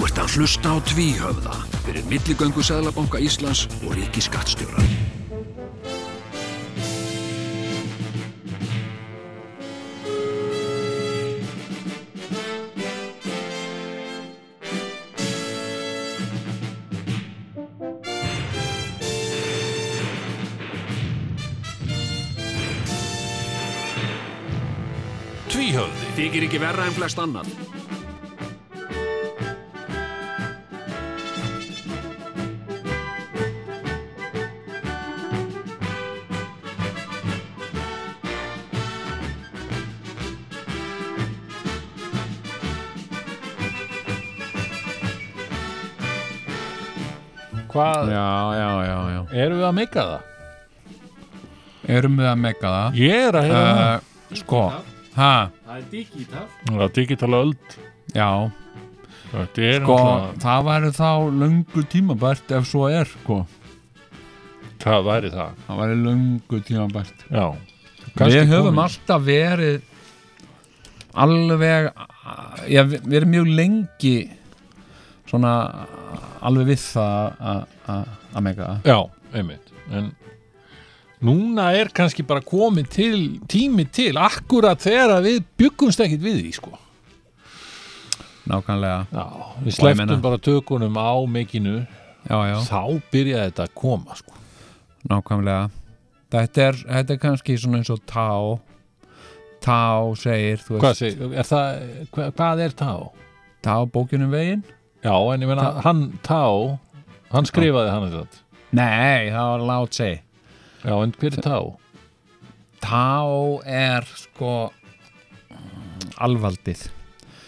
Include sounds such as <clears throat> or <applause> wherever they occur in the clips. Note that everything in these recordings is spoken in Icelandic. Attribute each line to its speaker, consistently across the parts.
Speaker 1: hægt að hlusta á tvíhöfða fyrir milligöngu Sæðlabanka Íslands og Ríkiskattstjóra. Tvíhöfði þykir ekki verra en flest annan.
Speaker 2: Hvað,
Speaker 3: Já, já, já, já
Speaker 2: erum við að meika það?
Speaker 3: Erum við að mega það?
Speaker 2: Ég er að hefða það.
Speaker 3: Uh, sko, hæ,
Speaker 4: Það er digitaf
Speaker 2: Það er digital öld.
Speaker 3: já
Speaker 2: Þetta er
Speaker 3: Sko,
Speaker 2: náttúrulega,
Speaker 3: það væri þá löngu tímabært ef svo er, sko
Speaker 2: það væri það.
Speaker 3: Það væri löngu tímabært
Speaker 2: Já.
Speaker 3: Við höfum alltaf verið alveg já, við, við erum mjög lengi svona alveg við það að- að að mega það
Speaker 2: Já, einmitt. En núna er kannski bara komið til, tími til, akkurat þegar að við byggumst ekkit við því, sko.
Speaker 3: Nákvæmlega,
Speaker 2: Já, við
Speaker 3: Og ég meina-
Speaker 2: sleftum bara tökunum á mikinu,
Speaker 3: já, já,
Speaker 2: þá byrjaði þetta að koma, sko.
Speaker 3: nákvæmlega Þetta er, þetta er kannski svona eins og tá Tá segir, þú
Speaker 2: Hvað,
Speaker 3: veist
Speaker 2: seg, er það, hvað, hvað er Tá?
Speaker 3: Tá bókjunum um veginn
Speaker 2: Já, en ég meina, hann Tá, hann skrifaði hann þetta.
Speaker 3: Nei, það var lát segi
Speaker 2: Já, en hver er Tá?
Speaker 3: Tá er sko mm, alvaldið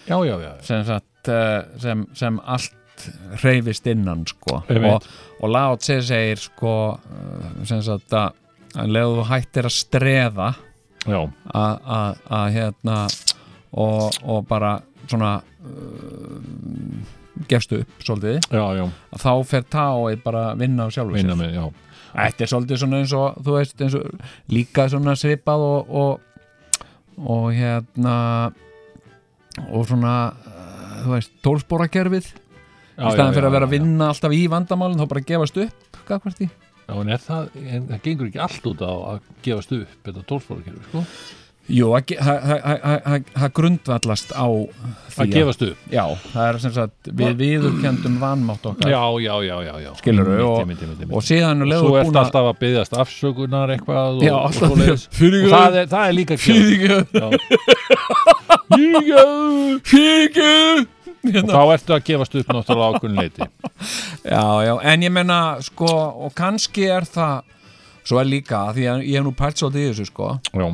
Speaker 2: Já, já, já. já.
Speaker 3: sem, sagt, eh, sem, sem allt reyfist innan sko
Speaker 2: Einmitt.
Speaker 3: og, og lát segi segir sko eh, sem sagt að að leðu þú hættir að streða
Speaker 2: Já,
Speaker 3: að- að að hérna og, og bara svona uh, gefstu upp svolítið,
Speaker 2: já, já,
Speaker 3: að þá fer táið bara að vinna á sjálfu sér
Speaker 2: vinna með, já.
Speaker 3: Þetta er svolítið svona eins og þú veist eins og líka svona svipað og og, og hérna og svona uh, þú veist tólsporakerfið í
Speaker 2: já
Speaker 3: staðan
Speaker 2: já,
Speaker 3: fyrir að
Speaker 2: já,
Speaker 3: vera að
Speaker 2: já.
Speaker 3: vinna alltaf í vandamálinn þá bara gefast upp gagvart því
Speaker 2: Já, en er það, en það gengur ekki allt út á að gefast upp, þetta tólfórakerfi, sko.
Speaker 3: Jú, það ge- það- það- það- það- það grundvallast á því
Speaker 2: Að gefast upp.
Speaker 3: Já, það er sem sagt við viðurkendum vanmátt okkar
Speaker 2: Já, já, já, já, já.
Speaker 3: Skilurðu,
Speaker 2: Einmitt,
Speaker 3: og-
Speaker 2: einmitt, einmitt, einmitt.
Speaker 3: og síðan og
Speaker 2: og svo
Speaker 3: leiður
Speaker 2: ertu
Speaker 3: búin að
Speaker 2: alltaf að byggðast afsökunar eitthvað og,
Speaker 3: Já,
Speaker 2: og,
Speaker 3: alltaf
Speaker 2: svoleiðis.
Speaker 3: fyrir-
Speaker 2: og það, er, það er líka kjöld
Speaker 3: Híkju
Speaker 2: og
Speaker 3: Hérna.
Speaker 2: þá ertu að gefast upp náttúrulega ákveðin leiti
Speaker 3: <laughs> Já, já, en ég menna sko, og kannski er það svo er líka, því að ég hef nú pælt svolítið í þessu sko,
Speaker 2: já,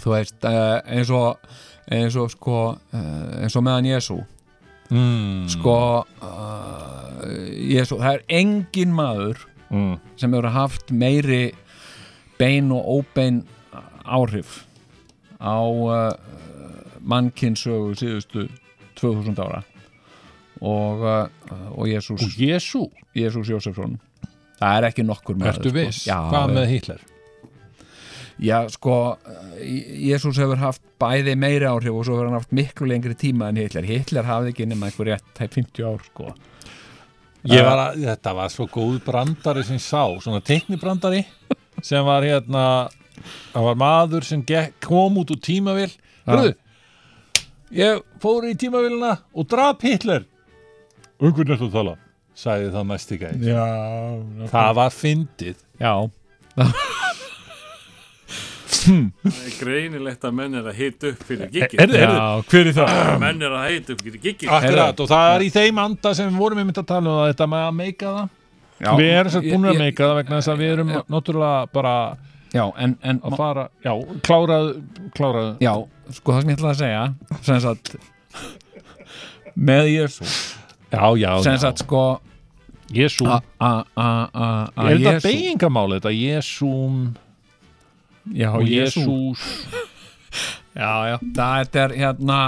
Speaker 3: þú veist eh, eins og, eins og sko eh, eins og meðan Jésu
Speaker 2: mm,
Speaker 3: sko uh, Jésu, það er engin maður
Speaker 2: mm,
Speaker 3: sem hefur haft meiri bein og óbein áhrif á uh, mannkinsögu síðustu 2000 ára og, uh, og Jésús
Speaker 2: og Jésu,
Speaker 3: Jésús Jósefsson það er ekki nokkur maður
Speaker 2: ertu viss
Speaker 3: sko. já,
Speaker 2: hvað með Hitler
Speaker 3: já, sko, eh, Jésús hefur haft bæði meiri áhrif og svo hefur hann haft miklu lengri tíma en Hitler Hitler hafði ekki nema einhver rétt tæp 50 ár sko.
Speaker 2: ég var að, þetta var svo góð brandari sem ég sá, svona teknibrandari sem var hérna það var maður sem gekk, kom út úr tímavill hörðu ég fór í tímavillina og drap Hitler um hvernig ertu að tala sagði það næst í gæð
Speaker 3: já,
Speaker 2: Það var fyndið
Speaker 3: já,
Speaker 4: Það er greinilegt að menn er að hita upp fyrir
Speaker 2: Er-
Speaker 4: gigið
Speaker 2: er-
Speaker 3: hver er það?
Speaker 4: Menn er að hita upp fyrir gigið
Speaker 2: Akkurat, og það er í þeim anda sem við vorum einmitt að tala um það, þetta með að meika það
Speaker 3: Já,
Speaker 2: Við erum sér búin að
Speaker 3: Ég- ég-
Speaker 2: meika það vegna þess að við erum náttúrulega bara
Speaker 3: já, en, en
Speaker 2: að fara, já, klárað klárað,
Speaker 3: já, sko það sem ég ætla að segja sem sagt með Jésús
Speaker 2: já, já,
Speaker 3: sem
Speaker 2: já,
Speaker 3: sagt sko
Speaker 2: Jesú
Speaker 3: a- a- a- a- a-
Speaker 2: Er þetta
Speaker 3: Jesú-
Speaker 2: beigingamáli, þetta Jesúm
Speaker 3: já,
Speaker 2: og
Speaker 3: Jesús
Speaker 2: Jesús
Speaker 3: <laughs> Já, já, það er hérna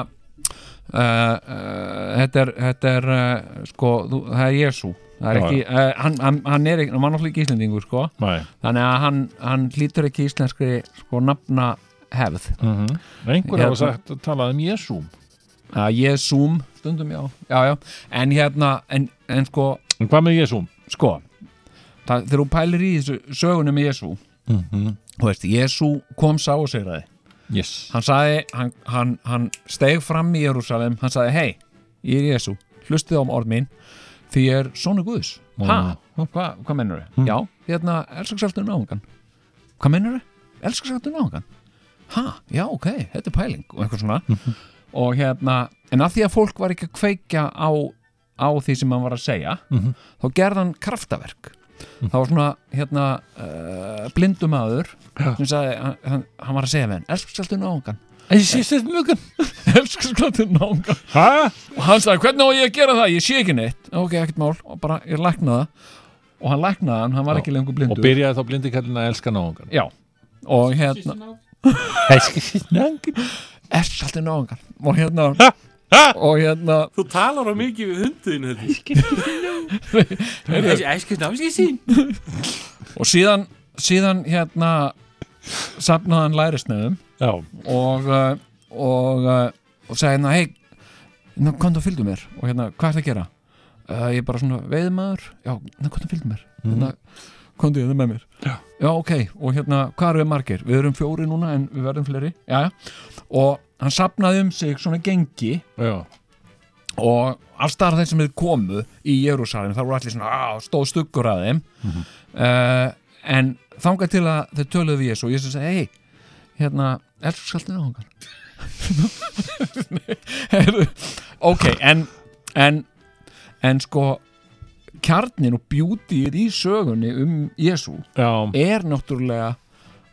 Speaker 3: uh, uh, þetta er, þetta er uh, sko, þú, það er Jésu það er
Speaker 2: Já,
Speaker 3: ekki, uh, hann, hann, hann er ekki hann var náttúrulega ekki íslendingur, sko
Speaker 2: Nei,
Speaker 3: þannig að hann, hann hlýtur ekki íslenskri sko, nafna hefð
Speaker 2: einhver
Speaker 3: Hérna.
Speaker 2: hafa sagt að talað um Jesúm
Speaker 3: að Jésúm, Uh, stundum, já, já, já. En hérna, en, en sko,
Speaker 2: En hvað með Jésúm?
Speaker 3: sko það, þegar þú pælir í þessu sögunum Jésu þú veist, Jésu kom sá og segir það
Speaker 2: Yes.
Speaker 3: hann sagði, hann, hann, hann steig fram í Jerusalem, hann sagði, hei ég er Jésu, hlustið á orð mín því ég er sonu Guðs ha, hvað hva mennur þau? já, hérna, elskaksaltur náungan hvað mennur þau? elskaksaltur náungan ha, já, ok, þetta er pæling og eitthvað svona og hérna, en að því að fólk var ekki að kveikja á, á því sem hann var að segja þá gerði hann kraftaverk það var svona hérna uh, blindumadur sem sagði, hann, hann, hann var að segja við hann um elsku skaltu náungan
Speaker 2: Ég sé þetta mjög
Speaker 3: elsku skaltu náungan
Speaker 2: Hæ?
Speaker 3: og hann sagði hvernig á ég að gera það, ég sé ekki neitt ok, ekkert mál, og bara ég lækna það og hann læknaði hann, hann var ekki lengur
Speaker 2: Og
Speaker 3: blindur
Speaker 2: byrjaði þá blindi kallin að elska náungan.
Speaker 3: já, og hérna <laughs>
Speaker 2: Elska sitt náungan.
Speaker 3: elsku skaltu náungan og hérna
Speaker 2: ha.
Speaker 3: og hérna
Speaker 4: Þú talar á mikið við hundin <laughs> Þessi æskist námskið sín
Speaker 3: og síðan, síðan hérna safnaði hann lærisnefum
Speaker 2: Já.
Speaker 3: og uh, og, uh, og sagði hérna hei, ná, komdu og fylgdu mér og hérna, hvað er það að gera? Uh, ég er bara svona veiðmaður, já, ná, komdu og fylgdu mér hérna, komdu hérna með mér já. ok, og hérna, hvað eru við margir? Við erum fjóri núna en við verðum fleiri já, og hann sapnaði um sig svona gengi
Speaker 2: Já.
Speaker 3: og allstaðar þeir sem við komu í Jérúsalem, það voru allir svona "Á, stóð stuggur að þeim uh, en þangað til að þau töluðu við Jésu og Jésu segi, hei hérna, elsku skaltinu ángan <laughs> Heyrðu, ok, en en, en sko kjarnin og bjútið í sögunni um Jésu
Speaker 2: Já.
Speaker 3: er náttúrulega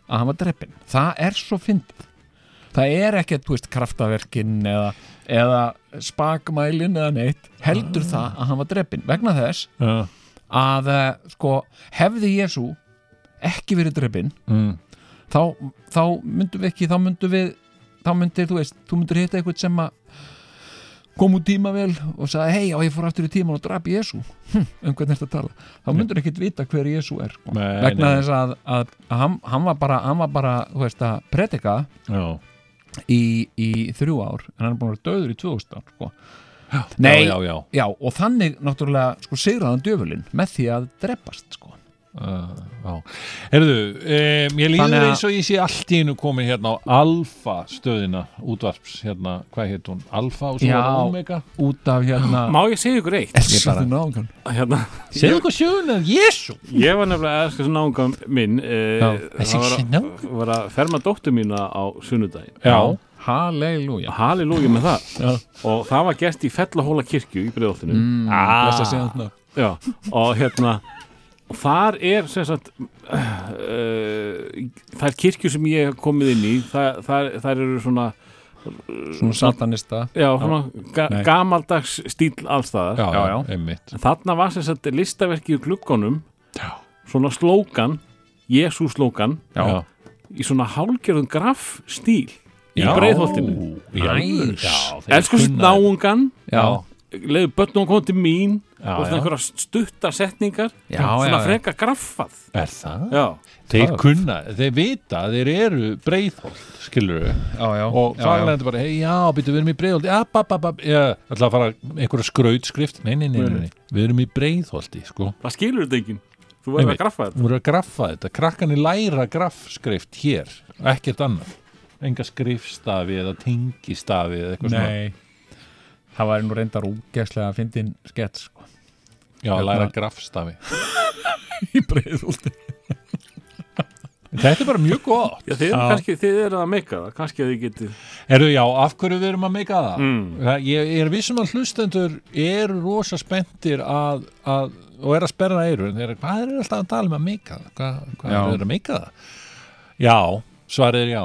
Speaker 3: að hann var dreppin það er svo fyndið það er ekkert, þú veist, kraftaverkin eða, eða spakmælin eða neitt, heldur það að hann var dreppin vegna þess
Speaker 2: Já.
Speaker 3: að eh, sko, hefði Jésu ekki verið dreppin
Speaker 2: Mm.
Speaker 3: þá, þá myndum við ekki, þá myndum við þá myndir, þú veist, þú myndir hitta eitthvað sem að kom úr tímavél og sagði, hei, já, ég fór aftur í tíman og drap Jésu, hm, um hvernig þetta tala þá myndir ekkit vita hver Jésu er sko.
Speaker 2: Nei,
Speaker 3: vegna
Speaker 2: nei.
Speaker 3: þess að, að, að hann, hann var bara, hann var bara, þú veist, að predika
Speaker 2: Já.
Speaker 3: í, í þrjú ár en hann er búin að vera döður í 2000 ár sko. Nei,
Speaker 2: Já, já, já.
Speaker 3: já, og þannig náttúrulega, sko, sigraðan djöfulinn með því að dreppast, sko
Speaker 2: Uh, já. Herðu, um, ég líður
Speaker 3: Þannig að-
Speaker 2: eins og ég sé allt í einu komin hérna á Alfa stöðina útvarps, hérna, hvað hétt hún? Alfa og svo
Speaker 3: Já.
Speaker 2: var það Omega.
Speaker 3: út af hérna
Speaker 4: Má ég segja ykkur eitt?
Speaker 3: Ég bara- náungan.
Speaker 4: Hérna,
Speaker 2: Segðu hvað sjögun er Jésu.
Speaker 4: ég var nefnilega æskist náungam minn eh,
Speaker 3: Já.
Speaker 4: Það var, að- var að ferma dóttur mína á sunnudaginn
Speaker 2: Já.
Speaker 3: Halleluja
Speaker 4: Halleluja með það Og það var gert í Fellahóla kirkju í breiðoltinu mm,
Speaker 3: ah.
Speaker 4: Já, og hérna og þar er sem sagt uh, þær kirkjur sem ég hef komið inn í þar, þar, þar eru svona,
Speaker 3: Svona satanista
Speaker 4: já, svona ga
Speaker 3: Nei.
Speaker 4: gamaldags stíl allstaðar
Speaker 2: Já,
Speaker 3: Já, já.
Speaker 2: einmitt.
Speaker 4: en þarna var sem sagt listaverkið í gluggunum svona slókan Jesú slókan
Speaker 2: Já.
Speaker 4: í svona hálgjörðum graf stíl í
Speaker 2: Já.
Speaker 4: breiðholtinu
Speaker 2: Já,
Speaker 3: Næs.
Speaker 2: já, þeir
Speaker 4: elsku
Speaker 2: kunna þetta.
Speaker 4: snáungan
Speaker 3: Já,
Speaker 4: leiðu börnum að koma til mín
Speaker 2: Já,
Speaker 4: og svona
Speaker 2: já.
Speaker 4: einhverja stutta setningar
Speaker 3: Já, já,
Speaker 4: svona
Speaker 3: já.
Speaker 4: freka graffað
Speaker 2: Er það?
Speaker 4: já
Speaker 2: Þeir kunna, þeir vita, að þeir eru breiðholt, skilur
Speaker 3: já, já
Speaker 2: og
Speaker 3: já, já.
Speaker 2: faglændi bara, hei, já, býttu, við erum í breiðholti ja, bap, bap, bap, ja, ætla að fara einhverja skrautskrift, nei, nei, nei, nei, nei við erum í breiðholti, sko
Speaker 4: Það skilur þetta enginn. Þú verður
Speaker 2: Einmitt.
Speaker 4: að graffa þetta.
Speaker 2: við erum að graffa þetta, krakkanir læra graffskrift hér, ekkert annað enga skrifstafi eða tengistafi eða eitthvað
Speaker 3: Nei Það væri nú reyndar úgeslega að fyndin skett sko.
Speaker 2: svona já, læra
Speaker 3: Hérna.
Speaker 4: <laughs>
Speaker 2: graffstafi
Speaker 3: Í breiðulti
Speaker 2: þetta er bara mjög gott
Speaker 4: Já, þið, eru kannski, þið eru að meika það, kannski að þið getið.
Speaker 2: Eru, já, af hverju við erum að meika það? það ég, ég er vissum að hlustendur eru rosa spenntir að, að, og er að sperra eirur en þeir eru, hvað er alltaf að tala um að meika það? Hva, hvað
Speaker 3: Já.
Speaker 2: er að meika það? Já, svarið er já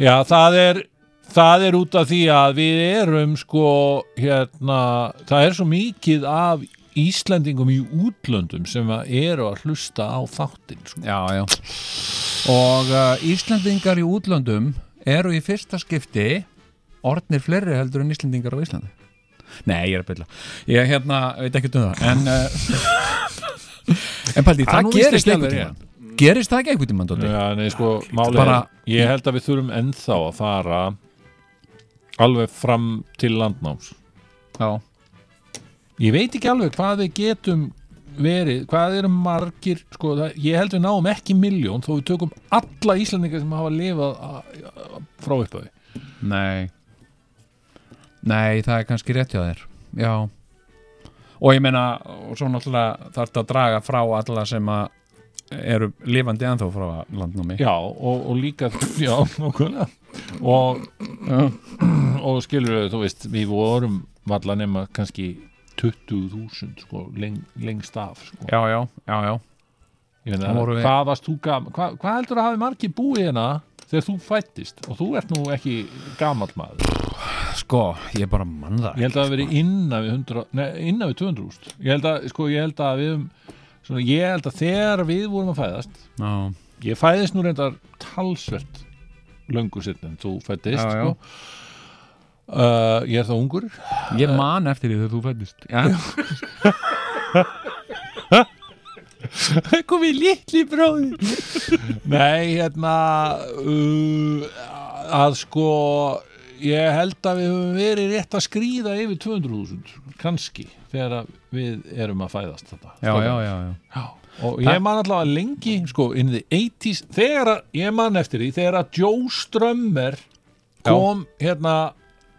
Speaker 2: Já, það er það er út af því að við erum sko, hérna það er svo mikið af Íslendingum í útlöndum sem að eru að hlusta á þáttinn sko.
Speaker 3: Já, já Og uh, Íslendingar í útlöndum eru í fyrsta skipti orðnir fleiri heldur en Íslendingar á Íslandi Nei, ég er að byrja Ég hérna, veit ekki um það En, uh, <laughs> en Paldi,
Speaker 2: Það er
Speaker 3: það
Speaker 2: nú víst
Speaker 3: gerist
Speaker 2: ekki
Speaker 3: einhvern
Speaker 2: alveg rétt.
Speaker 3: tímann Gerist það ekki einhvern tímann, Dóti?
Speaker 2: Já, nei, sko, málið
Speaker 3: bara-
Speaker 2: er ég held að við þurfum ennþá að fara alveg fram til landnáms
Speaker 3: já,
Speaker 2: Ég veit ekki alveg hvað við getum verið, hvað eru margir sko, það, ég held við náum ekki miljón þó við tökum alla Íslandingar sem hafa lifað a- a- frá upphafi
Speaker 3: nei Nei, það er kannski rétt hjá þér Já Og ég meina, og svo náttúrulega þarf þetta að draga frá alla sem að eru lifandi ennþá frá landnámi
Speaker 2: Já, og, og líka <laughs> já, nokkulega og, <clears throat> og skilur við, þú veist við vorum valla nema kannski 20.000 sko, leng, lengst af sko.
Speaker 3: já, já, já, já.
Speaker 2: Ég meina,
Speaker 3: Það voru við-
Speaker 2: hvað varst þú gaman hvað, hvað heldur að hafi margir búið hérna þegar þú fættist og þú ert nú ekki gamall maður
Speaker 3: Sko, ég bara mann það
Speaker 2: ég held að það hafi verið innan við 100 nei, innan við 200 úst ég held að, sko, ég held að við um, svona, ég held að þegar við vorum að fæðast
Speaker 3: Já,
Speaker 2: ég fæðist nú reyndar talsvert löngu setna en þú fættist
Speaker 3: Já, já.
Speaker 2: sko. Uh, ég er það ungur
Speaker 3: ég man eftir því þegar þú fættist Já,
Speaker 2: komið litli bróði nei hérna uh, að sko ég held að við höfum verið rétt að skrýða yfir 200.000 kannski þegar að við erum að fæðast þetta
Speaker 3: já, já, já, já.
Speaker 2: Já, og ég man allavega lengi sko, in the 80s, þegar að ég man eftir því, þegar að Joe Strömmer kom hérna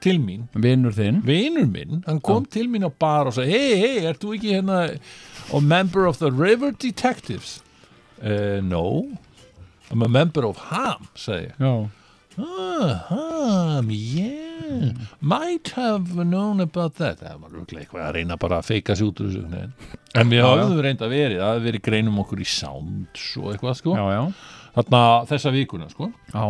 Speaker 2: til mín,
Speaker 3: Vinur þinn
Speaker 2: vinur minn hann kom til mín á bar og sagði hei, hei, ert þú ekki hérna a member of the River Detectives uh, no I'm a member of Ham, sagði ég
Speaker 3: Já,
Speaker 2: ah, Ham, yeah might have known about that það var rúglega eitthvað að reyna bara að feika sig út úr þessu nei. en við
Speaker 3: Já, já.
Speaker 2: höfum reynda verið, það hefði verið greinum okkur í sounds og eitthvað sko
Speaker 3: já, já,
Speaker 2: þarna þessa vikuna sko
Speaker 3: já.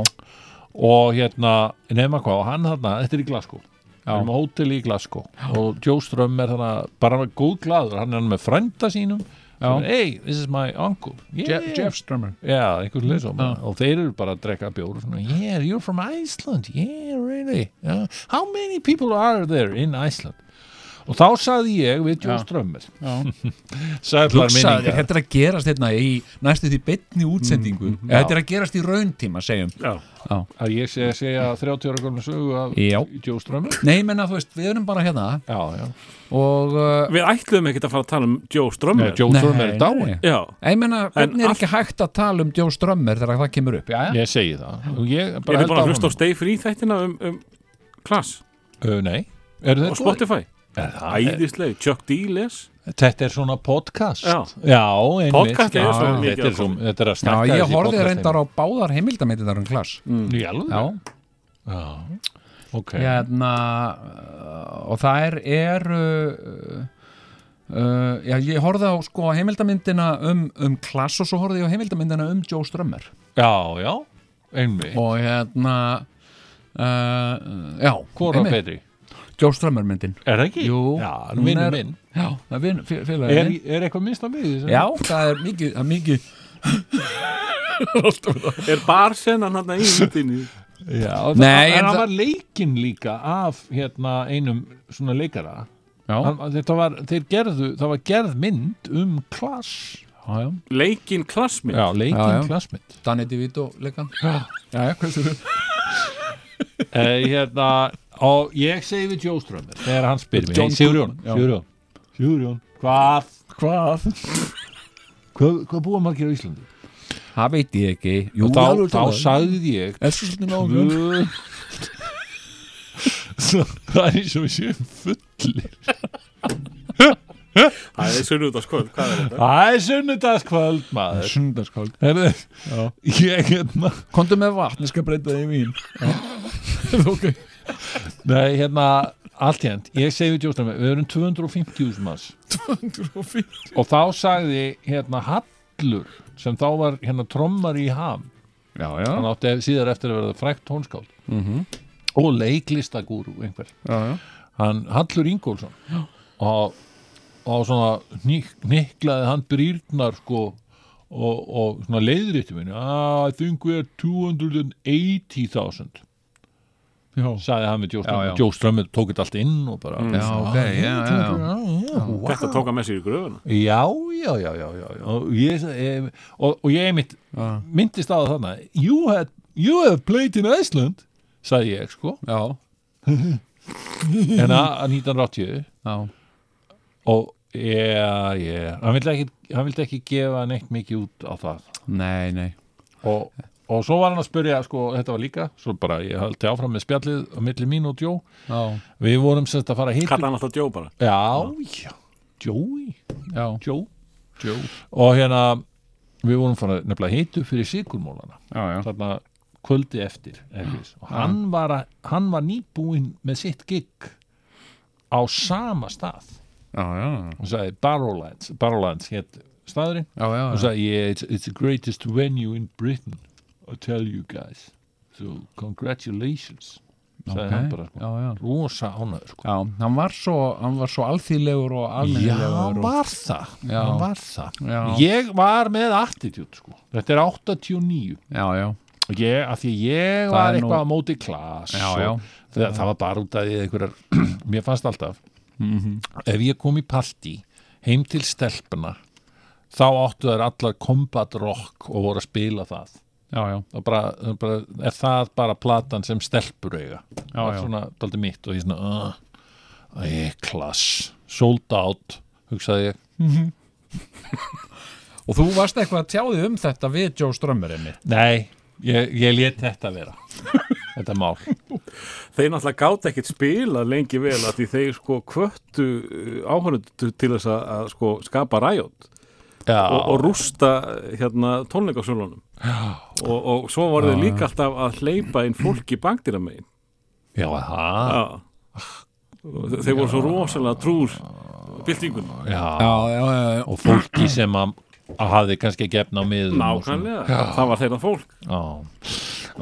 Speaker 2: og hérna, nefna hvað, og hann þarna, þetta er í Glasgow við erum á hóteli í Glasgow og Joe Ström er þarna, bara hann er góð glæður hann er hann með frænda sínum Svona, hey, this is my uncle yeah.
Speaker 3: Je Jeff Strömmur
Speaker 2: Já, einhvern leið svo
Speaker 3: Já.
Speaker 2: og þeir eru bara að drekka bjóru svona, yeah, you're from Iceland, yeah, really yeah. how many people are there in Iceland og þá sagði ég við Joe
Speaker 3: Já.
Speaker 2: Strömmir
Speaker 3: Hugsaði
Speaker 2: <laughs> Sæflar
Speaker 3: þér, þetta er að gerast hérna í næstu því betni útsendingu mm, Þetta er að gerast í rauntíma, segjum
Speaker 4: Já.
Speaker 2: að ég sé að segja 30 ára gamla sögu af
Speaker 3: Já.
Speaker 2: Joe Strömmir
Speaker 3: Nei, ég menna, þú veist, við erum bara hérna
Speaker 2: Já, já,
Speaker 3: og uh,
Speaker 4: Við ætluðum ekkert að fara að tala um Joe Strömmer
Speaker 2: Nei, Joe
Speaker 3: Nei,
Speaker 2: Strömmir er dáin
Speaker 3: nei.
Speaker 4: Já,
Speaker 3: Ég meina, hvernig er
Speaker 4: allt-
Speaker 3: ekki hægt að tala um Joe Strömmur þegar það kemur upp, já, já
Speaker 2: Ég segi það Og Ég
Speaker 4: ég
Speaker 2: bara
Speaker 4: er bara að
Speaker 2: held
Speaker 4: hlusta á Stay Free þættina um, um Klass
Speaker 2: Ö, Nei, eru
Speaker 4: og
Speaker 2: þeir góðir?
Speaker 4: Spotify
Speaker 2: Er það- Eh,
Speaker 4: Æðisleg, Chuck D. Les
Speaker 2: Þetta er svona podcast
Speaker 4: Já.
Speaker 2: einmitt
Speaker 4: Podcast er
Speaker 2: Já,
Speaker 4: svo mikið
Speaker 2: Þetta er,
Speaker 4: að
Speaker 2: svo,
Speaker 4: koma.
Speaker 2: þetta er að
Speaker 3: Já,
Speaker 2: snakka
Speaker 3: ég horfið reyndar á báðar heimildamindar um klass
Speaker 2: Í alveg?
Speaker 3: Já,
Speaker 2: Já, Mm. ok
Speaker 3: hérna uh, og þær eru uh, uh, já, ég horfið á sko heimildamindina um, um klass og svo horfið ég á heimildamindina um Joe Strömmur
Speaker 2: Já, já, einmitt
Speaker 3: og hérna uh, já,
Speaker 2: Hvora
Speaker 3: einmitt,
Speaker 2: betri?
Speaker 3: Joe Strömmur myndin
Speaker 2: Er það ekki?
Speaker 3: Jú,
Speaker 2: Já,
Speaker 3: hún
Speaker 2: vinnu
Speaker 3: er-
Speaker 2: minn
Speaker 3: Já, það er vin- fé- félagi
Speaker 2: Er,
Speaker 3: minn.
Speaker 2: er eitthvað minnst að mig í þessu?
Speaker 3: Já, það er mikið, það er mikið
Speaker 4: Er barsennan hann í vittinni
Speaker 2: já
Speaker 3: Nei,
Speaker 2: En
Speaker 3: en
Speaker 2: hann
Speaker 3: það-
Speaker 2: var leikinn líka af hérna einum svona leikara
Speaker 3: Já,
Speaker 2: hann, Þetta var, þeir gerðu, það var gerð mynd um klass
Speaker 3: já, já
Speaker 4: Leikinn klassminn
Speaker 2: Já,
Speaker 3: Já, já.
Speaker 2: leikinn klassmynd
Speaker 3: Danny DeVito leikan Já, já, hversu eru
Speaker 2: Eh, hérna, og ég segi við Joe Strömmir þegar hann spyr mig
Speaker 3: John
Speaker 2: hey, Sigurjón,
Speaker 3: Goodman, já.
Speaker 2: Sigurjón, Sigurjón hvað,
Speaker 3: Hvað?
Speaker 2: hvað, hvað búa margir á Íslandi
Speaker 3: Það veit ég ekki Jú,
Speaker 2: þá,
Speaker 3: alveg
Speaker 2: þá
Speaker 3: talað.
Speaker 2: sagði ég
Speaker 3: Er svo svolítið náðum
Speaker 2: tvö Svo- það er eins og við séum fullir
Speaker 4: Það er sunnudagskvöld, hvað er þetta?
Speaker 2: það er sunnudagskvöld maður
Speaker 3: Sundarskál
Speaker 2: Herðu, ég hérna
Speaker 3: Kondu með vatn, ég skal breyta það í vín Ok
Speaker 2: nei hérna allt hérnt, ég segi við Joe Strömmir við erum 250.000 manns
Speaker 3: 250
Speaker 2: og þá sagði hérna Hallur sem þá var hérna trommar í ham
Speaker 3: Já, já
Speaker 2: hann átti síðar eftir að verða frækt hónskáld og leiklistagúru einhver,
Speaker 3: Já, já
Speaker 2: hann Hallur Ingólfsson og, og svona hnik- hniklaði hann brýrnar sko og, og svona leiðrýttu minni ah, I think we are 280.000
Speaker 3: Já,
Speaker 2: sagði hann við Jó
Speaker 3: Já, já. Mm.
Speaker 2: Strömmið Jó Strömmið tók þetta allt inn og bara
Speaker 3: já ok, já, já, já
Speaker 2: já, wow.
Speaker 4: Þetta tók hann með sér í gröfuna
Speaker 2: já, já, já, já, já, já. Og, ég, eh, og, og ég mitt
Speaker 3: Já,
Speaker 2: myndist á það þarna you, had, you have played in Iceland sagði ég sko
Speaker 3: já
Speaker 2: en að 1980
Speaker 3: já,
Speaker 2: og yeah, yeah. Hann, vildi ekki, hann vildi ekki gefa neitt mikið út á það
Speaker 3: nei, nei
Speaker 2: og, og svo var hann að spyrja sko, þetta var líka, svo bara ég haldi áfram með spjallið á milli mín og Jó
Speaker 3: já,
Speaker 2: við vorum sérst að fara að hitta
Speaker 4: kalla hann alltaf Joe bara
Speaker 2: já, já, Jói
Speaker 3: já,
Speaker 2: Jó, Jó og hérna, við vorum fara nefnilega að hitu fyrir sigurmólana
Speaker 3: já, já.
Speaker 2: þarna kvöldi eftir eflis. og hann var, að, hann var nýbúinn með sitt gig á sama stað
Speaker 3: Já, já,
Speaker 2: hún sagði Barrowlands Barrowlands hétt staðurinn
Speaker 3: já, já,
Speaker 2: hún
Speaker 3: já.
Speaker 2: sagði yeah, it's, it's the greatest venue in Britain I tell you guys so congratulations sagði
Speaker 3: Ok.
Speaker 2: hann bara sko.
Speaker 3: já, já.
Speaker 2: rosa ánæður sko.
Speaker 3: já, hann var svo, hann var svo alþýðlegur og
Speaker 2: já,
Speaker 3: almennilegur
Speaker 2: hann
Speaker 3: og-
Speaker 2: var það,
Speaker 3: Já.
Speaker 2: hann var það.
Speaker 3: Já.
Speaker 2: ég var með attitude sko. þetta er 89
Speaker 3: Já, já,
Speaker 2: Og ég, af því ég
Speaker 3: Það
Speaker 2: var
Speaker 3: er nú-
Speaker 2: eitthvað á móti klas
Speaker 3: Já,
Speaker 2: og
Speaker 3: já.
Speaker 2: Það, það var bara út af því að einhverjar <clears throat> mér fannst alltaf
Speaker 3: Mhm.
Speaker 2: ef ég kom í partí heim til stelpuna þá áttu þær allar combat rock og voru að spila það
Speaker 3: já, já
Speaker 2: og bara, bara, er það bara platan sem stelpur eiga
Speaker 3: Já,
Speaker 2: var
Speaker 3: já.
Speaker 2: svona daldið mitt og ég svona uh, æ, klass, sold out hugsaði ég
Speaker 3: <laughs> Og þú varst eitthvað að tjáði um þetta við Joe Strömmerinn
Speaker 2: nei, ég, ég lét þetta
Speaker 3: <laughs>
Speaker 2: vera þetta mál
Speaker 4: þeir náttúrulega gátt ekkert spila lengi vel að því þeir sko kvöttu áhörundu til þess að, að sko skapa ræjót
Speaker 2: já,
Speaker 4: og, og rústa uh, hérna tónleikasölunum og, og svo voru þeir líka alltaf að hleypa inn fólk í bankdýra megin
Speaker 2: já, það
Speaker 4: þeir voru svo rosalega trúr byltingunum
Speaker 2: já,
Speaker 3: já, já,
Speaker 2: og fólki sem að, að hafði kannski gefna á miðum og svona.
Speaker 4: nákvæmlega, það var þeirra fólk
Speaker 2: Já.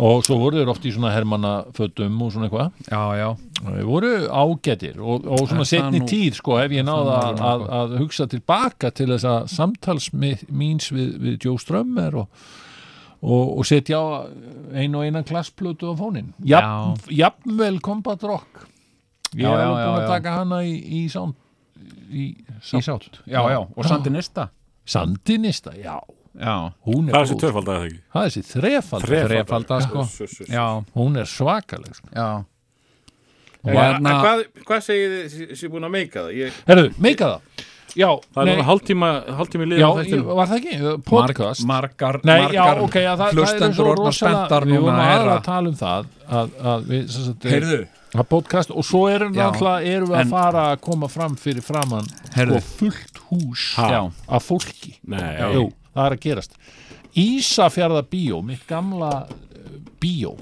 Speaker 2: og svo voru þeir oft í svona hermannafötum og svona eitthvað
Speaker 3: já, já,
Speaker 2: þeir voru ágætir og, og svona
Speaker 3: Er það
Speaker 2: setni
Speaker 3: nú-
Speaker 2: tíð sko ef ég náða
Speaker 3: nú
Speaker 2: að, að, að hugsa tilbaka til þess að samtals mi- míns við, við Joe Strömmer og, og, og setja á einu og einan klassplötu á fónin Jafn, jafnvel Combat Rock ég
Speaker 3: Já,
Speaker 2: er
Speaker 3: já,
Speaker 2: alveg búin
Speaker 3: já,
Speaker 2: að
Speaker 3: já.
Speaker 2: taka hana í, í sánd í, í sátt
Speaker 3: já, já, og sandinista
Speaker 2: Sandinista, já
Speaker 3: Já,
Speaker 2: hún
Speaker 4: það
Speaker 2: er
Speaker 4: er sér
Speaker 2: góð
Speaker 4: tvöfald að það ekki
Speaker 2: það er þessi þrefald
Speaker 3: þrefalda sko Já,
Speaker 2: hún er svakaleg sko.
Speaker 3: já
Speaker 5: Eh,
Speaker 3: Og hérna,
Speaker 5: Hvað, hvað segir þið sé- sé búin að meika það? Ég,
Speaker 2: herru, meika það já,
Speaker 4: það er
Speaker 2: nei,
Speaker 4: núna hálftíma, hálftíma liðið
Speaker 2: já
Speaker 4: á
Speaker 2: ég,
Speaker 4: þættinum.
Speaker 2: var það ekki,
Speaker 3: marg,
Speaker 2: podcast
Speaker 3: margar,
Speaker 2: nei, já,
Speaker 3: margar
Speaker 2: ok, já, það, það er
Speaker 3: hlustendur
Speaker 2: svo
Speaker 3: orðnar
Speaker 2: rosalega
Speaker 3: spenntar
Speaker 2: við vorum
Speaker 3: núna
Speaker 2: aðra
Speaker 3: er
Speaker 2: að tala um það að, að við, sem sagt, eh,
Speaker 3: Heyrðu.
Speaker 2: að podcast og svo erum við
Speaker 3: Já.
Speaker 2: alltaf erum við
Speaker 3: En-
Speaker 2: að fara að koma fram fyrir framann
Speaker 3: Heyrðu.
Speaker 2: sko, fullt hús
Speaker 3: Já.
Speaker 2: af fólki
Speaker 4: Nei.
Speaker 2: Jú, það er að gerast Ísafjarða bíó, mitt gamla eh, bíó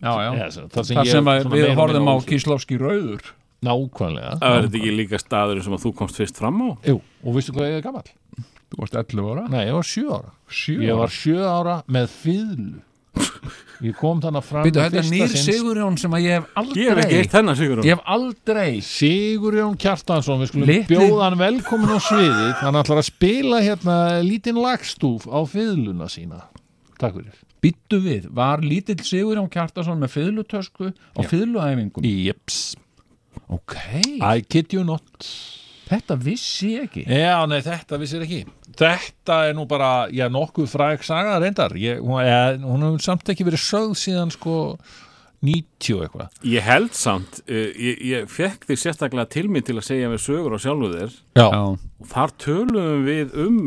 Speaker 3: Já, já
Speaker 2: Eða, sem- þar sem,
Speaker 3: Það
Speaker 2: ég-
Speaker 3: sem að
Speaker 2: svona meira
Speaker 3: við
Speaker 2: og
Speaker 3: horfum á
Speaker 2: minna
Speaker 3: Kíslovski rauður
Speaker 2: nákvæmlega
Speaker 4: það verður þetta ekki líka staður sem að þú komst fyrst fram á
Speaker 2: Jú, og veistu hvað ég er gammal?
Speaker 3: Þú varst 11 ára
Speaker 2: Nei, ég var sjö ára
Speaker 3: Sjö
Speaker 2: Ég
Speaker 3: ára.
Speaker 2: var sjö ára með fýðlu Ég kom þannig fram
Speaker 3: Býtu,
Speaker 2: í
Speaker 3: þetta er
Speaker 2: fyrsta
Speaker 3: nýr
Speaker 2: sinn-
Speaker 3: Sigurjón sem að ég hef
Speaker 4: ég hef
Speaker 3: aldrei
Speaker 4: ekki eitt þennan sigur
Speaker 3: Ég hef aldrei
Speaker 2: Sigurjón Kjartansson, við skulum
Speaker 3: Litli-
Speaker 2: bjóða hann velkomin á sviði Hann ætlar að spila hérna lítinn lagstúf á fýðluna sína Takk fyrir
Speaker 3: Býttu við, var lítill Sigurjón Kjartason með fiðlutösku á fiðluæfingum
Speaker 2: Jeps
Speaker 3: Ok,
Speaker 2: I kid you not
Speaker 3: þetta vissi ég ekki
Speaker 2: Já, nei, þetta vissir ekki Þetta er nú bara, já, nokkuð fræg saga reyndar ég, hún, ég, hún hefur samt ekki verið sögð síðan sko 90 og eitthvað
Speaker 4: Ég held samt, uh, ég, ég fekk þig sérstaklega til mig til að segja með sögur á sjálfu þér
Speaker 2: Já,
Speaker 3: Já,
Speaker 4: og þar töluðum við um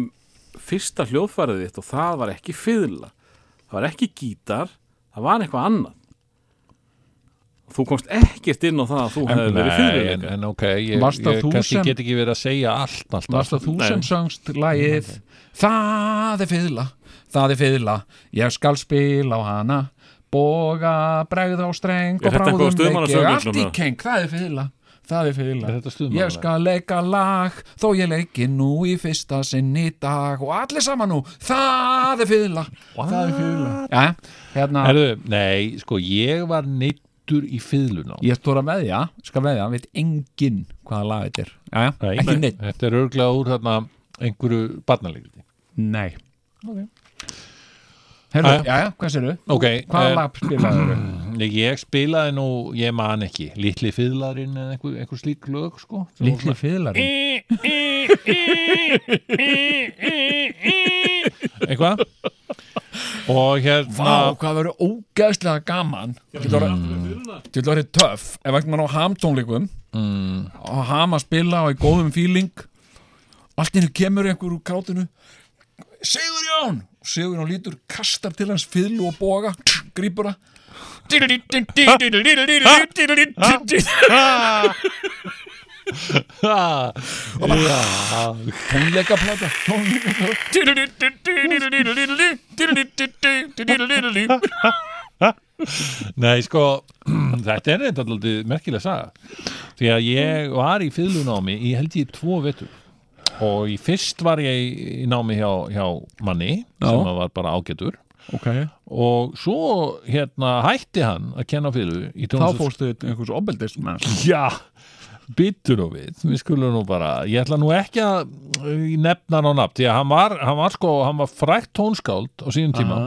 Speaker 4: fyrsta hljóðfærið þitt og það var ekki fiðla, það var ekki gítar, það var eitthvað annað. Þú komst ekkert inn á það að þú hefði verið
Speaker 2: Nei, en,
Speaker 4: fiðluleika.
Speaker 2: en ok, ég,
Speaker 3: Varst það
Speaker 2: ég
Speaker 3: þú
Speaker 2: kannski
Speaker 3: sem-
Speaker 2: get ekki verið að segja allt alltaf
Speaker 3: Varst það þú
Speaker 4: Nei.
Speaker 3: sem söngst lagið Það er fiðla, það er fiðla Ég skal spila á hana Boga, bregð á streng Og
Speaker 4: Er þetta eitthvað á
Speaker 3: bráðum leik ég
Speaker 4: Stuðmannasöngnum,
Speaker 3: allt í
Speaker 4: eða?
Speaker 3: keng Það er fiðla, það er fiðla
Speaker 2: Er þetta Stuðmannalag?
Speaker 3: Ég skal leika lag Þó ég leiki nú í fyrsta sinn í dag Og allir saman nú Það er fiðla, það er fiðla Já, hérna
Speaker 2: Herðu, Nei, sko, ég var neittur í fiðluna
Speaker 3: Ég stóra veðja, skal veðja, hann veit enginn hvaða lag þetta er. Jæja,
Speaker 2: Nei,
Speaker 3: ekki
Speaker 2: nei.
Speaker 3: neitt.
Speaker 2: Þetta er örglega úr þarna einhverju barnalegriti
Speaker 3: Nei. Herru,
Speaker 2: Jæja.
Speaker 3: jæja, hvað sérðu?
Speaker 2: Ok,
Speaker 3: Hvaða
Speaker 2: eh,
Speaker 3: lag spilaðu?
Speaker 2: Nei, Ég spilaði nú, ég man ekki Litli fiðlarinn eða einhver, einhver slík lög sko, sem <laughs>
Speaker 3: Lítli fiðlarinn.
Speaker 2: eitthvað og hérna
Speaker 3: Vá, hvað verður ógæðslega gaman. Getur orðið-
Speaker 2: náttúrulega
Speaker 3: Þú vil verið töff ef ekkert maður á hamtónleikum mm. og ham að spila og í góðum fíling allt innu kemur einhver úr krátinu Sigur Jón Sigur Jón lítur, kastar til hans fyllu og boga, grípur það
Speaker 2: Já,
Speaker 3: tónleika plata tónleika plata
Speaker 2: Nei, sko, þetta er þetta alltaf merkilega saga því að ég var í fyrlunámi í held ég tvo vetur og í fyrst var ég í- í námi hjá, hjá manni
Speaker 3: Já.
Speaker 2: sem að var bara ágætur
Speaker 3: Ok,
Speaker 2: og svo hérna hætti hann að kenna fyrlu í
Speaker 3: þá
Speaker 2: tónlist
Speaker 3: fórstu einhvers obeldist menn
Speaker 2: Já, byttu nú við, við skulum nú bara, ég ætla nú ekki að eh, nefna hann á nafn, því að hann var, hann var sko, hann var frækt tónskáld á sínum tíma,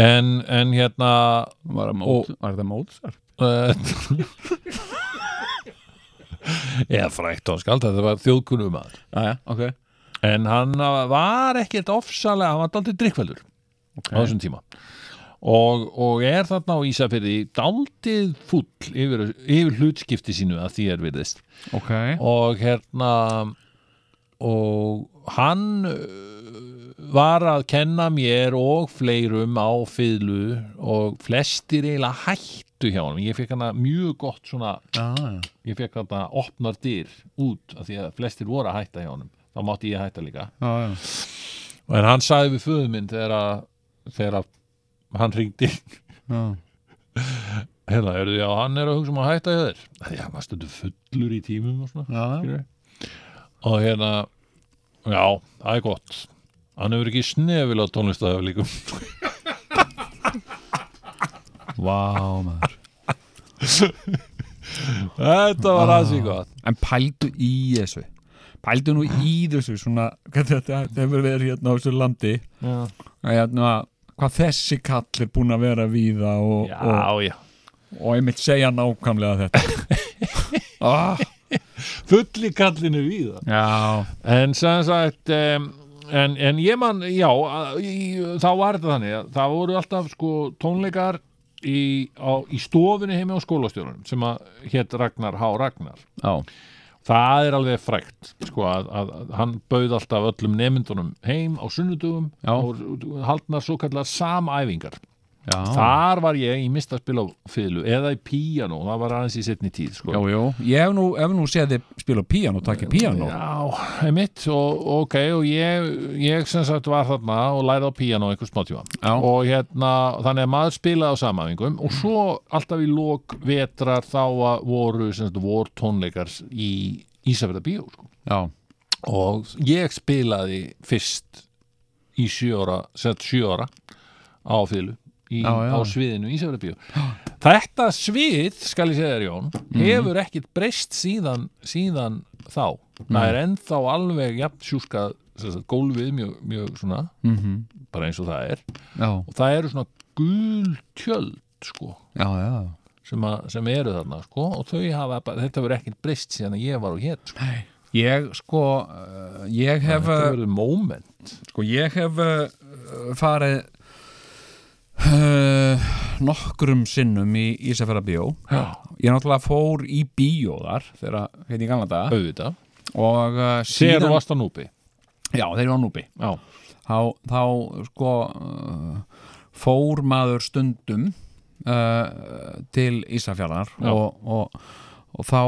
Speaker 2: en, en hérna,
Speaker 3: Var það mót, var það mót
Speaker 2: <laughs> uh, eða frækt tónskáld, þetta var þjóðkunum maður,
Speaker 3: Jæja, ok
Speaker 2: en hann var ekkert ofsalega, hann var daldið drikkveldur á þessum tíma. Og, og er þarna á Ísafirði daldið fúll yfir, yfir hlutskipti sínu að því er virðist.
Speaker 3: Ok,
Speaker 2: og hérna og hann uh, var að kenna mér og fleirum á fyrlu og flestir eiginlega hættu hjá hann ég fekk hana mjög gott svona
Speaker 3: já,
Speaker 2: ég fekk hana opnar dyr út af því að flestir voru að hætta hjá hann þá mátti ég hætta líka
Speaker 3: já, já
Speaker 2: en hann sagði við föðu minn þegar að, þegar að hann ringdi
Speaker 3: Já,
Speaker 2: <laughs> hérna, er því að hann er að hugsa um að hætta hjá þér Af því að hann var stundu fullur í tímum og svona
Speaker 3: já, já.
Speaker 2: Skilurðu? og hérna já, það er gott hann hefur ekki snefil á tónlistæðu <laughs> líkum
Speaker 3: Vá, maður
Speaker 2: þetta var aðsí gott
Speaker 3: En pældu í þessu Pældu nú í þessu svona hvað þetta þetta hefur verið hérna á þessu landi að hérna, hvað þessi kall er búin að vera víða og, og,
Speaker 2: já, já
Speaker 3: og einmitt segja nákvæmlega þetta ah,
Speaker 2: fulli kallinu við það
Speaker 3: Já,
Speaker 2: en sem sagt um, en, en ég man, já að- í- þá var þetta þannig að það voru alltaf sko tónleikar í, á, í stofunni heimi á skólastjórunum sem að hétt Ragnar H. Ragnar
Speaker 3: já,
Speaker 2: það er alveg frækt sko, að, að, að hann bauð alltaf öllum nemyndunum heim á sunnudugum
Speaker 3: Já.
Speaker 2: og haldnar svo kallar samæfingar
Speaker 3: já
Speaker 2: þar var ég í mista að spila á fiðlu eða í píanó, það var aðeins í setni tíð sko.
Speaker 3: Já, já, ég hef nú, hef nú séð þið spila á píanó, takk í píanó
Speaker 2: Já, einmitt og ok, og ég, ég sem sagt var þarna og lærði á píanó einhver smátíma
Speaker 3: Já.
Speaker 2: og hérna, þannig að maður spilaði á samæfingum og svo alltaf í lok vetrar þá að voru sem sagt vortónleikar í Ísafjörða bíó sko.
Speaker 3: Já,
Speaker 2: og ég spilaði fyrst í sjóra, sett sjóra á fylgu í,
Speaker 3: Já, já.
Speaker 2: á sviðinu í Ísafjörðabíu þetta svið, skal ég segja þér Jón
Speaker 3: Mhm.
Speaker 2: hefur ekkit breyst síðan síðan þá það er ennþá alveg jafn sjúskað sem sagt, gólfið mjög, mjög svona -hmm. bara eins og það er
Speaker 3: Mhm. já,
Speaker 2: og það eru svona gul tjöld sko,
Speaker 3: já, já
Speaker 2: sem, að, sem eru þarna sko, og þau hafa, bara- þetta verður ekkit breyst síðan að ég var og hér sko.
Speaker 3: Ég sko, uh, ég hef
Speaker 2: þetta verður moment
Speaker 3: Sko ég hef uh, farið uh, nokkrum sinnum í Ísafjara bíó
Speaker 2: Já.
Speaker 3: Ég náttúrulega fór í bíó þar þegar hérna í gamla daga
Speaker 2: auðvitað
Speaker 3: og uh,
Speaker 2: Þegar
Speaker 3: síðan
Speaker 2: þú varst á núpi
Speaker 3: Já, þeir eru á núbi
Speaker 2: Já,
Speaker 3: þá, þá sko uh, fór maður stundum uh, til Ísafjarðar
Speaker 2: Já.
Speaker 3: og, og, og þá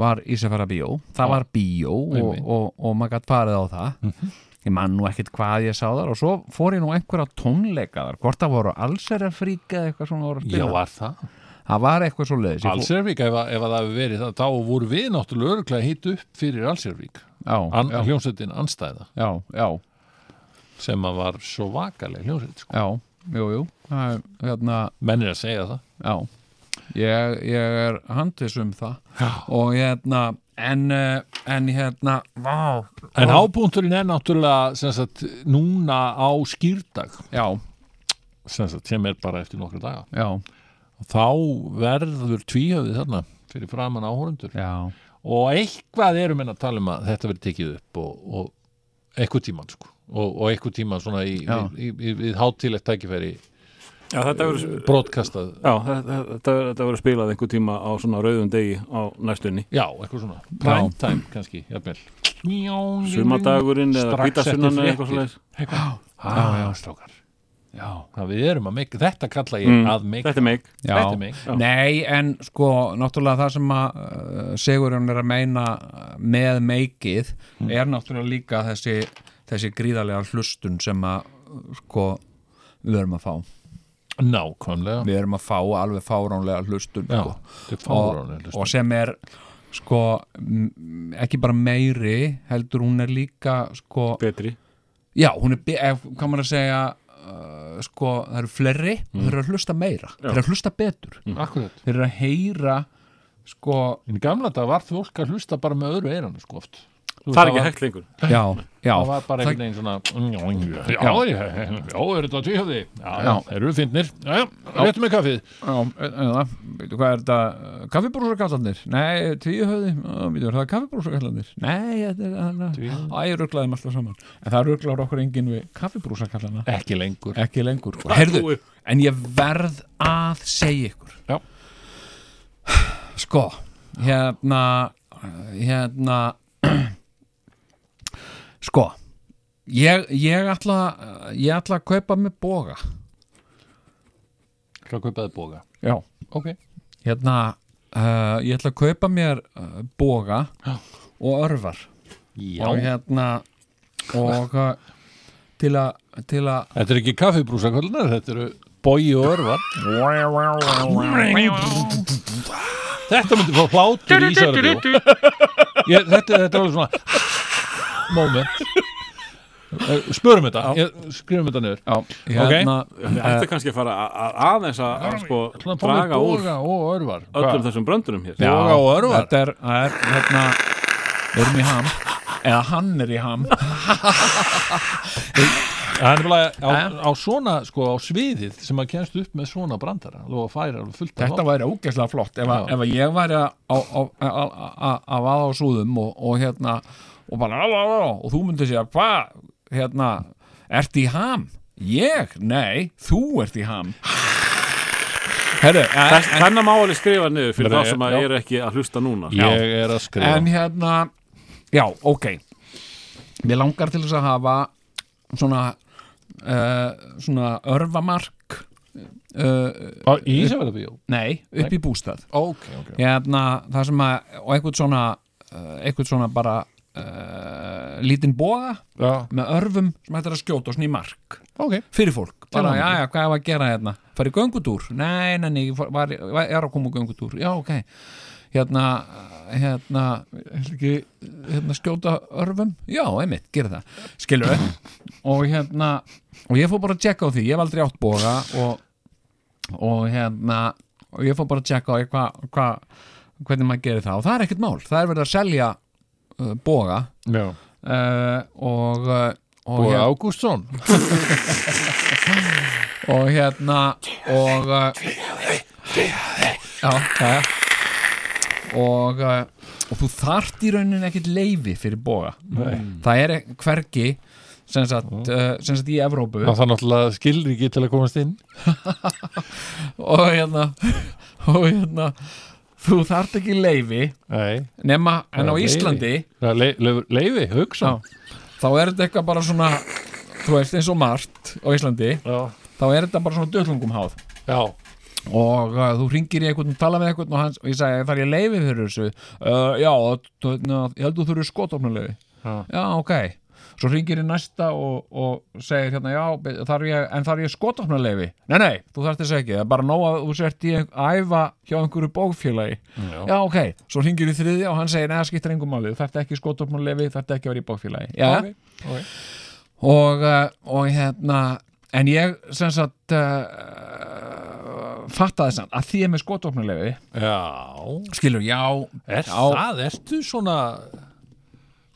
Speaker 3: var Ísafjarðar bíó það var bíó og,
Speaker 2: Einmitt. Mhm.
Speaker 3: og, og maður gætt farið á það ég man nú ekkit hvað ég sá þar og svo fór ég nú einhverja tónleika þar hvort það voru allserjafríka eða eitthvað svona voru að
Speaker 2: já
Speaker 3: spila
Speaker 2: var það
Speaker 3: það var eitthvað svo leiðis
Speaker 2: Allsjörvík, ef, að- ef að það hefur verið það þá voru við náttúrulega örgulega hitt upp fyrir Allsjörvík
Speaker 3: já,
Speaker 2: An, hljómsveitin Anstæða
Speaker 3: já, já,
Speaker 2: sem að var svo vakaleg hljómsveit sko.
Speaker 3: já, jú, jú það er hérna
Speaker 2: menn er að segja það
Speaker 3: Já, ég, ég er handis um það Já. og hérna en, eh, en hérna vá,
Speaker 2: En hábúnturinn er náttúrulega sem sagt, núna á skýrdag
Speaker 3: já,
Speaker 2: sem, sagt, sem er bara eftir nokkra daga
Speaker 3: já,
Speaker 2: þá verður tvíhöfið þarna fyrir framan áhorundur
Speaker 3: já
Speaker 2: og eitthvað erum enn að tala um að þetta verður tekið upp og, og eitthvað tíman sko og, og eitthvað tíman svona í,
Speaker 3: Já.
Speaker 2: í, í, í, í hátilegt tækifæri
Speaker 4: Já, þetta verður
Speaker 2: brotkastað
Speaker 4: já, þetta, þetta, þetta verður spilað einhver tíma á svona rauðum degi á næstunni
Speaker 2: Já, eitthvað svona, prime time kannski, jafnvel
Speaker 4: Sumadagurinn eða
Speaker 2: Strax
Speaker 4: hvítasunnan
Speaker 2: eftir
Speaker 4: eða eitthvað
Speaker 2: fréttir.
Speaker 4: svoleiðis.
Speaker 2: Eitthvað. Já, Ah, já, strákar Já, það við erum að meika, þetta kalla ég
Speaker 4: Mm.
Speaker 2: að meika
Speaker 4: Þetta er meik
Speaker 3: Já.
Speaker 2: Þetta er mig.
Speaker 4: Já.
Speaker 3: Nei, en sko, náttúrulega það sem að uh, Sigurjón er að meina uh, með meikið
Speaker 2: Mm.
Speaker 3: er náttúrulega líka þessi, þessi gríðarlega hlustun sem að uh, sko, við erum að fá
Speaker 2: Nákvæmlega
Speaker 3: við erum að fá alveg fáránlega hlustun
Speaker 2: Já,
Speaker 3: sko.
Speaker 2: þetta er fáránlega
Speaker 3: og, og sem er sko m- ekki bara meiri heldur hún er líka sko,
Speaker 4: Betri
Speaker 3: já, hún er, be- ef, hvað maður að segja uh, sko, það eru fleiri og þeir eru að hlusta meira, þeir eru að hlusta betur
Speaker 2: Mm. Akkurat
Speaker 3: þeir eru að heyra sko,
Speaker 2: En í gamla þetta var fólk að hlusta bara með öðru eirann sko oft Þú,
Speaker 4: Það er ekki
Speaker 2: var-
Speaker 4: hægt lengur
Speaker 3: já, já
Speaker 2: Það var bara einhvern veginn svona mm, Já, já, ég- já, er þetta tvíhjöfði Já, já, eru við fyndnir Já, já, réttum með kaffið
Speaker 3: Já, en en það, veitu hvað er þetta kaffibrúsarkallanir? Nei, tvíuhöfði veitu, er það kaffibrúsarkallanir? Nei, þetta er það Æ, rugglaðum alltaf saman En það rugglar okkur enginn við kaffibrúsarkallana
Speaker 2: Ekki lengur
Speaker 3: Ekki lengur sko. Heyrðu, en ég verð að segja ykkur
Speaker 2: Já.
Speaker 3: Sko, hérna hérna <clears throat> Sko Ég, ég ætla ég ætla að kaupa mig boga
Speaker 2: Hvað kaupaði boga?
Speaker 3: Já
Speaker 2: Ok
Speaker 3: hérna uh, ég ætla að kaupa mér uh, boga og örvar
Speaker 2: Já
Speaker 3: og hérna og uh, til að til að
Speaker 2: Þetta er ekki kaffibrúsaköllnar, þetta eru bogi og örvar Þetta myndi fá hlátur í Ísarabjó ég, þetta, þetta er alveg svona moment Eh, Spörum þetta, ég, skrifum þetta niður
Speaker 3: já, hérna,
Speaker 4: Þetta
Speaker 2: Eh.
Speaker 4: er kannski að fara að- að aðeins að að sko
Speaker 2: Ætlaðu að fá mér
Speaker 4: draga úr
Speaker 2: boga og örvar
Speaker 4: öllum
Speaker 2: Hvað?
Speaker 4: þessum bröndurum hér
Speaker 3: já,
Speaker 2: boga og örvar?
Speaker 3: þetta er, það er hérna við erum í ham eða hann er í ham
Speaker 2: Það er bara á, á svona, sko, á sviðið sem að kennst upp með svona brandara og að færa alveg fullt af
Speaker 3: þetta
Speaker 2: hlátur.
Speaker 3: væri ógeðslega flott ef, að,
Speaker 2: Já.
Speaker 3: ef að ég væri að- á- á- á- á- á- að vaða á súðum og, og hérna og bara á, á, á, og þú myndir segja hvað hérna, ert í ham? Ég? Nei, þú ert í ham Herru, en, en,
Speaker 4: Þennan má alveg skrifa niður fyrir
Speaker 2: Nei,
Speaker 4: það sem að
Speaker 2: já.
Speaker 4: eru ekki að hlusta núna
Speaker 2: Ég er að skrifa
Speaker 3: en hérna já, ok mér langar til þess að hafa svona uh, svona örvamark uh,
Speaker 2: Á Ísarabjó?
Speaker 3: nei, upp í bústað
Speaker 2: Ok, ok
Speaker 3: hérna, það sem að og einhvern svona, uh, einhvern svona bara uh, lítinn boga
Speaker 2: Já,
Speaker 3: með örfum sem hættir að skjóta og svona í mark
Speaker 2: ok
Speaker 3: fyrir fólk, bara
Speaker 2: Til
Speaker 3: já
Speaker 2: hamingju.
Speaker 3: já, hvað er að gera hérna farið göngutúr, nei, nei, nei ég fór- var, var, er að koma á göngutúr, já ok hérna, uh, hérna ætla ekki, hérna skjóta örfum já, einmitt, gera það skilur og hérna og ég fór bara að tjekka á því, ég hef aldrei átt boga og, og hérna og ég fór bara að tjekka á því hva, hva, hvernig maður gerir það og það er ekkert mál, það er verið að selja uh, boga
Speaker 2: Já
Speaker 3: uh, og, uh, og,
Speaker 2: Og
Speaker 3: hérna-
Speaker 2: Ágústsson
Speaker 3: og hérna og uh, já, já, já og, uh, og þú þarft í rauninni ekkit leifi fyrir boga Nei. það er e- hvergi sem sagt, uh, sem sagt í Evrópu
Speaker 2: Það er náttúrulega skilriki til að komast inn
Speaker 3: og hérna <laughs> og hérna þú þarft ekki leifi
Speaker 2: Nei
Speaker 3: nema en
Speaker 2: Já,
Speaker 3: á
Speaker 2: leyfi.
Speaker 3: Íslandi
Speaker 2: Það er le- le- Leifi, hugsa
Speaker 3: já, þá er þetta eitthvað bara svona þú veist eins og margt á Íslandi
Speaker 2: Já,
Speaker 3: þá er þetta bara svona döllungum háð
Speaker 2: já.
Speaker 3: og uh, þú ringir í einhvern og tala með einhvern og, hans, og ég sagði, þarf ég leifi fyrir þessu uh, já, þú- na, ég held þú þurfi skotofnuleifi
Speaker 2: Já.
Speaker 3: já, ok svo ringir í næsta og, og segir hérna, já, be- þarf ég, en þarf ég skotofnuleifi nei, nei, þú þarft þess ekki, það er bara nóg að þú sért í ein- að æfa hjá einhverju bókfélagi já. ok, svo ringir í þriðja og hann segir, neða, skiptir engum máli þú þarft ekki skotofnuleifi, þarft ekki að vera í bókfélagi já,
Speaker 2: Ok, ok.
Speaker 3: og, uh, og hérna en ég sem sagt uh, fattaði samt að því ég er með skotvopnulefi
Speaker 2: já.
Speaker 3: skilur, já,
Speaker 2: Er
Speaker 3: já,
Speaker 2: það, ertu svona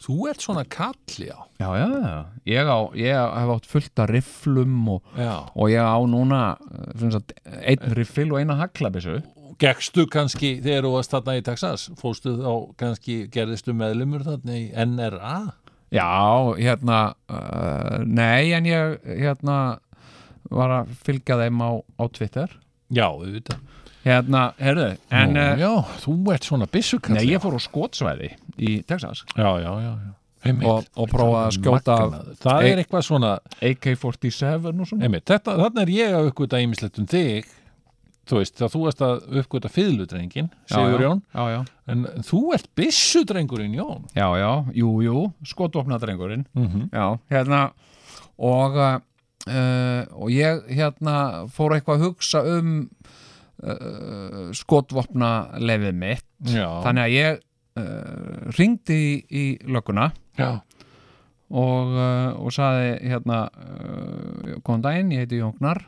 Speaker 2: þú ert svona kall já,
Speaker 3: já, já, já. Ég, á, ég hef átt fullt af rifflum og,
Speaker 2: já.
Speaker 3: og ég á núna uh, sem sagt, einn riffil og eina haglabissu
Speaker 2: Gekstu kannski þegar þú varst þarna í Texas fóstu þá kannski gerðistu meðlumur þarna í NRA
Speaker 3: eh, já, hérna uh, nei, en ég hérna var að fylgja þeim á, á Twitter
Speaker 2: Já, auðvitað
Speaker 3: hérna, herðu, en
Speaker 2: Nú,
Speaker 3: uh,
Speaker 2: Já, þú ert svona byssukall
Speaker 3: nei, ég fór á skotsvæði í Texas
Speaker 2: Já, já, já, já. Einmitt.
Speaker 3: og, og prófaði að skjóta af
Speaker 2: Magnaður. Það er eitthvað svona
Speaker 3: AK-47 og svona
Speaker 2: einmitt, þetta, Þannig er ég að uppgöta ýmislegt um þig Þú veist, þá þú ert að uppgöta fiðludrengin, Sigur Jón
Speaker 3: já, já,
Speaker 2: En þú ert byssudrengurinn Jón
Speaker 3: já, já, jú, jú, skotvopnadrengurinn
Speaker 2: Mm.
Speaker 3: já, hérna og uh, og ég hérna fór eitthvað að hugsa um uh, skotvopna lefið mitt
Speaker 2: Já,
Speaker 3: þannig að ég uh, ringdi í, í lögguna
Speaker 2: já,
Speaker 3: og, uh, og saði hérna uh, góðan daginn, ég heiti Jóngnar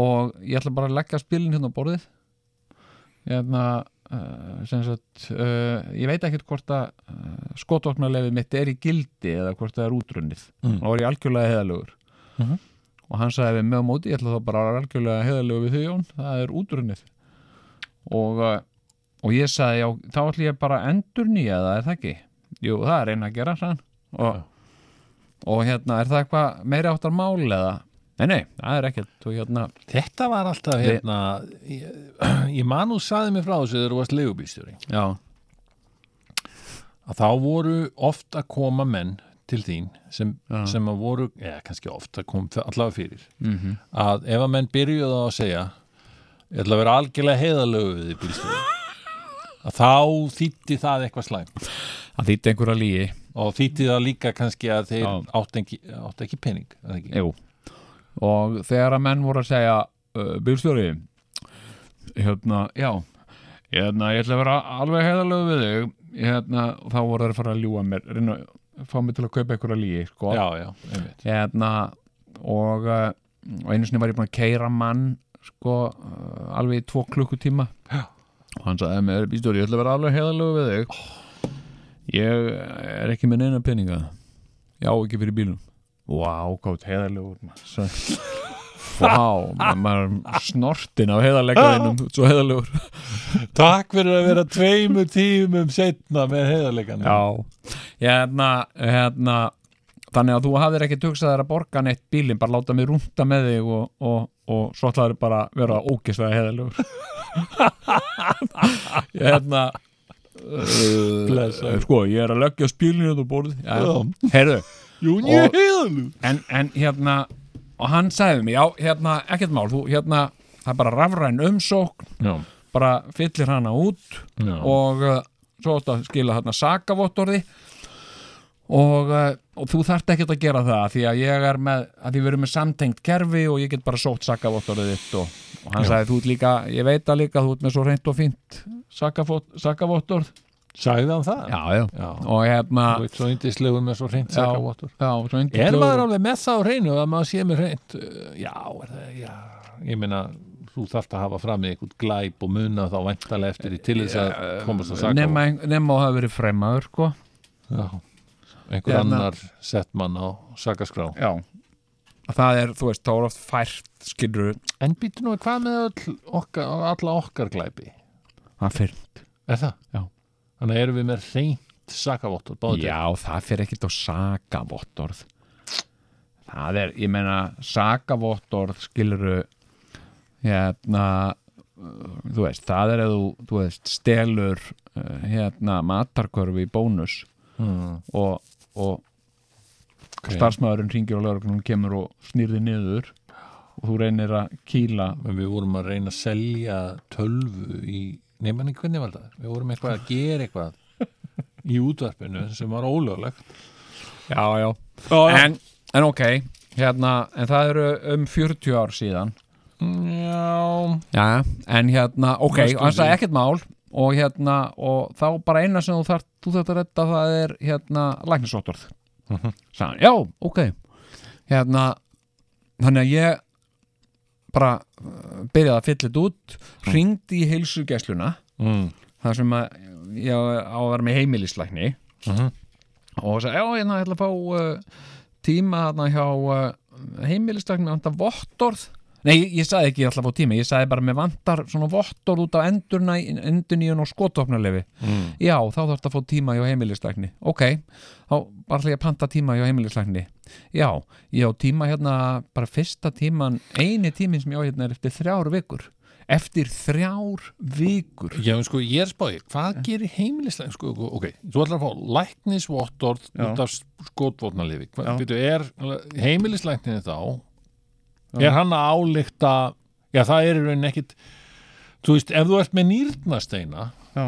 Speaker 3: og ég ætla bara að leggja spilin hérna á borðið hérna uh, sem sagt uh, ég veit ekkert hvort að uh, skotvopnarlefið mitt er í gildi eða hvort það er útrunnið
Speaker 2: Mm.
Speaker 3: og var ég algjörlega heðalugur
Speaker 2: Mhm.
Speaker 3: og hann sagði við með á móti, ég ætla þá bara að vera algjörlega heðalugur við þau Jón, það er útrunnið og, uh, og ég sagði já, þá ætla ég bara að endurnýja það er það ekki, jú það er eina að gera sann og og hérna, er það eitthvað meira áttar mál eða? Nei, nei, það er ekkert og hérna,
Speaker 2: Þetta var alltaf
Speaker 3: Við-
Speaker 2: hérna Ég, ég man þú saði mér frá þessu þegar þú varst legubýstjóri
Speaker 3: já,
Speaker 2: að þá voru oft að koma menn til þín sem,
Speaker 3: Já.
Speaker 2: sem að voru, eða kannski oft að kom allavega fyrir,
Speaker 3: mm
Speaker 2: að ef að menn byrjuðu á að segja ég ætla að vera algjörlega heiðalögu við þig
Speaker 3: <laughs>
Speaker 2: bílstjóri að þá þýtti það eitthvað slæm
Speaker 3: það þýtti einhverja lígi
Speaker 2: og þýtti það líka kannski að þeir
Speaker 3: Já.
Speaker 2: átt ekki, átt ekki pening eða ekki?
Speaker 3: Jú, og þegar að menn voru að segja uh, bílstjóri hérna, já hérna, ég ætla að vera alveg heiðalegu við þig hérna, og þá voru þeir að fara að ljúa mér reyna að fá mig til að kaupa einhverja lígi sko.
Speaker 2: Já, já, einmitt
Speaker 3: hérna og, uh, og einu sinni var ég búin að keira mann sko uh, alveg í tvo klukkutíma
Speaker 2: Já.
Speaker 3: og hann sagði með bílstjóri, ég ætla að vera alveg heiðalegu við þig ég er ekki með neina peninga já, ekki fyrir bílum vá, gátt heiðalegur maður. vá, ma- maður er snortinn af heiðarleikaðinum svo heiðalegur
Speaker 2: Takk fyrir að vera tveimur tímum setna með heiðarleikan
Speaker 3: hérna, hérna þannig að þú hafðir ekki tugsað þér að borga neitt bílinn, bara láta mig rúnta með þig og, og, og svo ætlaður bara að vera ógislega heiðalegur <laughs> hérna
Speaker 2: Blessaður.
Speaker 3: uh, sko, ég er að leggja spílinu og borðið, já, heyrðu
Speaker 2: Jú,
Speaker 3: ég er
Speaker 2: heiðalög
Speaker 3: en, en hérna og hann sagði mér, já, hérna, ekkert mál þú, hérna, það er bara rafræn umsókn
Speaker 2: Já,
Speaker 3: bara fyllir hana út
Speaker 2: já,
Speaker 3: og uh, svo átt að skila hérna sakavottorði og, uh, og þú þarft ekkert að gera það því að ég er með, að því við erum með samtengt kerfi og ég get bara sótt sakavottorðið þitt og, og hann sagði, þú ert líka ég veit að líka, þú ert með svo reynt og fínt sakavott- sakavottorð
Speaker 2: sagði hann það?
Speaker 3: já, já,
Speaker 2: já.
Speaker 3: og hérna
Speaker 2: Þú veit svo yndislegur með svo hreint
Speaker 3: Já.
Speaker 2: sakavottur.
Speaker 3: já, svo
Speaker 2: Er
Speaker 3: yndislegur-
Speaker 2: maður alveg með það á hreinu að maður sé með hreint? Uh, Já, er það, já. Ég meina, þú þarft að hafa fram í eitthvað glæp og muna þá væntalega eftir í til þess að komast að sakavottur.
Speaker 3: nema, nema að hafa verið fremaður sko.
Speaker 2: Já, einhver
Speaker 3: Hérna.
Speaker 2: annar sett mann á sakaskrá.
Speaker 3: já það er, þú veist, þá er oft fært skilur
Speaker 2: En býtu nú, hvað með öll okkar, alla okkar glæpi?
Speaker 3: það fyrir,
Speaker 2: Er það?
Speaker 3: Já.
Speaker 2: Þannig erum við með hreint sakavottur, báðið.
Speaker 3: já, það fyrir ekkert á sakavottorð það er, ég meina sakavottorð skilur hérna uh, þú veist, það er að þú, þú veist, stelur uh, hérna matarkörfi í bónus
Speaker 2: Mm,
Speaker 3: og, og
Speaker 2: ok.
Speaker 3: starfsmaðurinn ringir og lögreglunum kemur og snýrði niður og þú reynir að kýla
Speaker 2: En við vorum að reyna að selja tölvu í, nefnir hvernig var það? Við vorum eitthvað að gera eitthvað í útvarpinu sem var ólöglegt.
Speaker 3: já, já
Speaker 2: Já,
Speaker 3: en, en ok hérna, en það eru um 40 ár síðan
Speaker 2: já,
Speaker 3: já, en hérna, ok,
Speaker 2: Næstum
Speaker 3: hann
Speaker 2: því.
Speaker 3: sagði ekkert mál og hérna, og þá bara eina sem þú þarft, þú þarft að redda það er hérna, læknisóttorð sagði hann, já, ok hérna, þannig að ég bara uh, byrjaði að fylla þetta út, hringdi í heilsugesluna
Speaker 2: mm.
Speaker 3: þar sem að ég á að vera með heimilislækni og sagði, já, hérna, ég ætla að fá uh, tíma þarna hjá uh, heimilislækni, hann það vottorð Nei, ég, ég sagði ekki alltaf á tími, ég sagði bara með vantar svona vottor út af endurna, enduníun og skotofnulefi. Mm. Já, þá þarf að fá tíma hjá heimilislækni. Ok, þá bara ætla ég að panta tíma hjá heimilislækni. Já, ég á tíma hérna, bara fyrsta tíman, eini tímin sem ég á hérna er eftir þrjár vikur. Eftir þrjár vikur.
Speaker 2: Já, en sko, ég er spáði, hvað gerir heimilislega, sko, ok, þú ætlar að fá læknisvottorð út af skotvotnalifi,
Speaker 3: Já.
Speaker 2: hvað, veitu, er heimilislækninni þá, er hann að álíkta, já, það er í raunin ekkit, þú veist, ef þú ert með nýrnasteina,
Speaker 3: Já.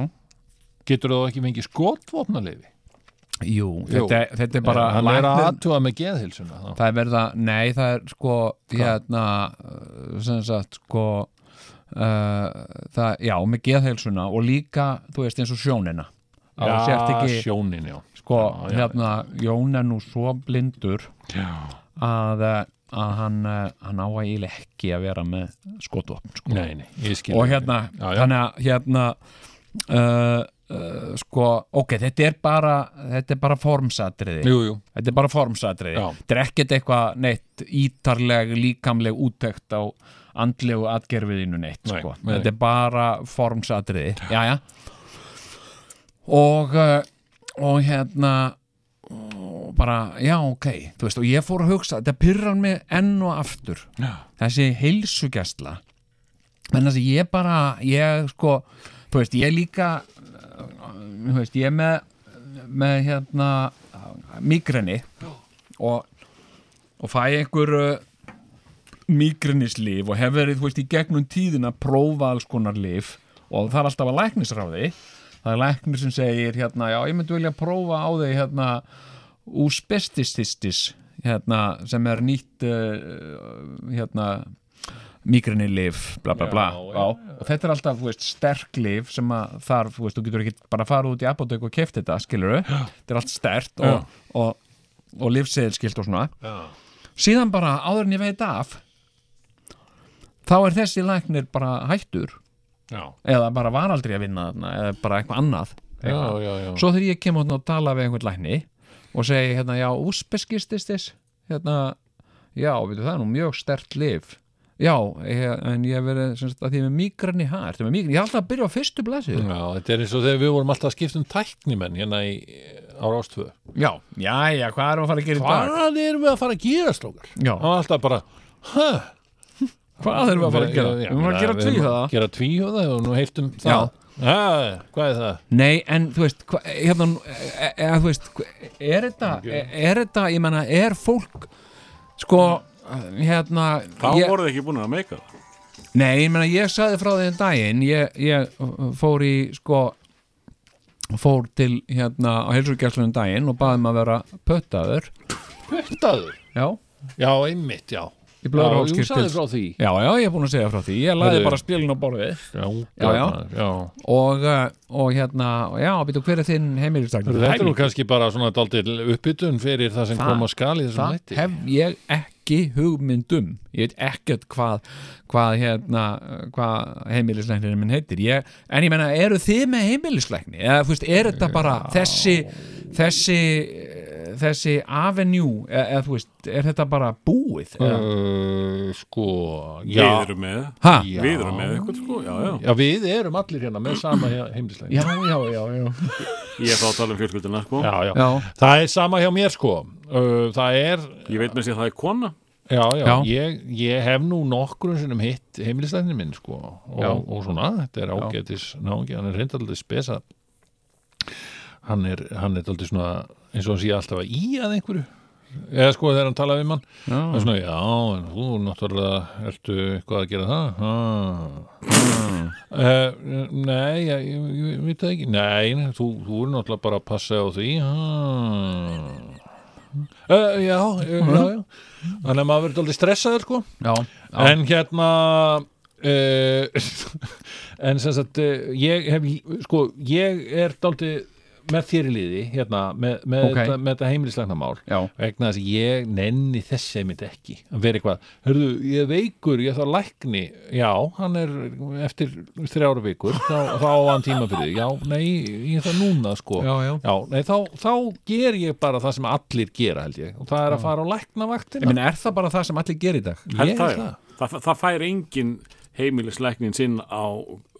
Speaker 2: getur þú ekki fengið skotvotnalifi,
Speaker 3: Jú,
Speaker 2: Jú. Eh,
Speaker 3: þetta, þetta er bara...
Speaker 2: hann er að
Speaker 3: læknir-
Speaker 2: aðtuga með geðhilsuna, þá.
Speaker 3: Það er verið að, nei, það er sko, hérna, uh, sem sagt, sko, uh, það, já, með geðheilsuna og líka, þú veist, eins og sjónina. Að þú sért ekki,
Speaker 2: sjónin, já.
Speaker 3: sko,
Speaker 2: já, já.
Speaker 3: hérna, Jón er nú svo blindur
Speaker 2: Já.
Speaker 3: að, uh, að hann, uh, hann á að eiginlega ekki að vera með skotvopn, sko.
Speaker 2: Nei, nei, ég skil.
Speaker 3: Og hérna,
Speaker 2: Já, já.
Speaker 3: þannig að, hérna, uh, uh, sko, ok, þetta er bara, þetta er bara formsatriði.
Speaker 2: Jú, jú,
Speaker 3: Þetta er bara formsatriði.
Speaker 2: Já.
Speaker 3: Þetta er ekkert eitthvað neitt ítarleg, líkamleg úttekt á andlegu atgerfiðinu neitt.
Speaker 2: Nei,
Speaker 3: sko.
Speaker 2: nei.
Speaker 3: Þetta er bara formsatriði. Jæja. Og, eh, og hérna og bara, já, ok. Þú veist, og ég fór að hugsa, þetta pyrrar mig enn og aftur.
Speaker 2: Já.
Speaker 3: Þessi heilsugjastla. En þessi ég bara, ég sko, þú veist, ég líka, eh, þú veist, ég er með með hérna migrini og, og fæ einhver uh, migrenislyf og hef verið þú veist, í gegnum tíðina að prófa alls konar lyf og það er alltaf að læknisráði það er læknir sem segir hérna, já ég myndi vilja prófa á þig hérna úspestististis hérna, sem er nýtt uh, hérna migreninlif, bla bla bla
Speaker 2: Já, já,
Speaker 3: já, og þetta er alltaf þú veist, sterk lif sem að þarf, þú veist, þú getur ekki bara að fara út í apotek og keft þetta, skilur þetta er allt stert og, og, og, og lifseðilskilt og svona
Speaker 2: Já.
Speaker 3: síðan bara áður en ég veit af þá er þessi læknir bara hættur
Speaker 2: já,
Speaker 3: eða bara var aldrei að vinna þarna eða bara eitthvað annað
Speaker 2: já,
Speaker 3: eitthvað.
Speaker 2: já, já.
Speaker 3: svo þegar ég kemur og tala við einhvern lækni og segi hérna, já, úspeskististis hérna, já, veitu það er nú mjög stert lif já, ég, en ég hef verið sem sagt, að því ég er með migrann í hær ég er alltaf að byrja á fyrstu blæsið
Speaker 2: Já, þetta er eins og þegar við vorum alltaf að skipta um tæknimenn hérna í, á Rástvö.
Speaker 3: já, já, já, hvað erum við að fara að gera í dag?
Speaker 2: Hvað erum við að fara að gera, slókar?
Speaker 3: Já.
Speaker 2: Það var alltaf bara, hæ?
Speaker 3: Hvað erum við að fara að gera? Við erum að gera tvíhöfða.
Speaker 2: Gera tvíhjóða og nú heilt um
Speaker 3: Já.
Speaker 2: það. Hæ, hvað er það?
Speaker 3: Nei, en þú veist, hva, hérna, e, e, þú veist hva- er þetta, er, er þetta, ég menna, er fólk, sko, hérna,
Speaker 4: Þá
Speaker 3: ég,
Speaker 4: voruð þið ekki búin að meika það
Speaker 3: nei, ég menna, ég sagði frá því um daginn, ég, ég uh, fór í, sko, fór til, hérna, á heilsugjæslunum daginn og baði maður að vera pöttaður,
Speaker 2: Puttaður?
Speaker 3: já,
Speaker 2: Já, einmitt, já.
Speaker 3: í blöður
Speaker 2: Já, jú, sagði frá því.
Speaker 3: Já, já, ég er búin að segja frá því, ég laði
Speaker 2: Heyrðu.
Speaker 3: bara spilin á borðið
Speaker 2: Já,
Speaker 3: Já, já.
Speaker 2: já.
Speaker 3: og, uh, og hérna, já, býtu, hver er þinn heimilistakn?
Speaker 2: Þetta er nú kannski bara svona daldil uppbytun fyrir það sem
Speaker 3: Það-
Speaker 2: kom á skali þessum
Speaker 3: það
Speaker 2: hætti.
Speaker 3: hef ég ekki hugmyndum ég veit ekkert hvað hvað, hérna, hvað heimilisleiknirinn minn heitir ég, en ég menna, eru þið með heimilisleikni eða þú veist, er þetta bara þessi þessi eh, þessi avenue eða, eða þú veist, er þetta bara búið eða?
Speaker 2: Uh, sko, já.
Speaker 4: Við erum með
Speaker 3: ha?
Speaker 2: Já.
Speaker 4: Við erum með eitthvað sko, já, já
Speaker 2: Já, við erum allir hérna með sama heimlislega.
Speaker 3: já, já, já, já
Speaker 4: Ég er þá að tala um fjölskyldina sko
Speaker 2: Já, já.
Speaker 3: já,
Speaker 2: Það er sama hjá mér sko. Uh, það er,
Speaker 4: Ég veit með sér að það er kona
Speaker 2: já, já,
Speaker 3: Já.
Speaker 2: Ég, ég hef nú nokkrum sinnum hitt heimilistæðinu minn sko og,
Speaker 3: Já.
Speaker 2: og svona, þetta er ágætis náungi, hann er reyndaldið spesa hann er, hann er daldið svona eins og hann sé alltaf að í að einhverju eða sko þegar hann talaði um hann það er svona, já, en þú náttúrulega ertu eitthvað að gera það ha, ha. Uh, nei, ég, ég, ég veit það ekki nei, nei, þú, þú er náttúrulega bara að passa á því ha. Uh, já, já, já, já þannig að maður verður aldrei stressaður sko
Speaker 3: já, já.
Speaker 2: en hérna uh, <laughs> en sem sagt uh, ég hef, sko, ég er daldi með þér í liði hérna, með, með,
Speaker 3: Ok.
Speaker 2: þetta, með þetta heimilislegna mál
Speaker 3: Já.
Speaker 2: vegna þess að ég nenni þess sem þetta ekki að vera eitthvað, hörðu, ég er veikur ég þarf lækni, já, hann er eftir þrjára vikur þá, þá á hann tíma fyrir, því. já, nei ég þarf núna, sko
Speaker 3: Já, já.
Speaker 2: nei, þá, þá ger ég bara það sem allir gera, held ég, og það er að fara á læknavaktina
Speaker 3: Ég meina, er það bara það sem allir gerir í dag?
Speaker 4: Held
Speaker 2: Ég
Speaker 4: það,
Speaker 2: held
Speaker 4: já.
Speaker 2: það.
Speaker 4: það, það fær engin heimilisleiknin sinn á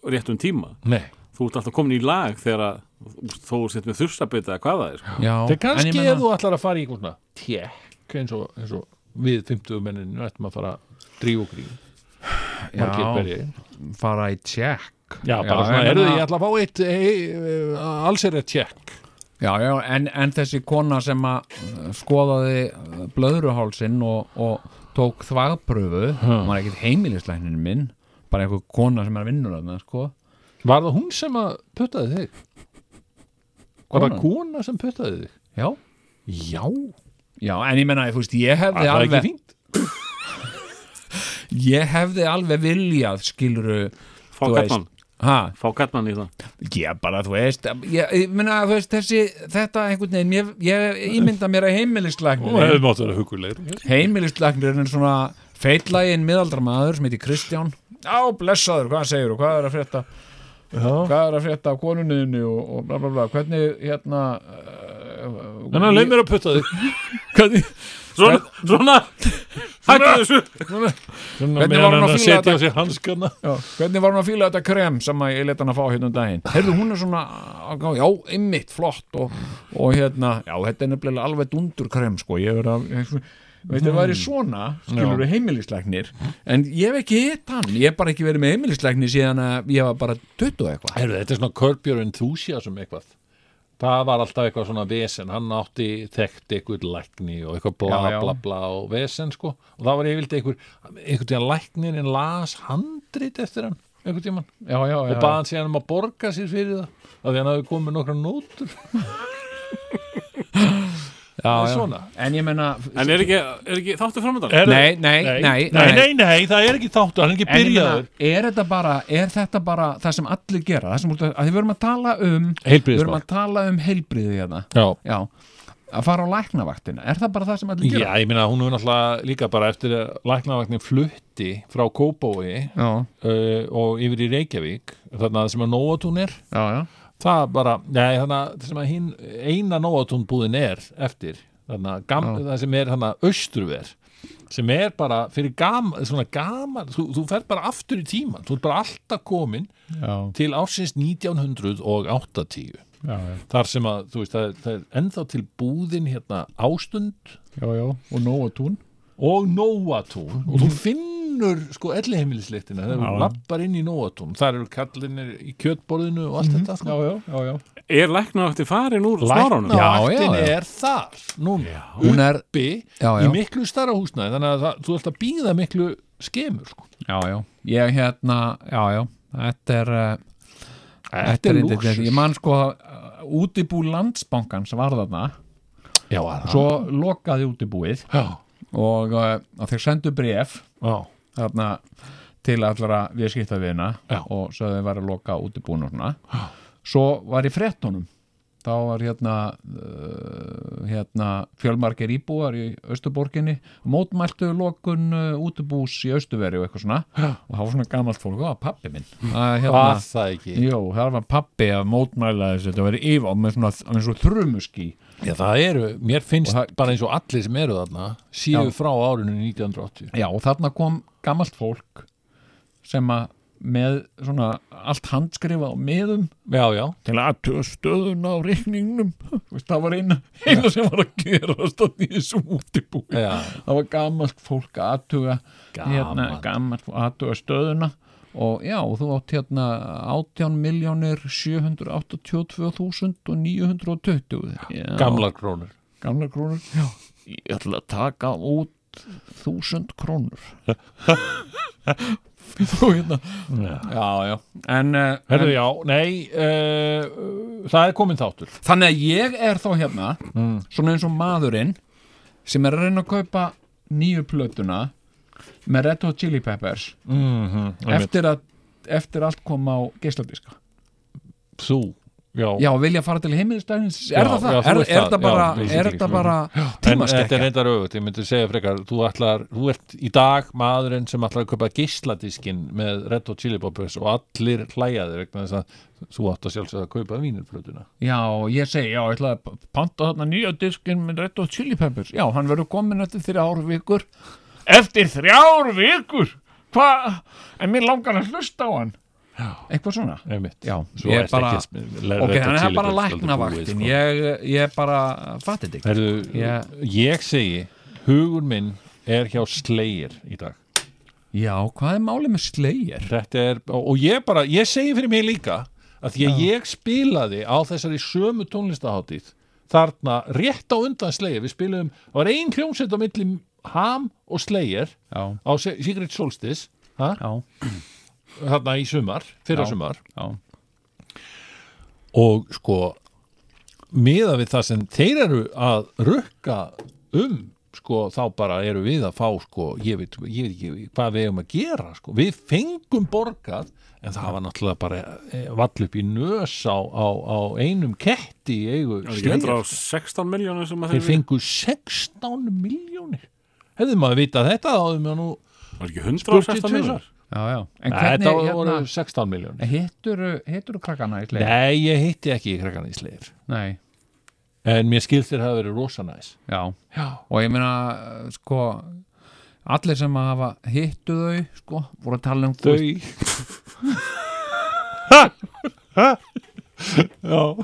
Speaker 4: réttum tíma
Speaker 2: Nei,
Speaker 4: þú ert alltaf komin í lag þegar að, úst, þó sett með þurstabita eða hvað það er sko.
Speaker 3: já
Speaker 2: þegar
Speaker 3: en ég
Speaker 2: kannski
Speaker 3: meina-
Speaker 2: ef þú ætlar að fara í eitthvað svona tekk eins og, eins og við 50 menninu ættum að fara að drífa okkur í margir hverjir.
Speaker 3: fara í tjekk
Speaker 2: Já, bara svona, hérna-
Speaker 3: en
Speaker 2: eru þið,
Speaker 3: meina-
Speaker 2: ég ætla að fá eitt hey, alls er þetta tjekk
Speaker 3: Já, já, en, en þessi kona sem að uh, skoðaði uh, blöðruhálsinn og, og tók þvagpröfu,
Speaker 2: Hm.
Speaker 3: hún var ekkert heimilislæknin minn, bara einhver kona sem er vinnur þarna, sko.
Speaker 2: Var það hún sem að puttaði þig? Var það
Speaker 3: Konan?
Speaker 2: kona sem puttaði þig?
Speaker 3: Já,
Speaker 2: Já,
Speaker 3: já, en ég menna, þú veist, ég hefði
Speaker 2: það er ekki
Speaker 3: alveg,
Speaker 2: fínt
Speaker 3: ég hefði alveg viljað, skiluru,
Speaker 4: fá
Speaker 3: Þú
Speaker 4: kattmann,
Speaker 3: ha,
Speaker 4: fá kattmann í það
Speaker 3: ég bara, þú veist, ég, ég menna, þú veist, þessi, þetta einhvern veginn, ég, ég ímynda mér að
Speaker 2: Hún
Speaker 3: heimilislæknin,
Speaker 2: hefði mátt að vera hugulegur
Speaker 3: heimilislæknir er svona feitlægin miðaldramaður sem heitir Kristján á blessaður, hvað segir þú, hvað er að frétta
Speaker 2: Já,
Speaker 3: hvað er að frétta af konunniðinu og, og bla bla bla, hvernig hérna uh,
Speaker 2: en hann leið mér að putta þig
Speaker 3: hvernig,
Speaker 4: svona, svona, hættu þessu
Speaker 2: Svona
Speaker 3: Hvernig var hún að
Speaker 2: meðan hann að
Speaker 3: fíla
Speaker 2: setja á sig hanskana
Speaker 3: já, hvernig var hún að fíla þetta krem sem að ég leta hann að fá hérna um daginn heyrðu hún er svona, á- já, ymmit flott og, og hérna, já, þetta er nefnilega alveg dundur krem sko, ég er að ég, veistu, það væri svona, skilur við heimilisleiknir en ég hef ekki hitt hann ég hef bara ekki verið með heimilisleikni síðan að ég var bara 20 og eitthvað
Speaker 2: Heyrðu, þetta er svona Curb Your Enthusiasm eitthvað Það var alltaf eitthvað svona vesen, hann átti þekkt eitthvað lækni og eitthvað bla
Speaker 3: Já, já.
Speaker 2: bla bla og vesen sko og það var yfirleitt eitthvað, eitthvað tíðan læknir en las handrit eftir hann einhvern tímann
Speaker 3: já, já, já,
Speaker 2: og baða hann síðan um að borga sér fyrir það af því hann hafi komið með nokkra <laughs> nótur
Speaker 3: já, já.
Speaker 2: svona.
Speaker 3: en ég menna
Speaker 4: en er ekki, er ekki þáttu framöndan
Speaker 3: Nei, nei, nei,
Speaker 2: nei, nei, nei, nei, það er ekki þáttu, hann er
Speaker 3: En
Speaker 2: ekki
Speaker 3: ég meina,
Speaker 2: byrjaður
Speaker 3: er þetta, bara, er þetta bara það sem allir gera það sem út að, að því við erum að tala um við erum
Speaker 2: Heilbrigðismál.
Speaker 3: að tala um heilbriði hérna
Speaker 2: Já,
Speaker 3: já, að fara á læknavaktina er það bara það sem allir
Speaker 2: já,
Speaker 3: gera
Speaker 2: ég meina hún er náttúrulega líka bara eftir að læknavagnin flutti frá Kópói
Speaker 3: já,
Speaker 2: uh, og yfir í Reykjavík þarna sem að Nóatún er
Speaker 3: já, já,
Speaker 2: það bara, nei, þarna sem að hinn eina Nóatún búðin er eftir þarna, gam, það sem er þarna austurver sem er bara fyrir gaman, svona gaman þú, þú ferð bara aftur í tíman, þú ert bara alltaf komin
Speaker 3: já,
Speaker 2: til ársins 1980
Speaker 3: já, já,
Speaker 2: þar sem að, þú veist, það er, það er ennþá til búðin hérna ástund
Speaker 3: já, já. og nóg og tún
Speaker 2: og nóatún og þú finnur sko elliheimilisleiktina þegar þú lappar inn í nóatún þar eru kallinir í kjötborðinu og allt
Speaker 3: Mhm.
Speaker 2: þetta sko.
Speaker 3: já, já, já
Speaker 4: er lækna átti farin úr smáranum
Speaker 3: Já,
Speaker 2: læknavaktin
Speaker 3: já, já.
Speaker 2: er þar núna,
Speaker 3: Hún er-
Speaker 2: uppi
Speaker 3: Já, já.
Speaker 2: í miklu starra húsnaði þannig að það, þú ert að býða miklu skemur sko.
Speaker 3: já, já, ég hérna já, já, þetta er uh,
Speaker 2: þetta er
Speaker 3: reyndar-
Speaker 2: lúxus.
Speaker 3: ég man sko uh, útibú landsbankan sem var þarna
Speaker 2: já, er það
Speaker 3: svo lokaði útibúið
Speaker 2: já,
Speaker 3: og, uh, og þeir sendu bref
Speaker 2: já,
Speaker 3: þarna til allra viðskiptavina
Speaker 2: Já.
Speaker 3: og sögðu þeim var að loka útibúin og svona svo var í frettunum þá var hérna uh, hérna fjölmargir íbúar í Östuborginni mótmæltu lokun uh, útibús í Östuveri og eitthvað svona Já. og það var svona gamalt fólk, það var pappi minn að,
Speaker 2: var það ekki
Speaker 3: Jó, það var pappi að mótmæla þessu, þetta var yfir og með svona, með svona þrumuski
Speaker 2: já, það eru, mér finnst
Speaker 3: Og það-
Speaker 2: bara eins og allir sem eru þarna síðu frá árinu 1980
Speaker 3: Já, og þarna kom gamalt fólk sem að með svona allt handskrifa á miðum
Speaker 2: já, já,
Speaker 3: til aðtöða stöðuna á reikningnum Veist, það var eina, eina sem var að gerast að því þessu útibúi
Speaker 2: já,
Speaker 3: það var gamalt fólk að aðtöða hérna,
Speaker 2: Gamalt.
Speaker 3: gamalt fólk að aðtöða stöðuna og já, þú átt hérna 18.782.920
Speaker 2: gamlar krónur
Speaker 3: gamla krónur já. ég ætla að taka út þúsund krónur <laughs> þú hérna já, já en, eh, en,
Speaker 2: Herðu, já, nei, uh, það er komin þáttur.
Speaker 3: þannig að ég er þá hérna
Speaker 2: Mm.
Speaker 3: svona eins og maðurinn sem er að reyna að kaupa nýju plötuna með Red Hot Chili Peppers
Speaker 2: Mhm,
Speaker 3: eftir að eftir allt kom á geisladiska
Speaker 2: Þú, já.
Speaker 3: já, vilja fara til heimilisdæðins
Speaker 2: Já,
Speaker 3: er það það?
Speaker 2: já, þú
Speaker 3: er,
Speaker 2: veist
Speaker 3: er
Speaker 2: það,
Speaker 3: það bara,
Speaker 2: já,
Speaker 3: er
Speaker 2: basically,
Speaker 3: þetta
Speaker 2: sko.
Speaker 3: bara
Speaker 2: En þetta er
Speaker 3: tímaskekkja?
Speaker 2: reyndar auðvitað, ég myndi segja frekar, þú, ætlar, þú ert í dag maðurinn sem ætlar að kaupa geisladiskinn með Red Hot Chili Peppers og allir hlæjaði vegna þess að þú átt að sjálfsögða að kaupa vínirplötuna.
Speaker 3: Já, ég segi, já, ég ætla að panta þarna nýja diskin með Red Hot Chili Peppers. Já, hann verður komin eftir þrjár vikur. Eftir þrjár vikur?
Speaker 6: Hva? En mér langar að hlusta á hann Eitthvað svona
Speaker 2: einmitt
Speaker 3: Já,
Speaker 2: Svo
Speaker 3: ég
Speaker 2: ertu
Speaker 3: bara-
Speaker 2: ekki að le-
Speaker 3: Ok,
Speaker 2: Red Hot
Speaker 3: hann er
Speaker 2: Chili
Speaker 3: bara
Speaker 2: Peppers aldrei
Speaker 3: læknavaktin
Speaker 2: búið, sko.
Speaker 3: ég, ég bara fatti þetta ekki
Speaker 2: Herðu,
Speaker 3: Já.
Speaker 2: ég segi hugur minn er hjá Slayer í dag
Speaker 3: Já, hvað er málið með Slayer?
Speaker 2: þetta er, og og ég bara, ég segi fyrir mig líka að því að ég spilaði á þessari sömu tónlistaháttíð þarna rétt á undan Slayer við spilaðum, það var ein hljómsveit á milli Ham og Slayer
Speaker 3: Já,
Speaker 2: á Se- Secret Solstice ha?
Speaker 3: já,
Speaker 2: þarna í sumar, fyrra
Speaker 3: Já.
Speaker 2: sumar
Speaker 3: já
Speaker 2: og sko miða við það sem þeir eru að rukka um sko þá bara eru við að fá sko ég veit, ég veit ekki hvað við erum að gera sko, við fengum borgað en það var náttúrulega bara eh, vall upp í nös á, á, á einum ketti í eigu
Speaker 4: Það er ekki
Speaker 2: Slayer.
Speaker 4: 116 miljónir sem að
Speaker 2: þeir fengu 16 miljónir hefðu maður vitað þetta þá hefðu maður nú
Speaker 4: Það er ekki 116
Speaker 2: 42
Speaker 4: miljónir
Speaker 3: Já, já, en hvernig,
Speaker 2: þetta
Speaker 3: hérna,
Speaker 2: voru 16 miljónir
Speaker 3: hittur, hittur krakkana í Slayer?
Speaker 2: nei, ég hitti ekki krakkana í sleir
Speaker 3: Nei,
Speaker 2: en mér skilst þér hafa verið rosa næs
Speaker 3: já
Speaker 2: já
Speaker 3: og ég meina, sko allir sem að hafa hittu þau sko, voru að tala um þú veist,
Speaker 2: þau Já þau,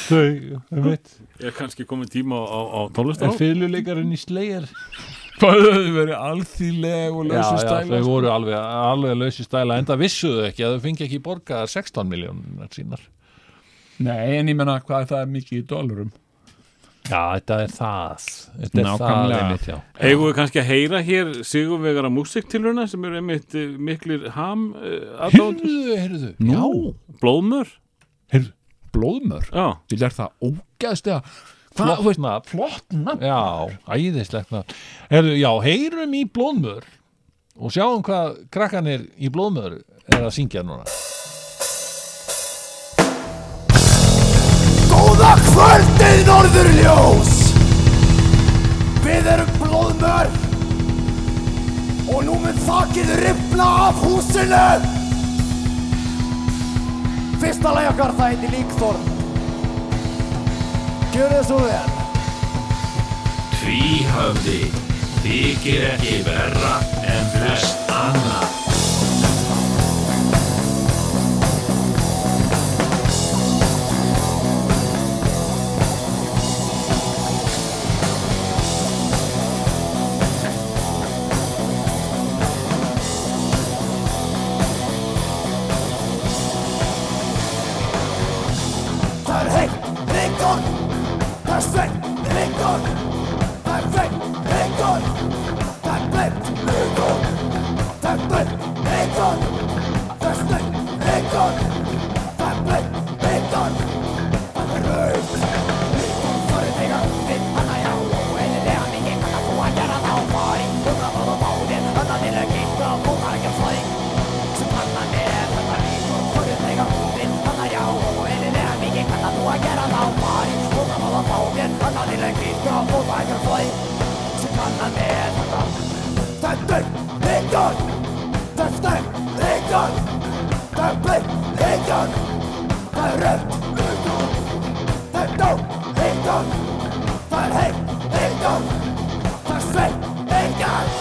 Speaker 2: það veit
Speaker 4: Ég er kannski komið tíma á, á, á
Speaker 2: en
Speaker 4: tónlistar
Speaker 2: fyrirleikarinn í slegar
Speaker 3: hvað þau verið alþýleg og
Speaker 2: já, já, þau voru alveg, alveg lausi stæla enda vissuðu ekki að þau fengi ekki borgaðar 16 miljónunar sínar
Speaker 3: nei, en ég meina, hvað er það mikið í dólarum
Speaker 2: já, þetta er það þetta er það
Speaker 3: Nákvæmlega.
Speaker 2: einmitt, já.
Speaker 4: Eigum við kannski að heyra hér Sigurvegara músiktilruna sem eru einmitt eh, miklir ham uh, aðdóndur
Speaker 2: heyrðu, heyrðu
Speaker 3: Nú.
Speaker 4: Blóðmör
Speaker 2: heyrðu,
Speaker 3: blóðmör,
Speaker 4: Já,
Speaker 3: til er það ógæðslega hvað, þú
Speaker 2: flott
Speaker 3: veist,
Speaker 2: nafn
Speaker 3: flott nafn
Speaker 2: já, æðislegt nafn heyrðu, já, heyrum í blóðmör og sjáum hvað krakkanir í blóðmör er að syngja núna
Speaker 7: Góða kvöldið Norðurljós Við erum blóðmör Og nú mun þakið rifna af húsinu Fyrsta lagi okkar það heiti Líkþorn Gjörðu þið svo vel
Speaker 8: Tvíhöfði þykir ekki verra en flest annað.
Speaker 7: Það er heitt, Líkþorn Það er sveitt, Líkþorn Það er feitt, Líkþorn Það er bleitt, Líkþorn Það er bleitt, Líkþorn Það er sveitt, Líkþorn Það er bleitt, Líkþorn Það er rauð Líkþorn fyrir þig að við manna já og eðlilega mikið hvað þú að gera þá faring Hún að fara báðin, hann að vilja geta og hún er ekki færing sem hann að með þetta Líkþorn fyrir þig að við manna já og eðlilega mikið hvað þú að gera þá faring Hún að fara báðin, hann að vilja geta og hún er ekki færing sem hann að með þetta Þetta er Líkþorn Það er stærkt, Líkþorn Það er bleitt, Líkþorn Það er rautt, Líkþorn Það er dótt, Líkþorn Það er heitt, Líkþorn Það er sveitt, Líkþorn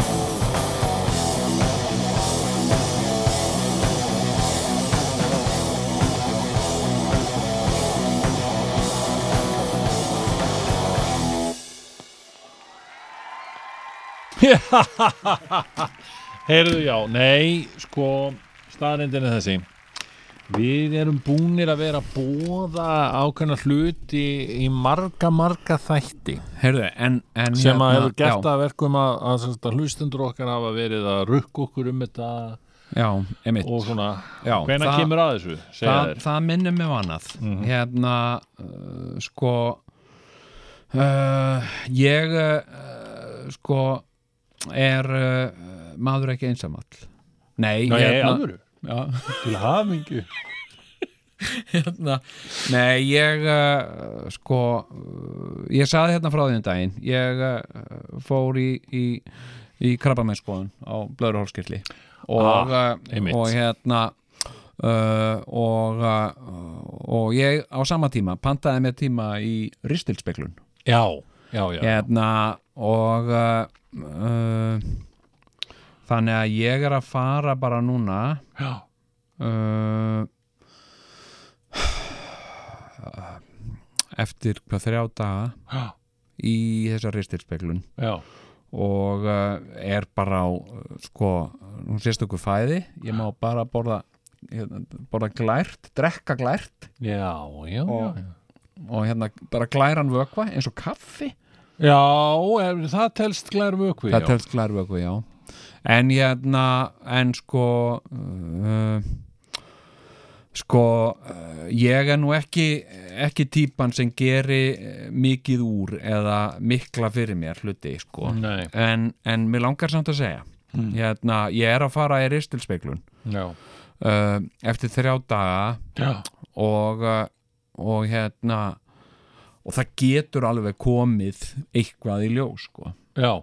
Speaker 7: Það
Speaker 2: Heyrðu, já, nei, sko, staðrindin er þessi. Við erum búnir að vera að bóða ákveðna hluti í marga, marga þætti
Speaker 3: Heyrðu, en, en
Speaker 2: sem að
Speaker 3: hérna-
Speaker 2: hefur gert
Speaker 3: já,
Speaker 2: að verkum að, að, sem sagt að hlustundur okkar hafa verið að rukka okkur um þetta
Speaker 3: Já, einmitt
Speaker 2: og svona,
Speaker 3: já,
Speaker 2: hvenær
Speaker 3: það-
Speaker 2: kemur að þessu, segja
Speaker 3: það,
Speaker 2: þér.
Speaker 3: það minnir mig á annað hérna uh, sko uh, ég uh, sko er uh, maður ekki einsamall nei,
Speaker 2: Nei,
Speaker 3: hérna,
Speaker 2: alvöru,
Speaker 3: já,
Speaker 2: til hamingju.
Speaker 3: hérna, nei ég uh, sko uh, ég saði hérna frá því um daginn ég uh, fór í, í, í krabbamennskoðun á blöðurhólskirli og,
Speaker 2: Ah,
Speaker 3: uh,
Speaker 2: einmitt.
Speaker 3: og hérna Uh, og, uh, og ég á sama tíma pantaði mér tíma í ristilspeglun
Speaker 2: Já, já, já.
Speaker 3: hérna og uh, uh, þannig að ég er að fara bara núna
Speaker 2: Já.
Speaker 3: uh, eftir hvað þrjá daga
Speaker 2: Já.
Speaker 3: í þessa ristilspeglun
Speaker 2: Já,
Speaker 3: og uh, er bara á uh, sko, nú sést okkur fæði ég má bara borða hérna, borða glært, drekka glært
Speaker 2: já, já,
Speaker 3: Og-
Speaker 2: já.
Speaker 3: og hérna bara glæran vökva eins og kaffi
Speaker 2: Já, er, það telst glær vökvi,
Speaker 3: það
Speaker 2: já.
Speaker 3: telst glærvöku, já en hérna, en sko uh, sko uh, ég er nú ekki ekki típan sem geri eh, mikið úr eða mikla fyrir mér hluti, sko
Speaker 2: Nei,
Speaker 3: en, en mér langar samt að segja hérna, ég er að fara í ristilspeglun
Speaker 2: já.
Speaker 3: uh, eftir þrjá daga
Speaker 2: Já,
Speaker 3: og uh, og hérna og það getur alveg komið eitthvað í ljós, sko
Speaker 2: já.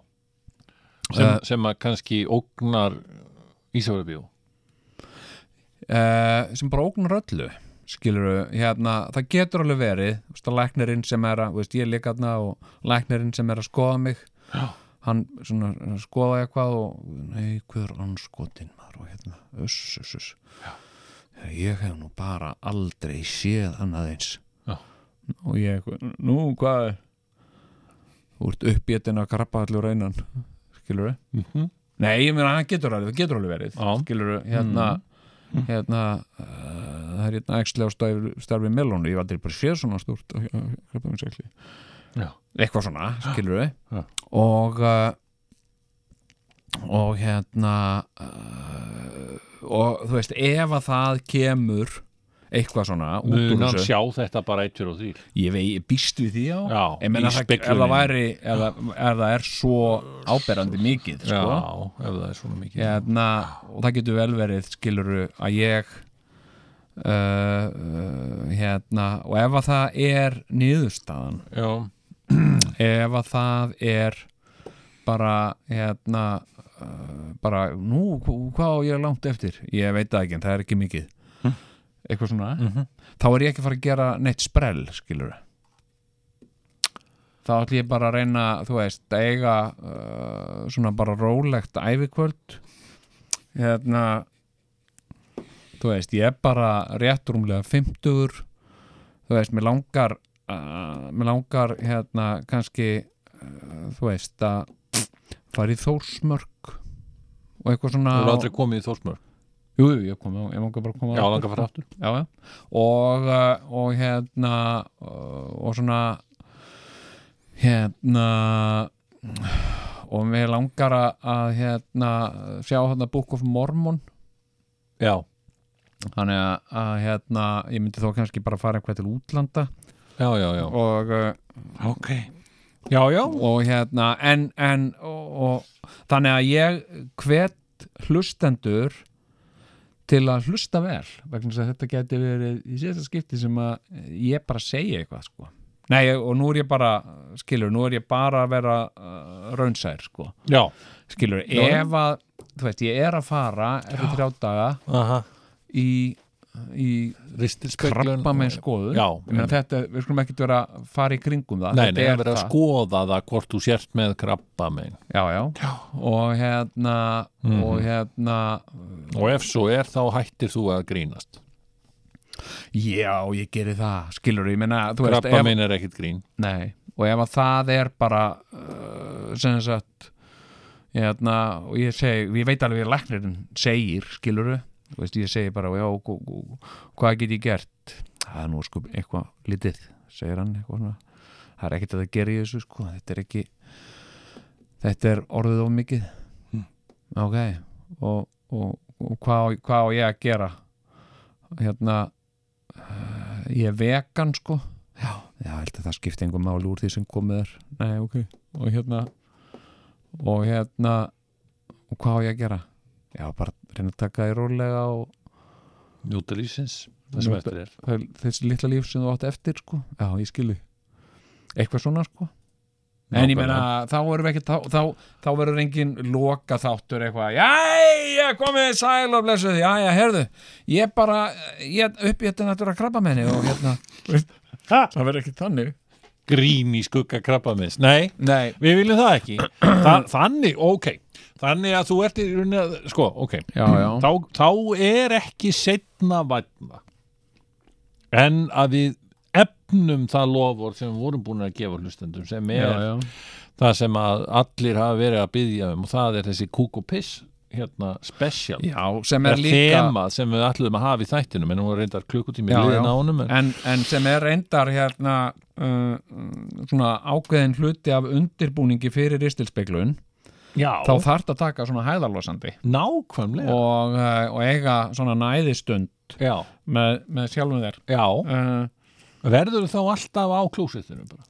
Speaker 2: Sem,
Speaker 3: Eh.
Speaker 2: sem að kannski ógnar Ísafjörðbíó.
Speaker 3: uh, sem bara ógnar öllu skilur hérna, það getur alveg verið þú veist, að læknirinn sem er að, þú veist, ég er líka þarna og læknirinn sem er að skoða mig hann svona, skoða eitthvað og nei, hver anskotin maður og hérna, uss, uss, uss Já. ég hef nú bara aldrei séð annað eins
Speaker 2: Já.
Speaker 3: og ég, nú, hvað er þú ert uppétin að krabba allur einan skilur
Speaker 2: Mhm.
Speaker 3: nei, ég meina, hann getur alveg, það getur alveg verið
Speaker 2: Já. Mhm.
Speaker 3: skilur hérna hérna uh, það er hérna ekki á starfi, starfi melónu, ég var aldrei bara séð svona stúrt eitthvað
Speaker 2: Já.
Speaker 3: svona, skilur
Speaker 2: Já.
Speaker 3: við og uh, og hérna uh, og þú veist, ef að það kemur eitthvað svona út úr
Speaker 2: Munar
Speaker 3: þessu,
Speaker 2: sjá þetta bara eittur og þrýr.
Speaker 3: ég vei, ég býst við því á
Speaker 2: Já,
Speaker 3: ég
Speaker 2: í
Speaker 3: menna það, ef
Speaker 2: spegluninni.
Speaker 3: það væri ef það, ef það er svo áberandi mikið,
Speaker 2: Já,
Speaker 3: sko
Speaker 2: ef það er svona mikið.
Speaker 3: hérna, og það getur vel verið skiluru að ég uh, uh, hérna og ef að það er niðurstaðan
Speaker 2: Já,
Speaker 3: ef að það er bara hérna uh, bara nú, hv- hvað á ég langt eftir ég veit það ekki en það er ekki mikið eitthvað svona
Speaker 2: Mhm.
Speaker 3: þá er ég ekki að fara að gera neitt sprell skilur þá ætlum ég bara að reyna þú veist, að eiga uh, svona bara rólegt ævikvöld hérna þú veist, ég er bara rétt rúmlega 50 þú veist, mér langar uh, mér langar hérna kannski uh, þú veist að fara í þórsmörk og eitthvað svona
Speaker 2: þú er aldrei komið í Þórsmörg.
Speaker 3: Jú, jú, ég kom, ég langar bara að koma
Speaker 2: Já,
Speaker 3: aftur,
Speaker 2: langar
Speaker 3: sko
Speaker 2: fara aftur.
Speaker 3: já, já. Og, uh, og hérna uh, og svona hérna og mér langar að, að hérna, sjá hérna Book of Mormon
Speaker 2: Já,
Speaker 3: þannig að, að hérna, ég myndi þó kannski bara fara eitthvað til útlanda
Speaker 2: já, já, já.
Speaker 3: og, uh,
Speaker 2: Ok. Já, já.
Speaker 3: og hérna en, en og, og, þannig að ég hvet hlustendur til að hlusta vel vegna þess að þetta geti verið í síðasta skipti sem að ég bara segja eitthvað sko Nei, ég- og nú er ég bara, skilur, nú er ég bara að vera uh, raunsær, sko.
Speaker 2: Já.
Speaker 3: Skilur,
Speaker 2: Já.
Speaker 3: ef að, þú veist, ég er að fara eftir þrjá daga
Speaker 2: Aha.
Speaker 3: í, í
Speaker 2: Ristilspeglun.
Speaker 3: krabba með skoður.
Speaker 2: Já,
Speaker 3: Ég meina þetta, við skulum ekkert vera að fara í kringum það.
Speaker 2: Nei,
Speaker 3: Þetta
Speaker 2: nei, það
Speaker 3: er
Speaker 2: verður að
Speaker 3: það.
Speaker 2: skoða það hvort þú sért með krabba megin.
Speaker 3: já, já. og hérna og hérna
Speaker 2: Og ef svo er, þá hættir þú að grínast.
Speaker 3: já, ég geri það, skilur ég menna, þú veist,
Speaker 2: Krabba
Speaker 3: ef,
Speaker 2: megin er ekkit grín.
Speaker 3: nei, og ef að það er bara uh, sem sagt hérna, og ég segi, ég veit alveg að læknirinn segir, skiluru þú veist, ég segi bara, já, og- og- og- hvað get ég gert? Það er nú sko eitthvað lítið, segir hann eitthvað svona það er ekkert að það gera í þessu sko þetta er ekki þetta er orðið of mikið ok, og, og, og hvað, á- hvað á ég að gera hérna uh, ég er vegan sko já, já, held að það skipti einhver máli úr því sem komið er nei, ok, og hérna og hérna og hvað á ég að gera já, bara reyna að taka því rólega og
Speaker 2: Njóta lífsins, það sem
Speaker 3: Njóta-
Speaker 2: eftir er
Speaker 3: það er þessi litla líf sem þú átt eftir sko. já, ég skilu eitthvað svona sko en ég meina, þá verður ekki þá, þá, þá verður engin loka þáttur eitthvað, jæja, komið þið sæl og blessuð, jæja, herðu ég bara, ég upp í þetta náttúrulega krabba menni og hérna það verður ekki þannig
Speaker 2: Grín í skugga krabba minns, nei
Speaker 3: Nei,
Speaker 2: Við viljum það
Speaker 3: <clears throat>
Speaker 2: ekki Þa, Þannig, ok Þannig að þú ert í rauninni að, sko, ok
Speaker 3: já, já,
Speaker 2: þá, þá er ekki setna vatna en að við efnum það lofur sem við vorum búin að gefa hlustendum sem er
Speaker 3: já, já.
Speaker 2: það sem að allir hafa verið að byggja um og það er þessi kúk og piss hérna special
Speaker 3: já, sem er
Speaker 2: það
Speaker 3: líka
Speaker 2: þema sem við ætluðum að hafa í þættinum en hún var reyndar klukkutími
Speaker 3: Já,
Speaker 2: liðin
Speaker 3: já.
Speaker 2: á honum en,
Speaker 3: en, en sem er reyndar hérna uh, mm, svona ákveðin hluti af undirbúningi fyrir ristilspeglun
Speaker 2: já,
Speaker 3: þá þarft að taka svona hæðarlosandi
Speaker 2: nákvæmlega
Speaker 3: og, eh, og eiga svona næðistund
Speaker 2: já,
Speaker 3: með, með sjálfum þér
Speaker 2: já,
Speaker 3: uh,
Speaker 2: verður þá alltaf á klósittunum bara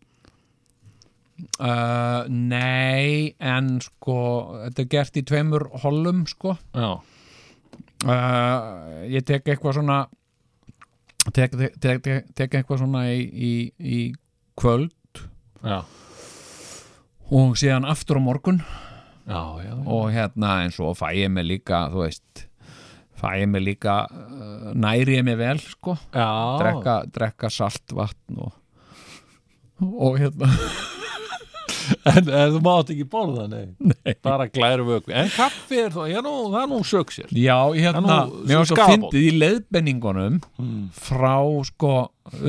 Speaker 3: uh, Nei, en sko þetta er gert í tveimur hollum sko
Speaker 2: já,
Speaker 3: uh, Ég tek eitthvað svona tek, tek, tek, tek eitthvað svona í, í, í kvöld
Speaker 2: já,
Speaker 3: og síðan aftur á morgun
Speaker 2: já, já, já.
Speaker 3: og hérna eins og fæ ég mig líka þú veist fæ ég mig líka, uh, næri ég mig vel sko
Speaker 2: já.
Speaker 3: drekka, drekka salt vatn og, og hérna
Speaker 2: en, en þú mátt ekki borða, nei, nei. bara glæru vöku en kaffi er þá, já nú, það er nú sög sér
Speaker 3: já,
Speaker 2: Það
Speaker 3: hérna
Speaker 2: er nú
Speaker 3: mér var svo
Speaker 2: skaðabót.
Speaker 3: fyndið í leiðbenningunum frá sko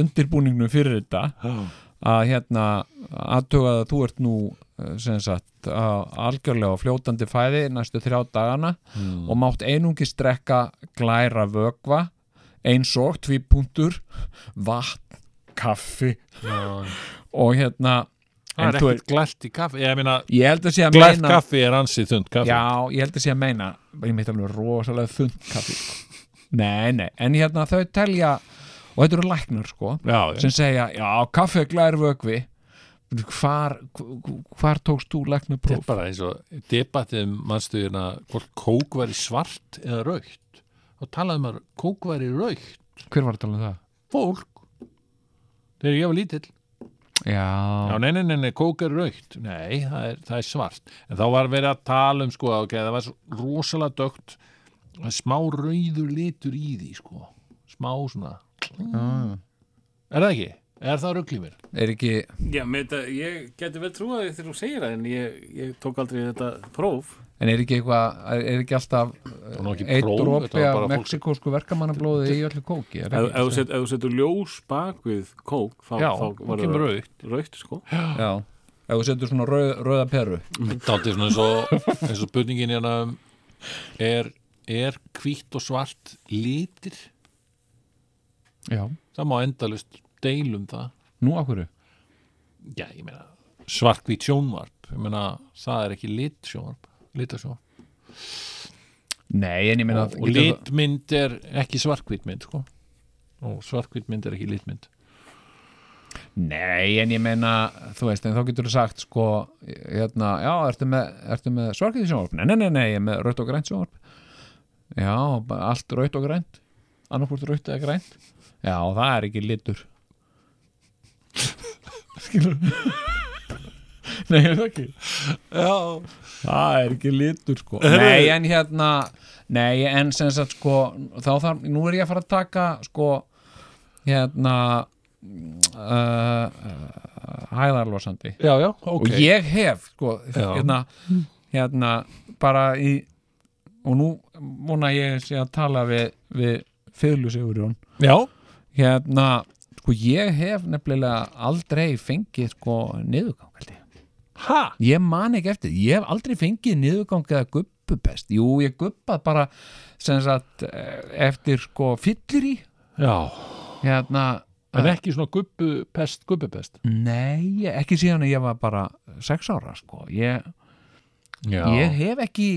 Speaker 3: undirbúningnum fyrir þetta að hérna aðtuga að þú ert nú eh, sem sagt á- algjörlega á fljótandi fæði næstu þrjá dagana og mátt einungis drekka glæra vökva eins og tvípunktur vatn, kaffi og hérna
Speaker 2: það
Speaker 3: en
Speaker 2: er
Speaker 3: þú
Speaker 2: ekkert glært í kaffi ég meina,
Speaker 3: ég held að sé að
Speaker 2: glært
Speaker 3: meina
Speaker 2: kaffi er ansið þund kaffi
Speaker 3: Já, ég held að sé að meina ég mitt alveg rosalega þund kaffi sko. Nei, nei, en hérna þau telja og þetta eru læknur sko
Speaker 2: já, já.
Speaker 3: sem segja, já, kaffi er glær vökvi hvar, hvar tókst þú
Speaker 2: Þetta er
Speaker 3: læknupróf?
Speaker 2: bara eins og debattið um mannstuðina hvort kók væri svart eða raukt og talaði maður kók væri raukt
Speaker 3: Hver var að tala um það?
Speaker 2: fólk þegar ég var lítill já,
Speaker 3: Já,
Speaker 2: nei, nei, nei, nei, kók er raukt nei, það er, það er svart en þá var verið að tala um sko ok, það var svo rosalega dögt smá rauður litur í því sko smá svona er það ekki? Er það rugl í mér?
Speaker 3: er ekki
Speaker 4: Já, með þetta, ég geti vel trúið því þegar þú segir það en ég, ég tók aldrei þetta próf
Speaker 3: en er ekki eitthvað, er ekki alltaf eh,
Speaker 2: Það var nú ekki
Speaker 3: eitt
Speaker 2: próf,
Speaker 3: drópi
Speaker 2: þetta var
Speaker 3: af
Speaker 2: bara fólk-
Speaker 3: meksikósku verkamannablóði í öllu kóki er
Speaker 4: Ef
Speaker 3: ekki,
Speaker 4: ef þú set- ef þú setur ljós bak við kók þá,
Speaker 2: Já,
Speaker 4: þá
Speaker 2: þá kemur rautt
Speaker 4: raukt sko.
Speaker 3: Já, ef þú setur svona rauð, rauða peru
Speaker 2: Dátti svona eins og eins og spurningin hérna um, er, er hvítt og svart litir?
Speaker 3: Já,
Speaker 2: Það má endalust deilum það
Speaker 3: nú af hverju?
Speaker 2: Já, ég meina svart hvít sjónvarp ég meina, það er ekki lit sjónvarp litasjónvarp
Speaker 3: Nei, en ég meina
Speaker 2: og, og litmynd er ekki svartkvítmynd sko. og svartkvítmynd er ekki litmynd
Speaker 3: Nei, en ég meina, þú veist, en þá getur þú sagt sko, hérna, já, ertu með, ertu með svarkið í sjónvarp? Nei, nei, nei, nei, ég er með raut og grænt sjónvarp. Já, bara allt raut og grænt, annarkvort raut eða grænt. Já, það er ekki litur. <laughs> Skilur? nei, er það ekki?
Speaker 2: Já,
Speaker 3: Það er ekki litur, sko. Nei, en hérna, nei, en sem sagt, sko, þá þarf, nú er ég að fara að taka, sko, hérna, uh, uh, hæðarlosandi
Speaker 2: já, já, ok
Speaker 3: og ég hef sko,
Speaker 2: Já.
Speaker 3: hérna, hérna bara í og nú vona ég sé að tala við, við Fyðlu Sigurjón
Speaker 2: Já,
Speaker 3: hérna, sko ég hef nefnilega aldrei fengið sko niðurgang held ég
Speaker 2: ha?
Speaker 3: ég man ekki eftir, því. ég hef aldrei fengið niðurgang eða guppupest jú, ég guppað bara sem sagt eh, eftir sko fyllir í
Speaker 2: Já,
Speaker 3: hérna,
Speaker 2: en ekki svona gubbupest, gubbupest
Speaker 3: nei, ekki síðan að ég var bara sex ára sko, ég,
Speaker 2: Já,
Speaker 3: ég hef ekki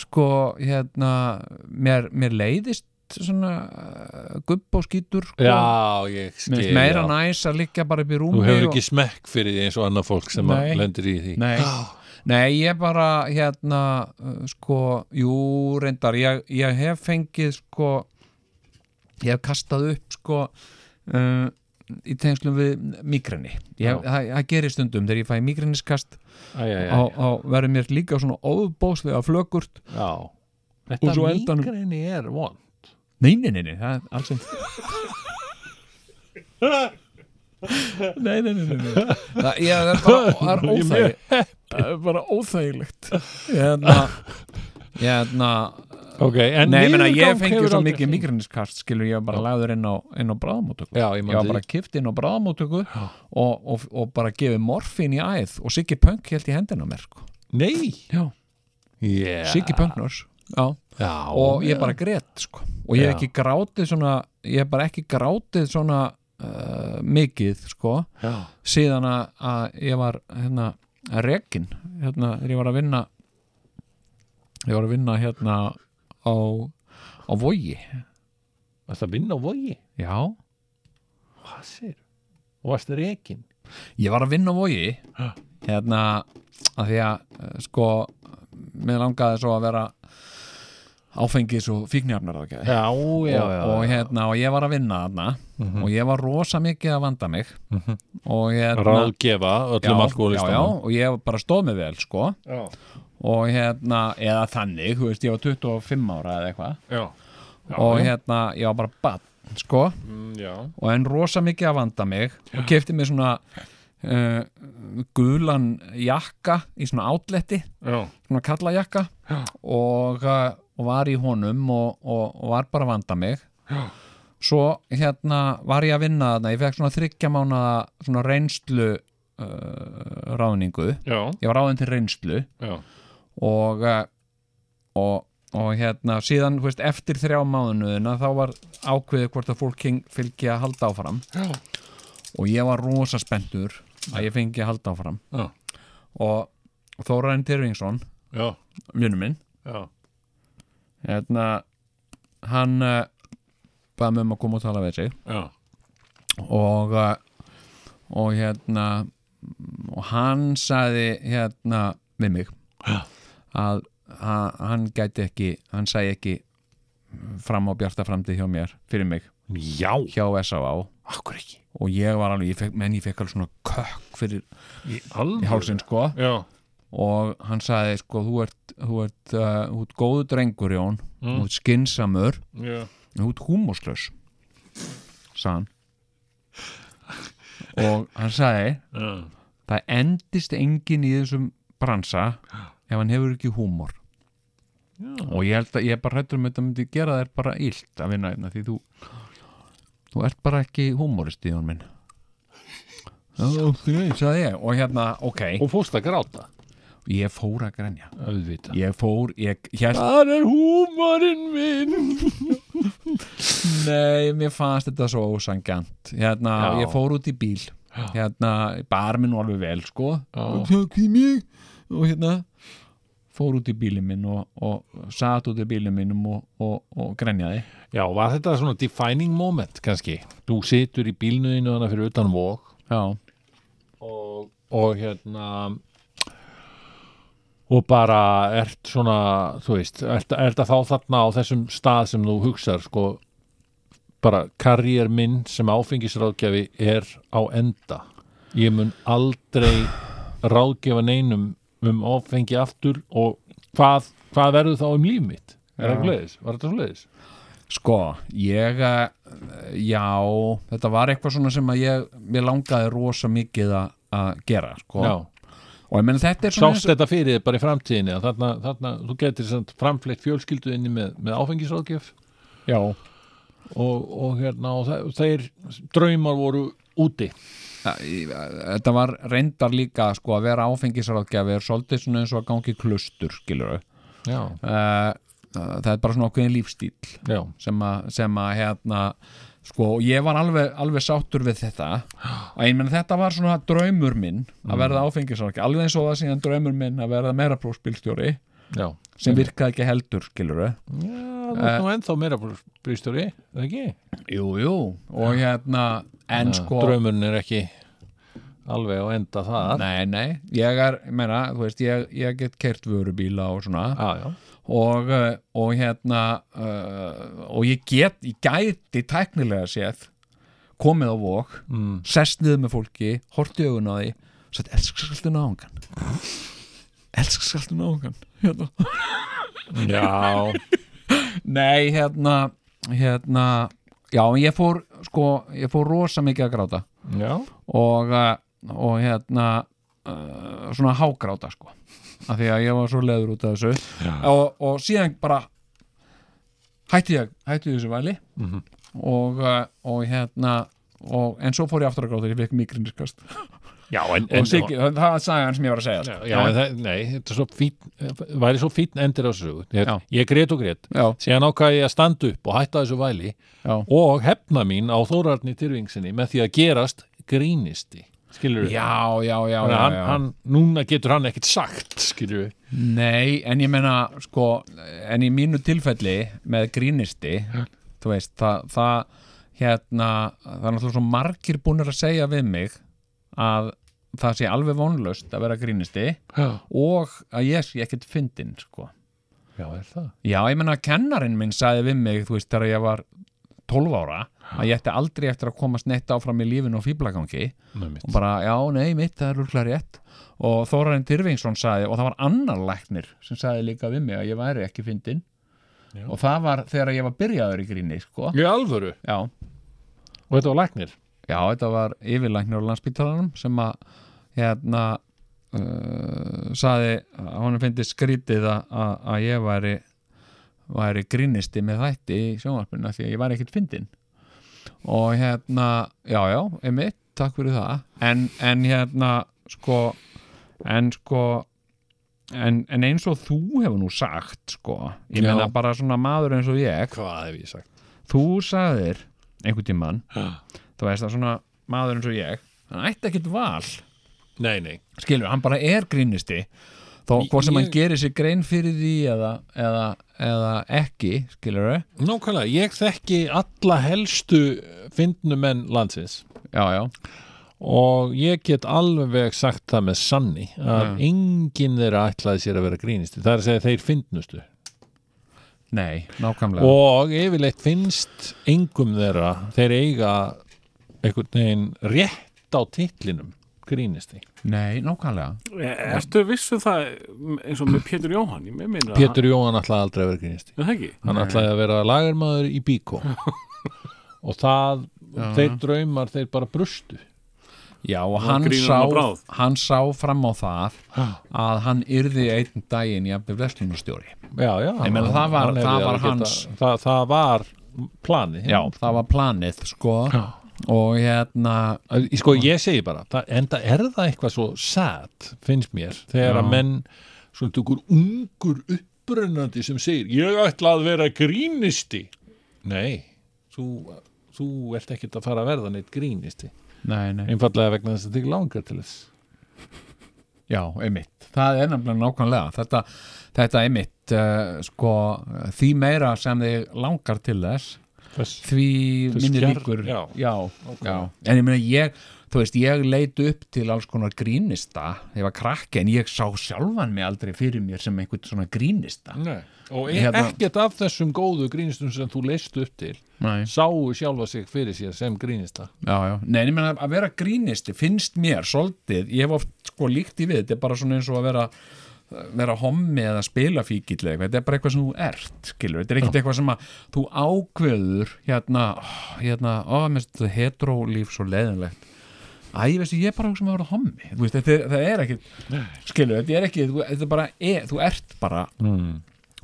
Speaker 3: sko, hérna mér, mér leiðist svona eh, gubb og skítur sko.
Speaker 2: já ég
Speaker 3: Mér
Speaker 2: skil
Speaker 3: finnst meira
Speaker 2: já.
Speaker 3: næs að liggja bara upp í rúmi
Speaker 2: Þú hefur
Speaker 3: og-
Speaker 2: ekki smekk fyrir því eins og annað fólk sem
Speaker 3: Nei.
Speaker 2: að lendir í því
Speaker 3: Nei, nei ég bara hérna uh, sko, jú reyndar ég, ég hef fengið sko ég hef kastað upp sko uh, í tengslum við migræni
Speaker 2: Já.
Speaker 3: Ég- það það gerir stundum þegar ég fæ migræniskast
Speaker 2: Æ, æ,
Speaker 3: á,
Speaker 2: æ,
Speaker 3: á verður mér líka svona óbóðslega flökurt
Speaker 2: já
Speaker 3: Og
Speaker 2: Þetta
Speaker 3: svo endanum-
Speaker 2: mýgrinni er von
Speaker 3: Nei, nei, nei, nei, það er alls eitt Nei, nei, nei, nei, nei. Það, ég, það er bara það er óþæg, það er bara óþægilegt Hérna Hérna
Speaker 2: Ok, en
Speaker 3: Nei, menna, ég
Speaker 2: niðurgang
Speaker 3: fengi
Speaker 2: hefur
Speaker 3: svo
Speaker 2: aldrei
Speaker 3: mikið
Speaker 2: fengið.
Speaker 3: migræniskast skilur ég var bara lagður inn á, inn á bráðamótöku
Speaker 2: Já, ég
Speaker 3: Ég
Speaker 2: man
Speaker 3: var
Speaker 2: því.
Speaker 3: bara kift inn á bráðamótöku og, og, og bara gefið morfín í æð og Siggi Punk held í hendina á mér sko.
Speaker 2: Nei
Speaker 3: Já.
Speaker 2: yeah.
Speaker 3: Siggi Punk nörs Já
Speaker 2: Já,
Speaker 3: og
Speaker 2: já.
Speaker 3: ég bara grét sko. og ég hef
Speaker 2: Já.
Speaker 3: ekki grátið svona ég hef bara ekki grátið svona uh, mikið sko
Speaker 2: Já.
Speaker 3: síðan að, að ég var hérna rekin hérna þegar ég var að vinna ég var að vinna hérna á, á vogi
Speaker 2: Varst að vinna á vogi?
Speaker 3: já,
Speaker 2: Hvað sér? Og varst rekin?
Speaker 3: ég var að vinna á vogi
Speaker 2: Ha.
Speaker 3: hérna að því að eh, sko mér langaði svo að vera áfengis og fíknjarnar og,
Speaker 2: Já, Mhm.
Speaker 3: og, og hérna og ég var að vinna þarna og ég var rosa mikið að vanda mig og hérna
Speaker 2: Ráðgefa öllum
Speaker 3: já, já,
Speaker 2: alkoholistanum
Speaker 3: og ég bara stóð mig vel sko
Speaker 6: Já.
Speaker 3: og hérna, eða þannig þú veist, ég var 25 ára eða eitthvað
Speaker 6: Já. Mm,
Speaker 3: og hérna, ég var bara bann sko,
Speaker 6: Já.
Speaker 3: og en rosa mikið að vanda mig og kefti mér svona uh, gulan jakka í svona átletti
Speaker 6: Já.
Speaker 3: svona kallajakka og, uh, og var í honum og, og, og var bara að vanda mig svo hérna var ég að vinna þarna, ég fekk svona þryggja mánaða svona reynslu uh, ráðningu,
Speaker 6: Já.
Speaker 3: ég var ráðin til reynslu
Speaker 6: Já.
Speaker 3: og uh, og, og hérna síðan þú veist, eftir þrjá mánuðina þá var ákveðið hvort að fólk kyn- fylgi að halda áfram
Speaker 6: Já.
Speaker 3: og ég var rosa spenntur að ég fengi að halda áfram
Speaker 6: Já.
Speaker 3: og Þóraðin Tyrfingsson
Speaker 6: Já.
Speaker 3: vinnur minn
Speaker 6: Já.
Speaker 3: hérna hann uh, baði mig um að koma og tala við sig
Speaker 6: Já.
Speaker 3: og uh, og hérna og hann sagði hérna við mig að að hann gæti ekki hann sagði ekki fram á bjarta framtíð hjá mér, fyrir mig
Speaker 2: Já,
Speaker 3: hjá S.A.A.
Speaker 2: akkur ekki
Speaker 3: og ég var alveg, ég fekk, menn ég fekk alveg svona kökk fyrir
Speaker 6: Í alveg.
Speaker 3: í hálsinn sko
Speaker 6: Já.
Speaker 3: og hann sagði sko, þú ert, þú ert, uh, þú ert góðu drengur Jón,
Speaker 2: Mm.
Speaker 3: þú ert skinsamur
Speaker 6: Já.
Speaker 3: þú ert húmóslaus sagði hann og hann sagði
Speaker 6: Já.
Speaker 3: það endist engin í þessum bransa ef hann hefur ekki húmor og ég held að ég er bara hættur um þetta myndi gera þér bara illt að vinna hérna því þú þú ert bara ekki húmorist í hún minn okay. sagði ég og hérna, ok,
Speaker 2: Og fórst að gráta
Speaker 3: ég fór að grenja
Speaker 2: Auðvitað
Speaker 3: ég fór, ég hélt
Speaker 2: Það er húmarinn minn
Speaker 3: Nei, mér fannst þetta svo ósangjant hérna,
Speaker 2: Já.
Speaker 3: ég fór út í bíl hérna, bar minn nú alveg vel sko
Speaker 2: Já.
Speaker 3: og takk í mig og hérna fór út í bílinn minn og, og sat út í bílinn minnum og, og, og grenjaði
Speaker 2: Já, var þetta svona defining moment kannski? Þú situr í bílnuðinu hana fyrir utan vók
Speaker 3: Já,
Speaker 2: og, og hérna og bara ert svona, þú veist ert, ert að þá þarna á þessum stað sem þú hugsar sko bara karriér minn sem áfengisráðgjafi er á enda ég mun aldrei ráðgefa neinum um áfengi aftur og hvað, hvað verður þá um líf mitt er það ekki leiðis, var þetta svo leiðis
Speaker 3: sko, ég eh, já, þetta var eitthvað svona sem að ég, ég langaði rosa mikið að- að gera sko.
Speaker 2: já,
Speaker 3: og ég menn þetta er svona
Speaker 2: sást þetta fyrir þér bara í framtíðinni að þarna, þarna, þú getur samt framfleitt fjölskylduðinni með, með áfengisráðgjöf
Speaker 3: já,
Speaker 2: og, og hérna og þe- þeir draumar voru úti
Speaker 3: Ja, í- þetta var reyndar líka sko að vera áfengisráðgjafi er svolítið svona eins og að gangi í klustur skilur
Speaker 2: já,
Speaker 3: uh, það er bara svona ákveðin lífstíl
Speaker 2: já,
Speaker 3: sem að, sem að hérna sko, og ég var alveg, alveg sáttur við þetta að ég menn þetta var svona draumur minn að verða áfengisarki alveg eins og það síðan draumur minn að verða meira prófspilstjóri
Speaker 2: já. Eh,
Speaker 3: sem virkaði ekki heldur, skilur
Speaker 2: Já, þú ert nú ennþá meira brýstjóri, eða ekki?
Speaker 3: jú, jú, og hérna en sko,
Speaker 2: Draumurinn er ekki alveg á enda þar.
Speaker 3: nei, nei ég er, ég meina, þú veist, ég, ég get kert vörubíla og svona
Speaker 2: Já, já,
Speaker 3: og, uh, og hérna uh, og ég get, ég gæti tæknilega séð komið á vok, mm. sest niður með fólki hort í augun á því og sagt, elsk skaltu <laughs> náungan elsk skaltu náungan hérna.
Speaker 2: já,
Speaker 3: nei, hérna hérna, já, en ég fór sko, ég fór rosa mikið að gráta
Speaker 2: já,
Speaker 3: og, uh, og hérna uh, svona hágráta sko af því að ég var svo leður út af þessu og, og síðan bara hætti ég hætti ég þessu væli
Speaker 2: Mhm.
Speaker 3: -hmm. og, uh, og hérna og, en svo fór ég aftur að gráta, ég fekk mikrinskast
Speaker 2: já, en,
Speaker 3: og
Speaker 2: en,
Speaker 3: Siggi, það það var sagan sem ég var að segja sko.
Speaker 2: já, en það, nei, þetta er svo fín, væri svo fínn endir á þessu. Ég,
Speaker 3: Já.
Speaker 2: ég grét og grét,
Speaker 3: já,
Speaker 2: síðan ákvað ég að standa upp og hætta þessu væli
Speaker 3: já,
Speaker 2: og hefna mín á Þórarni Tyrfingsinni með því að gerast grínisti, skilur við.
Speaker 3: já, já, já, já,
Speaker 2: hann,
Speaker 3: já.
Speaker 2: hann, núna getur hann ekkert sagt, skilur við.
Speaker 3: Nei, en ég meina sko, en í mínu tilfelli með grínisti þú veist, það, það hérna, það er náttúrulega svo margir búnir að segja við mig að það sé alveg vonlaust að vera grínisti
Speaker 2: Já,
Speaker 3: og að ég sé ekkert fyndin, sko.
Speaker 2: já, er það?
Speaker 3: Já, ég meina kennarinn minn sagði við mig, þú veist, þegar ég var 12 ára, að ég ætti aldrei eftir að komast neitt áfram í lífinu og fýblagangi
Speaker 2: Nei, mitt.
Speaker 3: og bara, já, nei, mitt, það er rúkla rétt og Þórarinn Tyrfingsson sagði og það var annar læknir sem sagði líka við mig að ég væri ekki fyndin og það var þegar ég var byrjaður í gríni sko.
Speaker 2: Í alvöru,
Speaker 3: já,
Speaker 2: og þetta var læknir.
Speaker 3: já, þetta var yfirlæknir á landspítalanum sem að hérna uh, sagði að honum fyndi skrítið að- að að ég væri væri grínisti með þætti í sjónvarpinu af því að ég væri ekkert fyndin og hérna, já já, einmitt, takk fyrir það en, en hérna, sko en sko en, en eins og þú hefur nú sagt sko, ég
Speaker 2: Já.
Speaker 3: meina bara svona maður eins og ég
Speaker 2: Hvað hef ég sagt?
Speaker 3: þú sagðir einhvern tímann þú veist að svona maður eins og ég hann ætti ekkert val
Speaker 2: Nei, nei.
Speaker 3: skilur, hann bara er grínisti þó hvort sem hann gerir sér grein fyrir því eða, eða, eða ekki skilur við,
Speaker 2: Nákvæmlega, ég þekki alla helstu fyndnumenn landsins
Speaker 3: já já
Speaker 2: og ég get alveg sagt það með sanni að enginn þeirra ætlaði sér að vera grínisti. Það er að segja þeir fyndnustu.
Speaker 3: nei, nákvæmlega
Speaker 2: Og yfirleitt finnst engum þeirra, þeir eiga einhvern veginn rétt á titlinum grínisti.
Speaker 3: nei, nákvæmlega,
Speaker 4: Ertu vissu það m- eins og með Pétur Jóhann ég meina að-
Speaker 2: Pétur Jóhann ætlaði aldrei að vera grínisti.
Speaker 4: Er það ekki?
Speaker 2: hann ætlaði að vera lagarmaður í bíkó og það þeir draumar, þeir bara brustu
Speaker 3: já og hann
Speaker 4: grínur hann á bráð.
Speaker 3: sá hann sá fram á það að hann yrði einn daginn í að verslunarstjóri
Speaker 2: já, já, hann,
Speaker 3: meina, það var-
Speaker 2: hefði
Speaker 3: það var
Speaker 2: alveg getað-
Speaker 3: hans-
Speaker 2: það, það var planið
Speaker 3: já, það var planið sko og hérna
Speaker 2: Í- sko ég segi bara, það, enda er það eitthvað svo sad, finnst mér þegar að menn, svona tukur ungur uppbrunandi sem segir ég ætla að vera grínisti nei, þú þú ert ekkert að fara að verða neitt grínisti
Speaker 3: nei, nei.
Speaker 2: einfallega vegna þess að þig langar til þess
Speaker 3: Já, einmitt. Það er nefnilega nákvæmlega. Þetta, þetta einmitt, uh, sko, því meira sem þið langar til þess,
Speaker 2: Þess-
Speaker 3: því
Speaker 2: þess
Speaker 3: minni
Speaker 2: fjær-
Speaker 3: líkur.
Speaker 2: já.
Speaker 3: já, já. En ég meina, ég, þú veist, ég leit upp til alls konar grínista, ég var krakki, en ég sá sjálfan mig aldrei fyrir mér sem einhvern svona grínista.
Speaker 2: Nei. og e
Speaker 3: Hérna-
Speaker 2: ekkert af þessum góðu grínistum sem þú leist upp til
Speaker 3: Nei.
Speaker 2: sáu sjálfa sig fyrir sér sem grínista
Speaker 3: Já, já. Nei, en ég meina, að vera grínisti finnst mér svolítið, ég hef oft sko líkt í við, þetta er bara svona eins og að vera vera hommi eða spilafíkill eða eitthvað, þetta er bara eitthvað sem þú ert skilur, þetta er ekkert eitthvað sem að þú ákveður hérna, ó, hérna ó, mér finnst þetta heterólíf svo leiðinlegt Æ, ég veistu, ég er bara eitthvað sem að vera hommi Þú veist, þetta er, það er ekkert, skilur, þetta er ekki þú, þetta er bara, e, þú ert bara mm.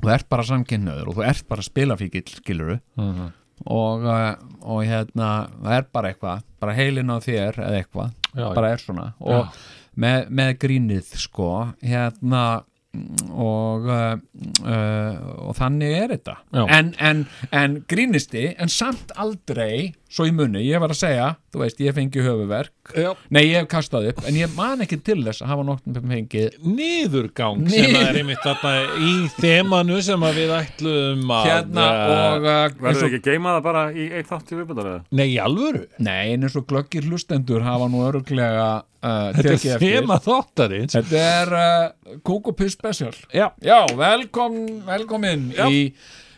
Speaker 3: þú ert bara samkynnaður og þú ert bara spilafíkill, skilur
Speaker 2: Mhm.
Speaker 3: og, eh, og hérna, það er bara eitthvað bara heilin á þér eða eitthvað
Speaker 2: já.
Speaker 3: bara er svona og með, með grínið sko hérna mm, og uh, uh, og þannig er þetta
Speaker 2: Já.
Speaker 3: en, en, en grínisti en samt aldrei, svo í munni ég var að segja, þú veist, ég fengi höfuverk
Speaker 2: Já.
Speaker 3: nei, ég hef kastað upp en ég man ekki til þess að hafa nokkuð fengið
Speaker 2: niðurgang sem
Speaker 3: Niður-
Speaker 2: að er einmitt þarna í þemanu sem að við ætluðum að eh,
Speaker 3: hérna og uh, eins
Speaker 4: Verður
Speaker 3: og,
Speaker 4: ekki að geima það bara í eitt þátt í viðbundar eða?
Speaker 2: Nei, í alvöru
Speaker 3: nei, en eins og glöggir hlustendur hafa nú öruglega uh, tekið
Speaker 2: Þetta er
Speaker 3: eftir Hérna-
Speaker 2: þema þáttarins
Speaker 3: Þetta er uh, Kúk og Piss Special Já, já velkom, velkomin í,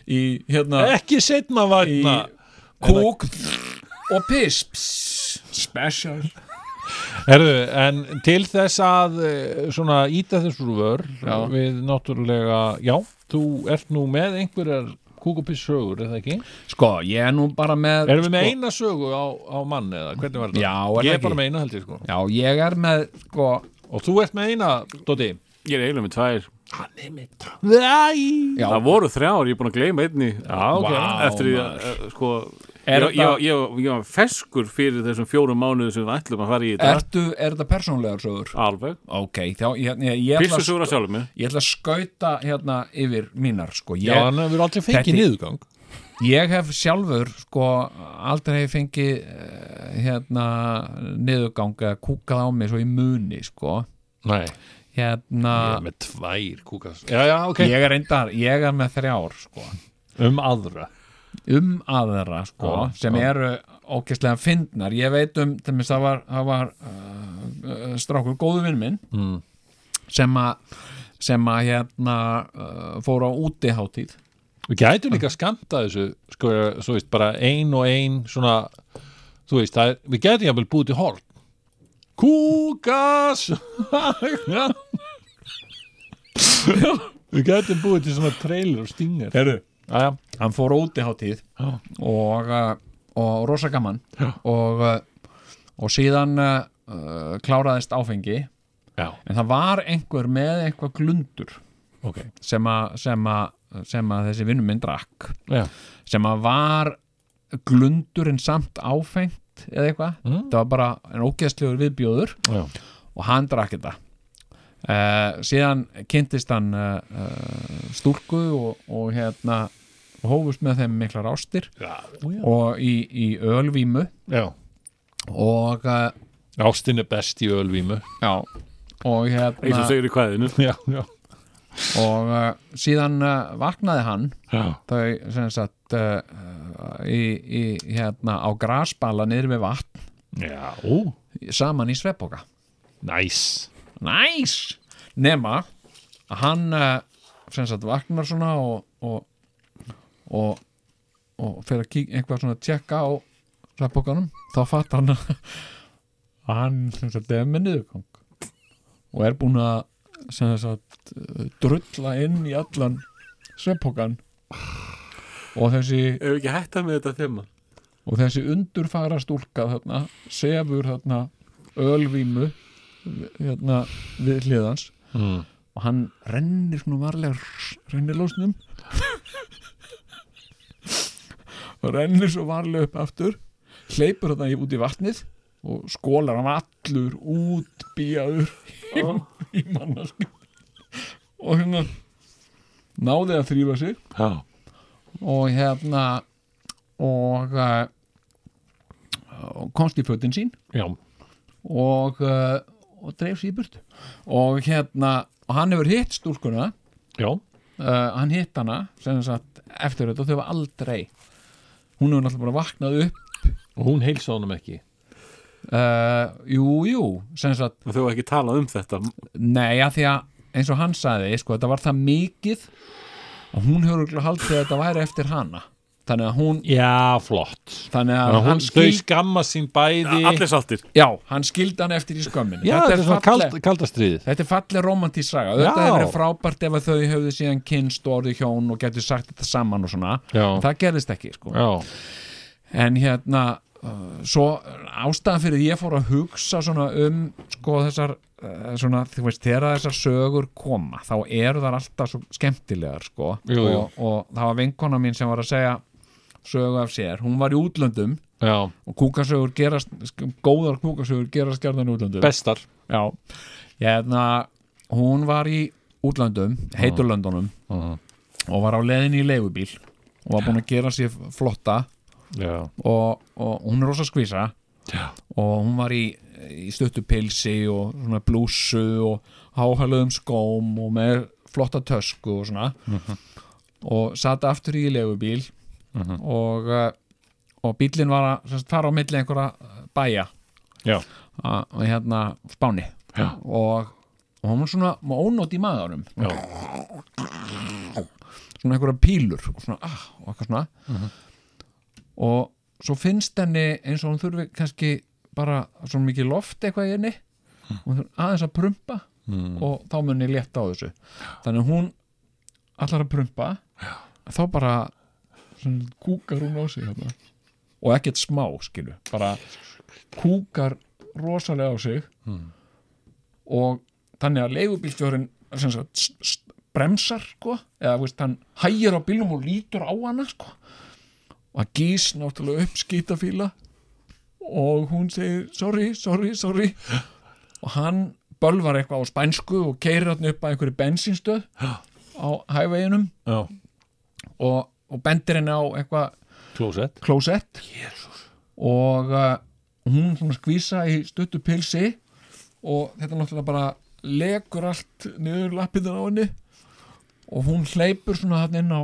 Speaker 3: í hérna
Speaker 2: Ekki setna vagna
Speaker 3: Í-
Speaker 2: hérna-
Speaker 3: Kúk og Piss Pss, Special
Speaker 2: Herru, en til þess að eh, svona íta þessu úr vör
Speaker 3: Já.
Speaker 2: við náttúrulega, já, þú ert nú með einhverjar kúkupiss sögur, er það ekki?
Speaker 3: Sko, ég er nú bara með
Speaker 2: Erum við með
Speaker 3: sko,
Speaker 2: eina sögu á, á mann eða hvernig var þetta?
Speaker 3: Já, er það
Speaker 2: Ég er bara
Speaker 3: ekki
Speaker 2: með eina held ég sko
Speaker 3: Já, ég er með, sko
Speaker 2: Og þú ert með eina, Dóti
Speaker 4: Ég er eiginlega með tvær.
Speaker 2: Nei
Speaker 3: Já,
Speaker 4: Það voru þrjár, ég er búin að gleyma einni. Já,
Speaker 2: ok. Vá,
Speaker 4: Eftir því að, eh, sko,
Speaker 3: Er
Speaker 4: ég, ég,
Speaker 3: þetta-
Speaker 4: ég, ég var feskur fyrir þessum fjórum mánuðu sem við ætlum að fara í þetta.
Speaker 3: ertu, er þetta persónlegar sögur?
Speaker 4: Alveg.
Speaker 3: Ok, þá, ég, ég, ég, ætla,
Speaker 4: Pissu sögur að sjálfum mig.
Speaker 3: ég ætla að skauta hérna yfir mínar, sko ég,
Speaker 2: Já, hann hefur aldrei fengið
Speaker 3: Þetta-
Speaker 2: niðurgang
Speaker 3: Ég hef sjálfur sko aldrei hef fengið eh, hérna niðurganga kúkað á mig svo í muni sko
Speaker 2: Nei, ég
Speaker 3: hérna
Speaker 2: er með tvær kúkas Já, já, ok
Speaker 3: ég er reyndar, ég er með þrjár sko
Speaker 2: Um aðra
Speaker 3: um aðra sko
Speaker 2: Já,
Speaker 3: sem
Speaker 2: já.
Speaker 3: eru ókesslega fyndnar ég veit um, til mér það var, það var uh, uh, strákur góðu vinn minn mm. sem að sem að hérna uh, fór á útiháttíð
Speaker 2: Við gætum líka að skamta þessu sko, svo veist, bara ein og ein svona, þú veist, það er, við gætum jafnvel búið til horn Kúkas <laughs> Við gætum búið til svona trailer og stingar
Speaker 3: Heru.
Speaker 2: Aja,
Speaker 3: hann fór á útiháttíð
Speaker 2: Já.
Speaker 3: og, uh, og rosa gaman og, uh, og síðan uh, uh, kláraðist áfengi
Speaker 2: já,
Speaker 3: en það var einhver með eitthvað glundur
Speaker 2: ok
Speaker 3: sem að, sem að, sem að þessi vinnum minn drakk
Speaker 2: já.
Speaker 3: sem að var glundurinn samt áfengt eða eitthvað, það var bara en ógeðslegur viðbjóður
Speaker 2: Já.
Speaker 3: og hann drakk þetta uh, síðan kynntist hann uh, uh, stúlku og, og hérna og hófust með þeim miklar ástir
Speaker 2: Já,
Speaker 3: og í, í ölvímu
Speaker 2: já.
Speaker 3: og uh,
Speaker 2: Ástin er best í ölvímu
Speaker 3: já og
Speaker 4: Eins
Speaker 3: hérna
Speaker 4: og segir í kvæðinu.
Speaker 2: <laughs> Já, já,
Speaker 3: og uh, síðan uh, vaknaði hann
Speaker 2: já,
Speaker 3: þau sem sagt uh, í, í hérna á grasbala niður við vatn
Speaker 2: já. Ó,
Speaker 3: saman í sveppoka
Speaker 2: næs
Speaker 3: næs nema að hann eh, sem sagt vaknar svona og og, og, og fer að kík eitthvað svona að tjekka á sveppokanum, þá fattar hann að að hann sem sagt er með niðurgang og er búin að sem sagt eh, drulla inn í allan sveppokan og þessi
Speaker 4: Ef ekki hætta með þetta þema.
Speaker 3: og þessi undurfara stúlka þarna sefur þarna ölvímu hérna við hliðans
Speaker 2: Mm.
Speaker 3: og hann rennir svona varlega rennir lósnum og rennir svo varlega upp aftur hleypur þarna í- út í vatnið og skólar hann allur útbíjaður í, í mannarsku og hérna náði að þrýfa sig
Speaker 2: Já,
Speaker 3: og hérna og, eh, og komst í fötin sín
Speaker 2: já,
Speaker 3: og, eh, og dreif sér í burtu og hérna og hann hefur hitt stúlkuna
Speaker 2: já.
Speaker 3: uh, hann hitt hana sem sagt eftir þetta og þau var aldrei hún hefur náttúrulega bara vaknað upp
Speaker 2: Og hún heilsa honum ekki
Speaker 3: uh, jú, jú, sem sagt
Speaker 4: Og þau hafa ekki talað um þetta.
Speaker 3: Nei, að því að eins og hann sagði sko, þetta var það mikið að hún hefur örugglega haldið að þetta væri eftir hana þannig að hún
Speaker 2: Já, flott
Speaker 3: þannig að
Speaker 2: Þannig að
Speaker 3: hann
Speaker 2: hún
Speaker 3: skil-
Speaker 2: þau skamma sín bæði
Speaker 4: Allir sáttir.
Speaker 3: Já, hann skildi hann eftir í skömminu
Speaker 2: Já, þetta er svona
Speaker 3: falleg-
Speaker 2: kalda, kalda stríðið
Speaker 3: Þetta er falleg romantísk saga Þetta
Speaker 2: Já.
Speaker 3: hefur verið frábært ef að þau höfðu síðan kynst og orðið hjón og getur sagt þetta saman og svona
Speaker 2: Já.
Speaker 3: En Það gerðist ekki sko.
Speaker 2: Já,
Speaker 3: En hérna uh, svo ástæðan fyrir því ég fór að hugsa svona um sko þessar uh, svona, þú veist, þegar þessar sögur koma þá eru þar alltaf svo skemmtilegar sko
Speaker 2: Jú, jú.
Speaker 3: Og, og það var vinkona mín sem var að segja sögu af sér, hún var í útlöndum
Speaker 2: já,
Speaker 3: og kúkasögur gerast sk- góðar kúkasögur gerast gerðan í útlöndum
Speaker 2: bestar
Speaker 3: Já, hérna hún var í útlöndum heiturlöndunum
Speaker 2: Mhm.
Speaker 3: og var á leiðin í leigubíl og var búin að gera sér flotta
Speaker 2: já,
Speaker 3: og, og hún er rosa skvísa
Speaker 2: Já.
Speaker 3: og hún var í, í stöttupilsi og svona blússu og háhæluðum skóm og með flotta tösku og svona
Speaker 2: Mhm.
Speaker 3: og sat aftur í leigubíl og, eh, og bílinn var að sem sagt, fara á milli einhverja bæja
Speaker 2: já,
Speaker 3: að- og hérna Spáni
Speaker 2: Já.
Speaker 3: og, og hún var svona með ónót í maðurum
Speaker 2: Já.
Speaker 3: svona einhverja pílur og svona ah, og eitthvað svona og svo finnst henni eins og hún þurfi kannski bara svona mikið loft eitthvað í henni og hún þurfi aðeins að prumpa og þá muni létta á þessu þannig að hún allar að prumpa Já. þá bara svona, kúkar hún á sig hérna. og ekkert smá skilu bara kúkar rosalega á sig og þannig að leigubílstjórin sem sagt, s- s- bremsar sko, eða veist, hann hægir á bílum og lítur á hana sko. og það gís náttúrulega upp skýtafíla og hún segir sorry, sorry, sorry og hann bölvar eitthvað á spænsku og keirir hann upp að einhverju bensínstöð á hægveginum
Speaker 2: já,
Speaker 3: og, og bendir henni á eitthvað
Speaker 2: klósett
Speaker 3: klósett Jesus. og uh, hún svona skvísa í stuttu pilsi og þetta náttúrulega bara legur allt niður lappiðan á henni og hún hleypur svona hann inn á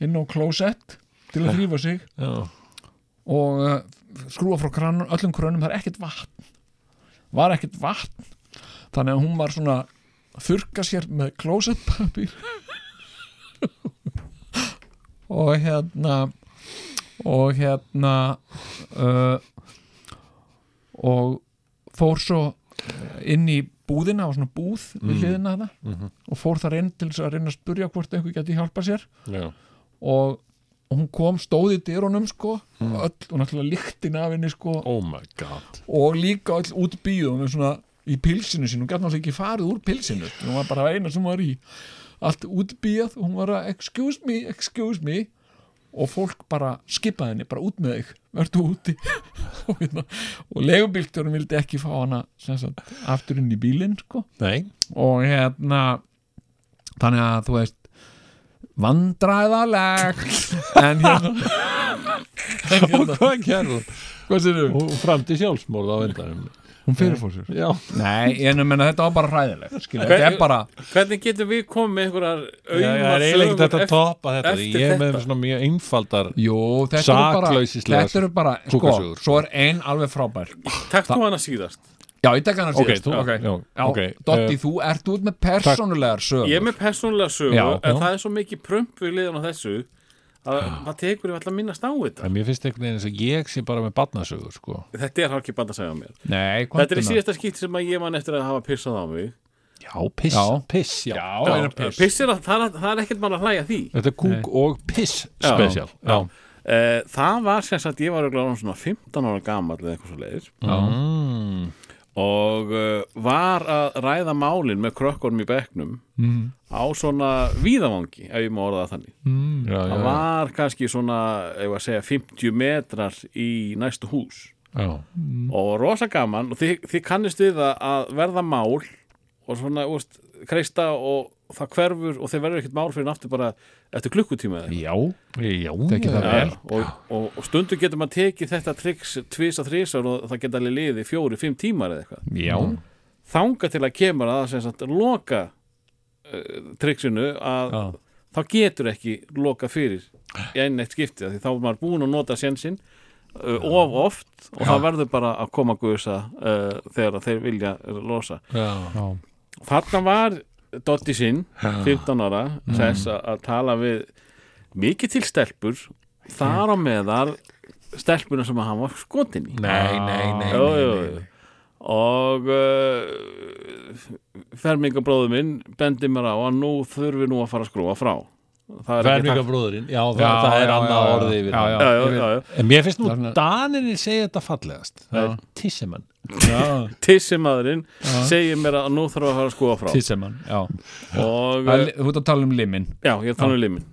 Speaker 3: inn á klósett til að þrýfa sig
Speaker 2: já,
Speaker 3: og uh, skrúa frá krann, öllum krönum það er ekkert vatn var ekkert vatn þannig að hún var svona að þurka sér með klósettpapir <laughs> og hérna og hérna uh, og fór svo inn í búðina á svona búð við hliðina það og fór þar inn til þess að reyna að spurja hvort einhver geti hjálpa sér
Speaker 2: já,
Speaker 3: og og hún kom stóð í dyrunum sko og öll, og náttúrulega lyktin af henni sko
Speaker 2: oh my god
Speaker 3: og líka öll út bíðum svona í pilsinu sínu, hún gæti náttúrulega ekki farið úr pilsinu sko, hún var bara eina sem var í allt útbíðað og hún var að excuse me, excuse me og fólk bara skipaði henni, bara út með þig verðu úti <laughs> og, hérna, og legubíltjórum vildi ekki fá hana sem sagt, aftur inn í bílinn sko
Speaker 2: nei,
Speaker 3: og hérna þannig að þú veist vandræðalegt <laughs> en hérna en hérna,
Speaker 2: hvað gerðu
Speaker 3: hvað sér þú?
Speaker 2: og fram til sjálfsmórð á endanum
Speaker 3: hún fyrirfór sér
Speaker 2: já,
Speaker 3: nei, en ég menna þetta var bara hræðilegt skilja, þetta er bara
Speaker 4: Hvernig getum við komið með einhverjar
Speaker 2: Já, já, það er
Speaker 4: auðvitað
Speaker 2: eiginlega ekkert þetta að toppa þetta
Speaker 4: eftir
Speaker 2: Ég er með
Speaker 4: þetta.
Speaker 2: svona mjög einfaldar
Speaker 3: jú, þetta eru bara,
Speaker 2: Saklausislega
Speaker 3: þetta eru bara sko,
Speaker 2: kúkasögur, sko.
Speaker 3: svo er ein alveg frábær
Speaker 4: Takk þú hana síðast
Speaker 3: já, ég tek hann að
Speaker 2: Ok,
Speaker 3: síðast
Speaker 2: þú-
Speaker 3: Já,
Speaker 2: já,
Speaker 3: já,
Speaker 2: ok.
Speaker 3: Dotti,
Speaker 2: Eh,
Speaker 3: þú ert út með persónulegar sögur
Speaker 4: Ég er með persónulega sögu
Speaker 3: Já,
Speaker 4: en
Speaker 3: já.
Speaker 4: það er svo mikið prömp við liðan á þessu að maður tekur ég alltaf minnast á þetta
Speaker 2: En mér finnst einhvern veginn eins og ég sé bara með barnasögur sko.
Speaker 4: Þetta er hálfkið band að segja mér
Speaker 3: nei,
Speaker 4: Þetta er í
Speaker 3: komdu með.
Speaker 4: síðasta skýtt sem að ég man eftir að hafa pissað á mig
Speaker 2: Já, piss,
Speaker 3: Já.
Speaker 2: piss já.
Speaker 3: já, er
Speaker 4: Eh,
Speaker 3: piss
Speaker 4: Piss er að það er- það er ekkert mann að hlæja að því
Speaker 2: Þetta er kúk og piss
Speaker 4: Já.
Speaker 2: spesial Já,
Speaker 4: Eh, Það var sem sagt, ég var örugglega orðinn svona 15 ára gamall eða eitthvað svo leiðis og uh, var að ræða málin með krökkunum í bekknum mm. á svona víðavangi ef ég má orða það þannig
Speaker 2: já, já,
Speaker 4: það var kannski svona ef að segja 50 metrar í næstu hús
Speaker 2: já.
Speaker 4: og rosa gaman og þið, þið kannist við að, að verða mál og svona úst, kreista og það hverfur og þið verður ekkert mál fyrir en aftur bara eftir klukkutíma eða eitthvað.
Speaker 2: Já, já,
Speaker 3: Tekið það
Speaker 2: já.
Speaker 3: vel.
Speaker 4: Já, og, og, og stundu getur maður tekið þetta triks tvisa þrísar og það geta alveg liðið í fjóri, fimm tímar eða eitthvað
Speaker 2: já.
Speaker 4: þanga til að kemur að sem sagt loka uh, triksinu að
Speaker 2: Já.
Speaker 4: þá getur ekki loka fyrir í einn eitt skipti af því þá er maður búin að nota sjensin uh, of oft og það verður bara að koma að gusa uh, þegar að þeir vilja losa
Speaker 2: já.
Speaker 4: þarna var Dotti sinn 15 ára
Speaker 2: Mm.
Speaker 4: þess að að tala við mikið til stelpur þar á meðal stelpuna sem hann var skotin í
Speaker 2: Nei, nei, nei,
Speaker 4: Jú,
Speaker 2: nei,
Speaker 4: jú,
Speaker 2: nei.
Speaker 4: jú. og uh, fermingabróður minn bendi mér á að nú þurfi nú að fara að skrúa frá það er ekki
Speaker 2: Verminga bróðurinn, já, það, það er
Speaker 3: já, já,
Speaker 2: annað
Speaker 3: já.
Speaker 2: orðið yfir
Speaker 3: Já,
Speaker 2: hann.
Speaker 3: já,
Speaker 4: Já, já,
Speaker 3: ég veit.
Speaker 4: já, já.
Speaker 2: En mér finnst nú
Speaker 3: Þarna-
Speaker 2: Daninni segja þetta fallegast Það er Tissemann
Speaker 4: Tissimaðurinn segir mér að nú þarf að fara að skúa frá
Speaker 3: Tissemann, já
Speaker 4: og,
Speaker 3: Það
Speaker 4: uh,
Speaker 3: er- Þú ert að tala um limin Mhm.
Speaker 4: já, ég er þannig limin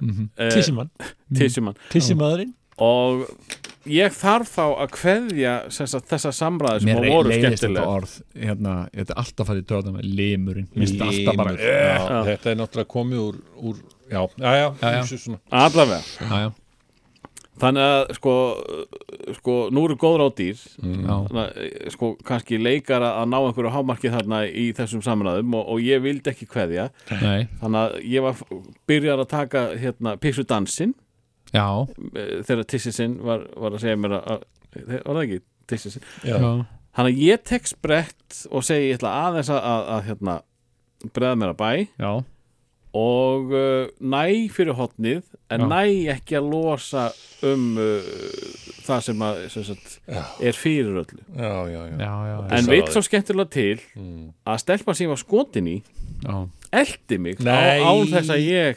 Speaker 2: Tissemann,
Speaker 4: Eh, Tissimann
Speaker 2: Tissimaðurinn
Speaker 4: og ég þarf þá að kveðja sem sagt, þessa samræði sem
Speaker 3: Mér
Speaker 4: voru
Speaker 3: leiðist þetta
Speaker 4: skemmtilega
Speaker 3: orð hérna, Þetta er alltaf farið í tjóðan með limurinn Mér finnst alltaf bara
Speaker 2: já, þetta er náttúrulega komið úr, úr já, já, já,
Speaker 3: já.
Speaker 2: hugsa svona.
Speaker 4: allavega
Speaker 3: Já, já,
Speaker 4: þannig að sko, sko nú eru góður á dýr
Speaker 3: já,
Speaker 4: þannig að, sko kannski leikar að að ná einhverju hámarki þarna í þessum samræðum og, og ég vildi ekki kveðja
Speaker 3: nei,
Speaker 4: þannig að ég var byrjar að taka hérna píksu dansinn
Speaker 3: já,
Speaker 4: eh, þegar Tissisinn var, var að segja mér að, að eh, var það ekki Tissisinn
Speaker 2: Já.
Speaker 3: já.
Speaker 4: þannig að ég tek sprett og segi ég ætla aðeins að, að, að hérna breða mér að bæ
Speaker 3: já.
Speaker 4: og uh, næ fyrir hotnið en
Speaker 3: Já.
Speaker 4: næ ekki að losa um uh, það sem, að, sem sagt, er fyrir öllu
Speaker 2: já, já, já,
Speaker 3: já, já, já.
Speaker 4: en
Speaker 2: Pissa á
Speaker 4: veit
Speaker 2: þig.
Speaker 4: svo skemmtilega til
Speaker 3: Mm.
Speaker 4: að stelpa sem ég var skotin í
Speaker 3: já.
Speaker 4: eldi mig
Speaker 2: Nei.
Speaker 4: á, án þess að ég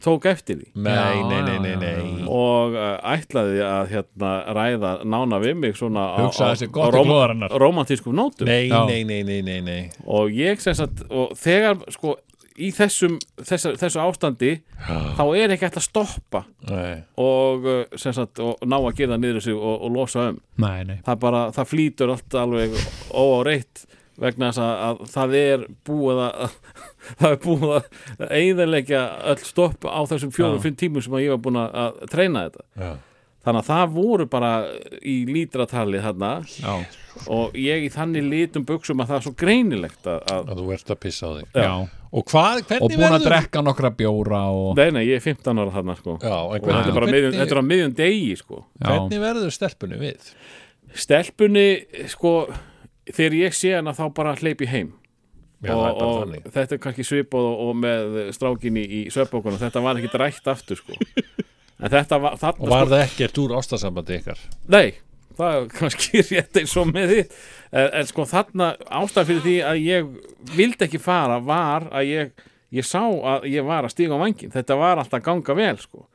Speaker 4: tók eftir því
Speaker 2: Nei,
Speaker 3: Já,
Speaker 2: nei, nei,
Speaker 3: já,
Speaker 2: nei,
Speaker 3: já,
Speaker 2: nei.
Speaker 4: og uh, ætlaði að hérna, ræða nána við mig svona á,
Speaker 3: Hugsaði
Speaker 4: á,
Speaker 3: þessi
Speaker 4: á
Speaker 3: gott í
Speaker 4: róm,
Speaker 3: glóðarinnar
Speaker 4: romantískum nótum
Speaker 2: Nei,
Speaker 3: Já.
Speaker 2: nei, nei, nei, nei, nei.
Speaker 4: og ég sem sagt og þegar sko í þessum þessa, þessu ástandi þá er ekki hægt að stoppa
Speaker 2: Nei.
Speaker 4: og, uh, sem sagt, og ná að gera niður sig og, og losa um
Speaker 3: Nei, nei,
Speaker 4: það, bara, það flýtur allt alveg óáreitt vegna þess að, að það er búið að <laughs> það er búið að eiginlega öll stopp á þessum fjórum,
Speaker 3: Já.
Speaker 4: fimm tímum sem að ég var búin að- að treyna þetta
Speaker 2: Já.
Speaker 4: þannig að það voru bara í lítratali þarna
Speaker 3: já,
Speaker 4: og ég í þannig lítum buksum að það er svo greinilegt að, að
Speaker 2: Að þú ert að pissa á þig.
Speaker 3: já
Speaker 2: Og hvað, hvernig
Speaker 3: Og búin að
Speaker 2: verður-
Speaker 3: drekka nokkra bjóra og
Speaker 4: nei, nei, ég er 15 ára þarna sko
Speaker 2: Já, en
Speaker 4: og þetta er bara á miðjum, þetta er á miðjum degi sko
Speaker 3: Já,
Speaker 2: hvernig verður stelpunni við?
Speaker 4: stelpunni sko þegar ég sé hana þá bara hleyp ég heim
Speaker 2: Já, það er
Speaker 4: og,
Speaker 2: bara
Speaker 4: og
Speaker 2: þannig.
Speaker 4: þetta er kannski svipað og, og með strákinni í svefbókunum þetta var ekki rætt
Speaker 2: <laughs>
Speaker 4: aftur sko en þetta var
Speaker 2: Og
Speaker 4: þarna
Speaker 2: var
Speaker 4: sko
Speaker 2: það ekkert úr ástasambandi ykkar?
Speaker 4: nei, það er kannski <laughs> rétt eins og með þitt en, en sko þarna ástæð fyrir því að ég vildi ekki fara var að ég ég sá að ég var að stíga á vangin þetta var alltaf að ganga vel sko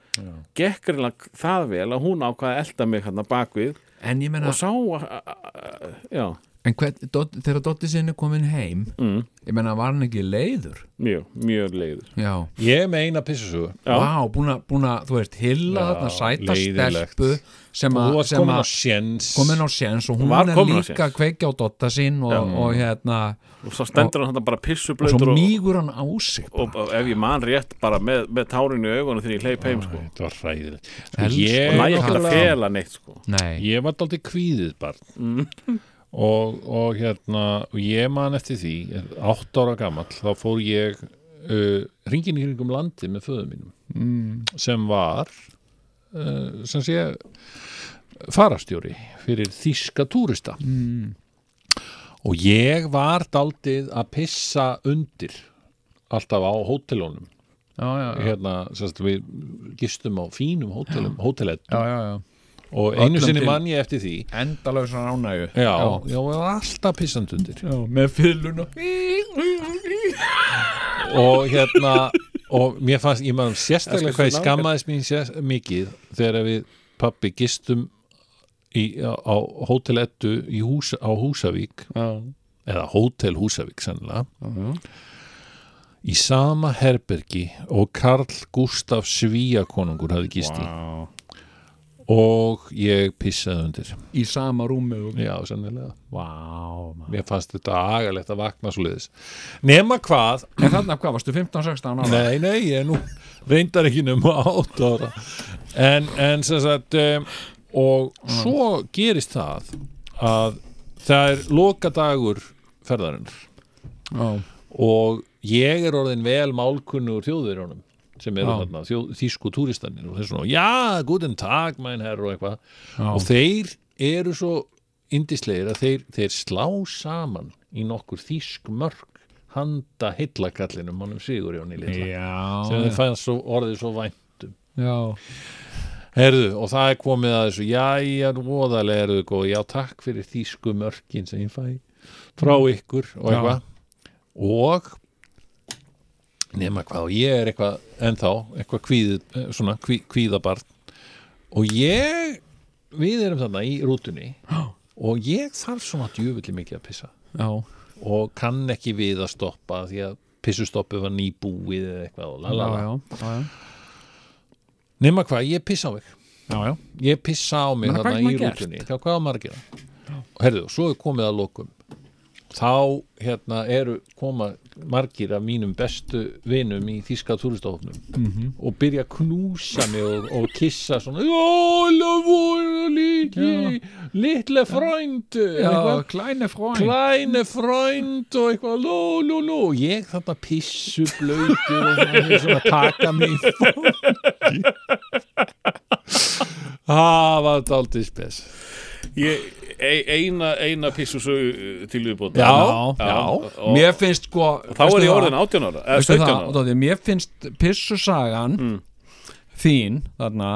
Speaker 4: gekk reyna það vel að hún ákvaði að elda mig hérna bakvið
Speaker 9: En ég
Speaker 2: Hérna.
Speaker 9: meina,
Speaker 4: og sá að, að, að, já,
Speaker 9: en hvern, dot, þegar Dotti sinni komin heim
Speaker 4: mm,
Speaker 9: Ég meina, var hann ekki leiður?
Speaker 4: mjög, mjög leiður
Speaker 9: Já,
Speaker 2: Ég með eina pissusugu.
Speaker 4: Já.
Speaker 9: vá, búin að, búin að, þú veist, hilla
Speaker 2: Já,
Speaker 9: þarna sæta
Speaker 2: leiðilegt.
Speaker 9: stelpu sem
Speaker 2: Þú
Speaker 9: að,
Speaker 2: varst
Speaker 9: sem
Speaker 2: komin á
Speaker 9: að
Speaker 2: sjens.
Speaker 9: komin á séns og hún
Speaker 4: Var
Speaker 9: er
Speaker 4: komin á
Speaker 9: líka
Speaker 4: séns.
Speaker 9: að kveikja á Dotta sín og, og hérna,
Speaker 4: og svo stendur hann þarna bara
Speaker 9: og
Speaker 4: pissublautur
Speaker 9: svo
Speaker 4: og,
Speaker 9: mýgur hann á sig
Speaker 4: og, og, ef ég man rétt bara með, með tárinu í augunum þegar ég hleyp heim sko.
Speaker 2: Þetta var ræðilegt.
Speaker 9: Elsku
Speaker 2: Ég,
Speaker 4: og næ ekki að
Speaker 2: náttúrulega-
Speaker 4: fela neitt sko.
Speaker 9: Nei,
Speaker 2: ég var daldið kvíðið barn
Speaker 3: Mm.
Speaker 2: og, og hérna og ég man eftir því átt ára gamall, þá fór ég uh, ringin í kringum landi með föðu mínum mm. sem var uh, sem sé farastjóri fyrir þíska túrista mm. og ég var daldið að pissa undir alltaf á hótelunum
Speaker 3: já, já, já,
Speaker 2: hérna, sérst, við gistum á fínum hótelum, hótelett
Speaker 3: já, já, já.
Speaker 2: og einu
Speaker 3: Öllum
Speaker 2: sinni
Speaker 3: til-
Speaker 2: man ég eftir því
Speaker 3: Endalaug svona ánægju
Speaker 2: Já, já, ég var alltaf pissand undir
Speaker 3: já, með fylluna
Speaker 2: og hérna og mér fannst, ég maður sérstaklega hvað ég skammaðist mín sér, mikið þegar við pappi gistum í, á, á Hótel Eddu í hús, á Húsavík
Speaker 3: Já,
Speaker 2: eða Hótel Húsavík sennilega í sama herbergi og Karl Gustaf Svíakonungur hafði gist í
Speaker 3: já
Speaker 2: og ég pissaði undir
Speaker 3: Í sama rúmi og
Speaker 2: já, sennilega
Speaker 3: Vá, maður
Speaker 2: mér fannst þetta agalegt að vakna svo liðis nema hvað
Speaker 3: En þarna, hvað, varstu 15-16 ára?
Speaker 2: Nei, nei, ég er nú reyndar ekki nema átt ára en, en sem sagt um, og svo gerist það að það er lokadagur ferðarinn
Speaker 3: Já,
Speaker 2: og ég er orðin vel málkunnugur þjóðverjónum sem eru
Speaker 3: Já.
Speaker 2: þarna, þjóð, þýsku túristanir og þeir svona, já, guten tag, mæn herr og eitthvað,
Speaker 3: Já.
Speaker 2: og þeir eru svo indislegir að þeir, þeir slá saman í nokkur þýsk mörg handa heillakallinum honum Sigurjóni litla sem
Speaker 3: já,
Speaker 2: þeir fannst svo, orðið svo um. væntum
Speaker 3: já.
Speaker 2: Herðu, og það er komið að þessu Jæja, voðalega erðu góð Já, takk fyrir þýsku mörkin sem ég fæ frá ykkur og
Speaker 3: Mm. Já.
Speaker 2: eitthvað og nema hvað, og ég er eitthvað ennþá, eitthvað kvíð, svona kví, kvíðabarn og ég við erum þarna í rútunni og ég þarf svona djöfulli mikið að pissa
Speaker 3: já.
Speaker 2: og kann ekki við að stoppa því að pissustoppið var nýbúið eða eitthvað og
Speaker 3: já,
Speaker 2: lalala
Speaker 3: já, já.
Speaker 2: nema hvað, ég pissa á mig
Speaker 10: já, já,
Speaker 2: ég pissa á mig
Speaker 10: Meina, hvað
Speaker 2: þarna
Speaker 10: getur
Speaker 2: í
Speaker 10: maður gert?
Speaker 2: rútunni þá hvað á maður að gera og herðu, svo er komið að lokum þá hérna eru koma margir af mínum bestu vinum í þíska túristahofnum
Speaker 10: Mhm.
Speaker 2: og byrja að knúsa mig og, og kissa svona Jóla voru líki litla frændu
Speaker 10: já klæni fróin
Speaker 2: Kleine Freund og eitthvað lú, lú, lú, ég þarna pissu blöytur og
Speaker 10: <laughs>
Speaker 2: svona, þeir svona taka mig í fólki Það var þetta aldrei spes
Speaker 4: Ég, e- eina, eina pissusögu til viðbóta
Speaker 2: Já,
Speaker 4: já, og-
Speaker 3: mér finnst sko
Speaker 4: Þá er ég orðin 18 ára eða 17
Speaker 3: það,
Speaker 4: ára Mm.
Speaker 3: Dóti, mér finnst pissusagan þín þarna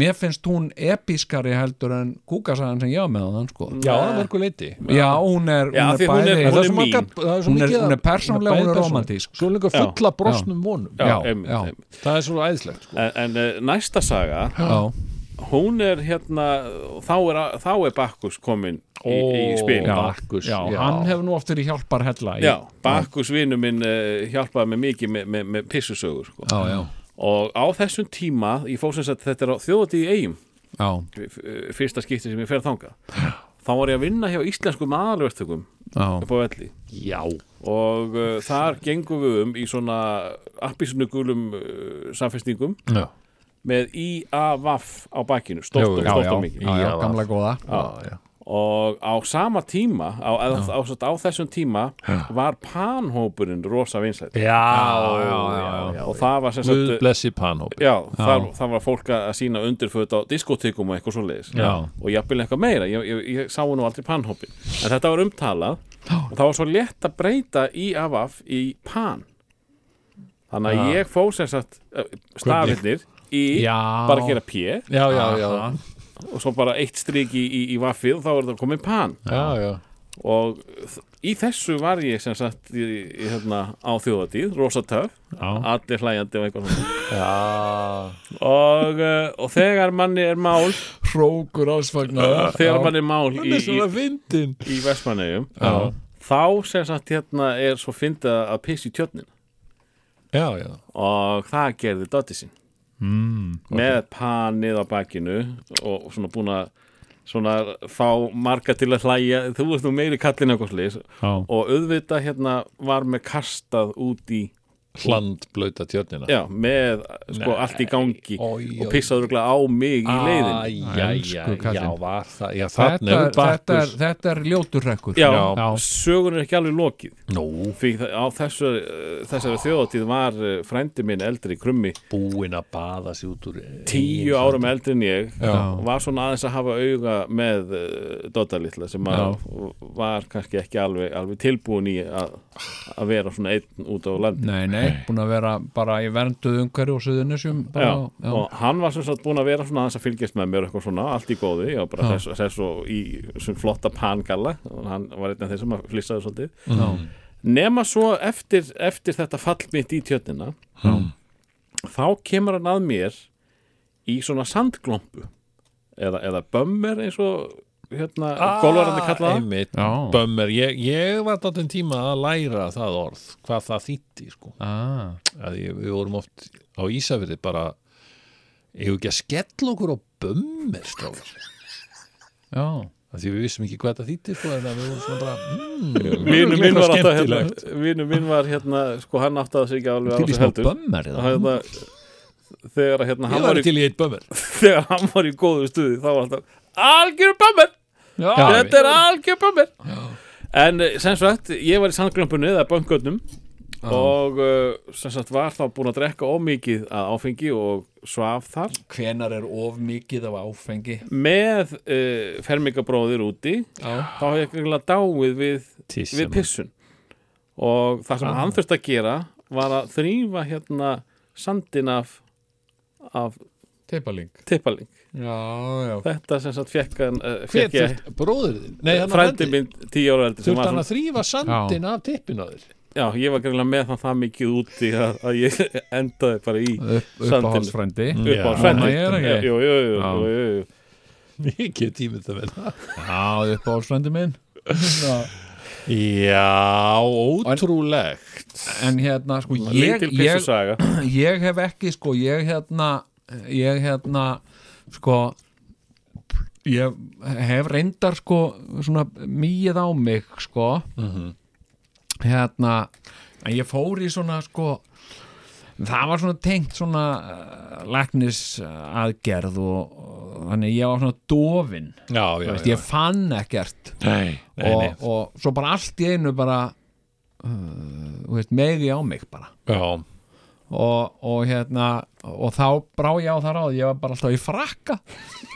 Speaker 3: mér finnst hún episkari heldur en kúkasagan sem ég á með hann sko.
Speaker 2: Já, það var eitthvað leiti
Speaker 3: já, hún er,
Speaker 4: Já,
Speaker 3: hún er
Speaker 4: því hún er-
Speaker 3: bæði
Speaker 2: Það er svo
Speaker 4: mín.
Speaker 2: margar- það
Speaker 3: Hún er-
Speaker 2: er svo mikið að-
Speaker 3: hún er persónuleg, hún
Speaker 2: bæði
Speaker 3: er
Speaker 2: persónuleg.
Speaker 3: rómantísk.
Speaker 2: Svo er líka fulla brosnum vonum
Speaker 4: Já,
Speaker 3: já,
Speaker 4: einmitt,
Speaker 3: já.
Speaker 4: einmitt.
Speaker 2: Það er svo æðislegt sko.
Speaker 4: En, en eh, næsta saga
Speaker 3: já,
Speaker 4: hún er hérna þá er, þá er Bakkus komin í, í spil
Speaker 2: Ó, Bakkus,
Speaker 3: já,
Speaker 2: já.
Speaker 3: hann hefur nú oft verið hjálpar hella í,
Speaker 4: Já, Bakkus vinnu minn uh, hjálpaði mig mikið með, með, með pissusögur sko.
Speaker 3: já, já,
Speaker 4: og á þessum tíma ég fór sem sagt þetta er á þjóðatíð í eigum
Speaker 3: já,
Speaker 4: eh, fyrsta skipti sem ég fer þanga þá var ég að vinna hjá íslenskum aðalvertökum
Speaker 3: já.
Speaker 4: upp á velli
Speaker 2: Já
Speaker 4: og uh, þar gengum við um í svona appisnugulum uh, samfestingum
Speaker 2: Já.
Speaker 4: með IAVAF á bakinu stórt og
Speaker 2: Já,
Speaker 4: stórt og
Speaker 3: já,
Speaker 4: mikið
Speaker 3: já, já, gamla góða
Speaker 4: og á sama tíma á, á, á, á þessum tíma var panhópurinn rosa vinsætt
Speaker 2: Já, já, já
Speaker 4: og það var sem
Speaker 2: Guð
Speaker 4: sagt
Speaker 2: blessi panhópi
Speaker 4: Já, þar, þar var fólk að sína undirföt á diskotekum og eitthvað svo leiðis
Speaker 2: Já.
Speaker 4: og jafnvel eitthvað meira, ég, ég, ég sá nú aldrei panhópin en þetta var umtalað og það var svo létt að breyta IAVAF í pan þannig að ég fór sem sagt eh, stafirnir í
Speaker 3: Já.
Speaker 4: bara að gera P
Speaker 2: Já, já, já
Speaker 4: og svo bara eitt strik í, í, í vaffið og þá var það komið pan
Speaker 2: Já, já
Speaker 4: og þ- í þessu var ég sem sagt í, í, hérna, á þjóðatíð, rosa töf allir hlæjandi og eitthvað svona.
Speaker 2: Já
Speaker 4: og, uh, og þegar manni er mál
Speaker 3: hrókur ásfagnar
Speaker 4: þegar manni er mál í, í,
Speaker 2: fyndin
Speaker 4: í Vestmannegjum þá sem sagt hérna er svo fyndið að pissi í tjötnin
Speaker 2: Já, já
Speaker 4: og það gerði Dotti sín
Speaker 2: Hmm,
Speaker 4: mm, með panið á bakinu og svona búin að svona fá marga til að hlæja þú veist nú meiri kallin eitthvað slis og auðvitað hérna var með kastað út í
Speaker 2: Hland blöta tjörnina
Speaker 4: já, með sko allt í gangi
Speaker 2: Oj, oj.
Speaker 4: og pissaður örugglega á mig í leiðin
Speaker 2: Æjæjæ,
Speaker 3: Elsku kallinn.
Speaker 2: já var það Já, þarna
Speaker 3: þetta,
Speaker 2: hefur
Speaker 3: þetta, er,
Speaker 2: Bakkus
Speaker 3: þetta er ljótur hrekkur
Speaker 4: já,
Speaker 3: já,
Speaker 4: sögun er ekki alveg lokið
Speaker 2: Nó,
Speaker 4: því það- á þessu, þessari þjóðatíð var eh, frændi minn eldri krummi
Speaker 2: búinn að baða sig út úr eh,
Speaker 4: tíu árum eldri en ég
Speaker 3: Já.
Speaker 4: var svona aðeins að hafa auga með uh, Dota litla sem að var kannski ekki alveg, alveg tilbúin í að, að vera svona einn út á landi
Speaker 3: nei, nei, búin að vera bara í vernduð umhverju og suðunisjum
Speaker 4: Já,
Speaker 3: bara, já,
Speaker 4: og hann var sem sagt búin að vera svona aðeins að fylgjast með mér og eitthvað svona, allt í góðu já, bara þess, þess og í svona flotta pangalla og hann var einn af þeir sem að flissaði svolítið
Speaker 3: já,
Speaker 4: nema svo eftir, eftir þetta fall mitt í tjötnina þá kemur hann að mér í svona sandglompu eða, eða bömmer eins og hérna, ah, golvarandi kallaða
Speaker 2: einmitt,
Speaker 3: já.
Speaker 2: Bömmer, ég, ég var dátum tíma að læra það orð hvað það þýtti sko.
Speaker 3: Ah,
Speaker 2: að ég, við vorum oft á Ísafirði bara ég ekki að skella okkur á bömmer stráður
Speaker 3: já,
Speaker 2: að því við vissum ekki hvað það þýtti sko, en að við vorum svona bara
Speaker 4: Vinur minn var alltaf hérna,
Speaker 2: Skemmtilegt.
Speaker 4: vinur minn var hérna, sko hann áttaði sig ekki alveg á
Speaker 3: til í
Speaker 4: þessu
Speaker 3: smá
Speaker 4: heldur.
Speaker 3: bömmar
Speaker 4: Og hérna, þegar að,
Speaker 2: ég
Speaker 4: hérna, hann var
Speaker 2: var
Speaker 4: í,
Speaker 2: til í eitt bömmer
Speaker 4: þegar hann var í góðu stuði þá var alltaf algjörum bömmer þetta er algjör bömmir en eh, sem sagt, ég var í sandglömpunni eða böngötnum og eh, sem sagt var þá búin að drekka ómikið að áfengi og svaf þar
Speaker 3: hvenar er of mikið af áfengi
Speaker 4: með uh, fermingabróðir úti þá hef ég eiginlega dáið við,
Speaker 2: Tíssan.
Speaker 4: við pissun og það sem hann þurfti að gera var að þrýfa hérna sandin af, af
Speaker 3: teipaling
Speaker 4: tippaling
Speaker 3: já, já,
Speaker 4: þetta sem sagt fekk hann uh,
Speaker 2: hver
Speaker 4: fekk ég
Speaker 2: þurft, bróður þinn nei, hann
Speaker 4: frændi minn tíu ára eldri sem
Speaker 2: þurft
Speaker 4: var
Speaker 2: hann
Speaker 4: svona-
Speaker 2: að þrýfa sandin af tippin á þér <laughs>
Speaker 4: Já, ég var greinlega með það það mikið úti að, að ég <laughs> endaði bara í sandin
Speaker 3: uppáhaldsfrændi
Speaker 4: upp á
Speaker 2: Já.
Speaker 4: svendi
Speaker 3: Nei, er það ekki?
Speaker 4: Jú, jú,
Speaker 3: Já.
Speaker 4: jú, jú, jú, jú.
Speaker 2: mikið tímið það vel
Speaker 3: já, uppáhaldsfrændi minn
Speaker 2: já, ótrúlegt
Speaker 3: en hérna, sko,
Speaker 4: Lítil
Speaker 3: ég, ég
Speaker 4: pissusaga
Speaker 3: ég hef ekki sko, ég hérna ég hérna sko ég hef reyndar sko svona mýið á mig sko
Speaker 2: Mhm.
Speaker 3: hérna en ég fór í svona sko það var svona tengt svona uh, læknis uh, aðgerð og, og þannig ég var svona dofin
Speaker 2: já, já,
Speaker 3: veist,
Speaker 2: já.
Speaker 3: ég fann ekkert
Speaker 2: Nei, nei,
Speaker 3: og,
Speaker 2: nei.
Speaker 3: og svo bara allt í einu bara uh, þú veist, megi á mig bara
Speaker 2: já,
Speaker 3: og, og hérna og þá brá ég á það ráð ég var bara alltaf í frakka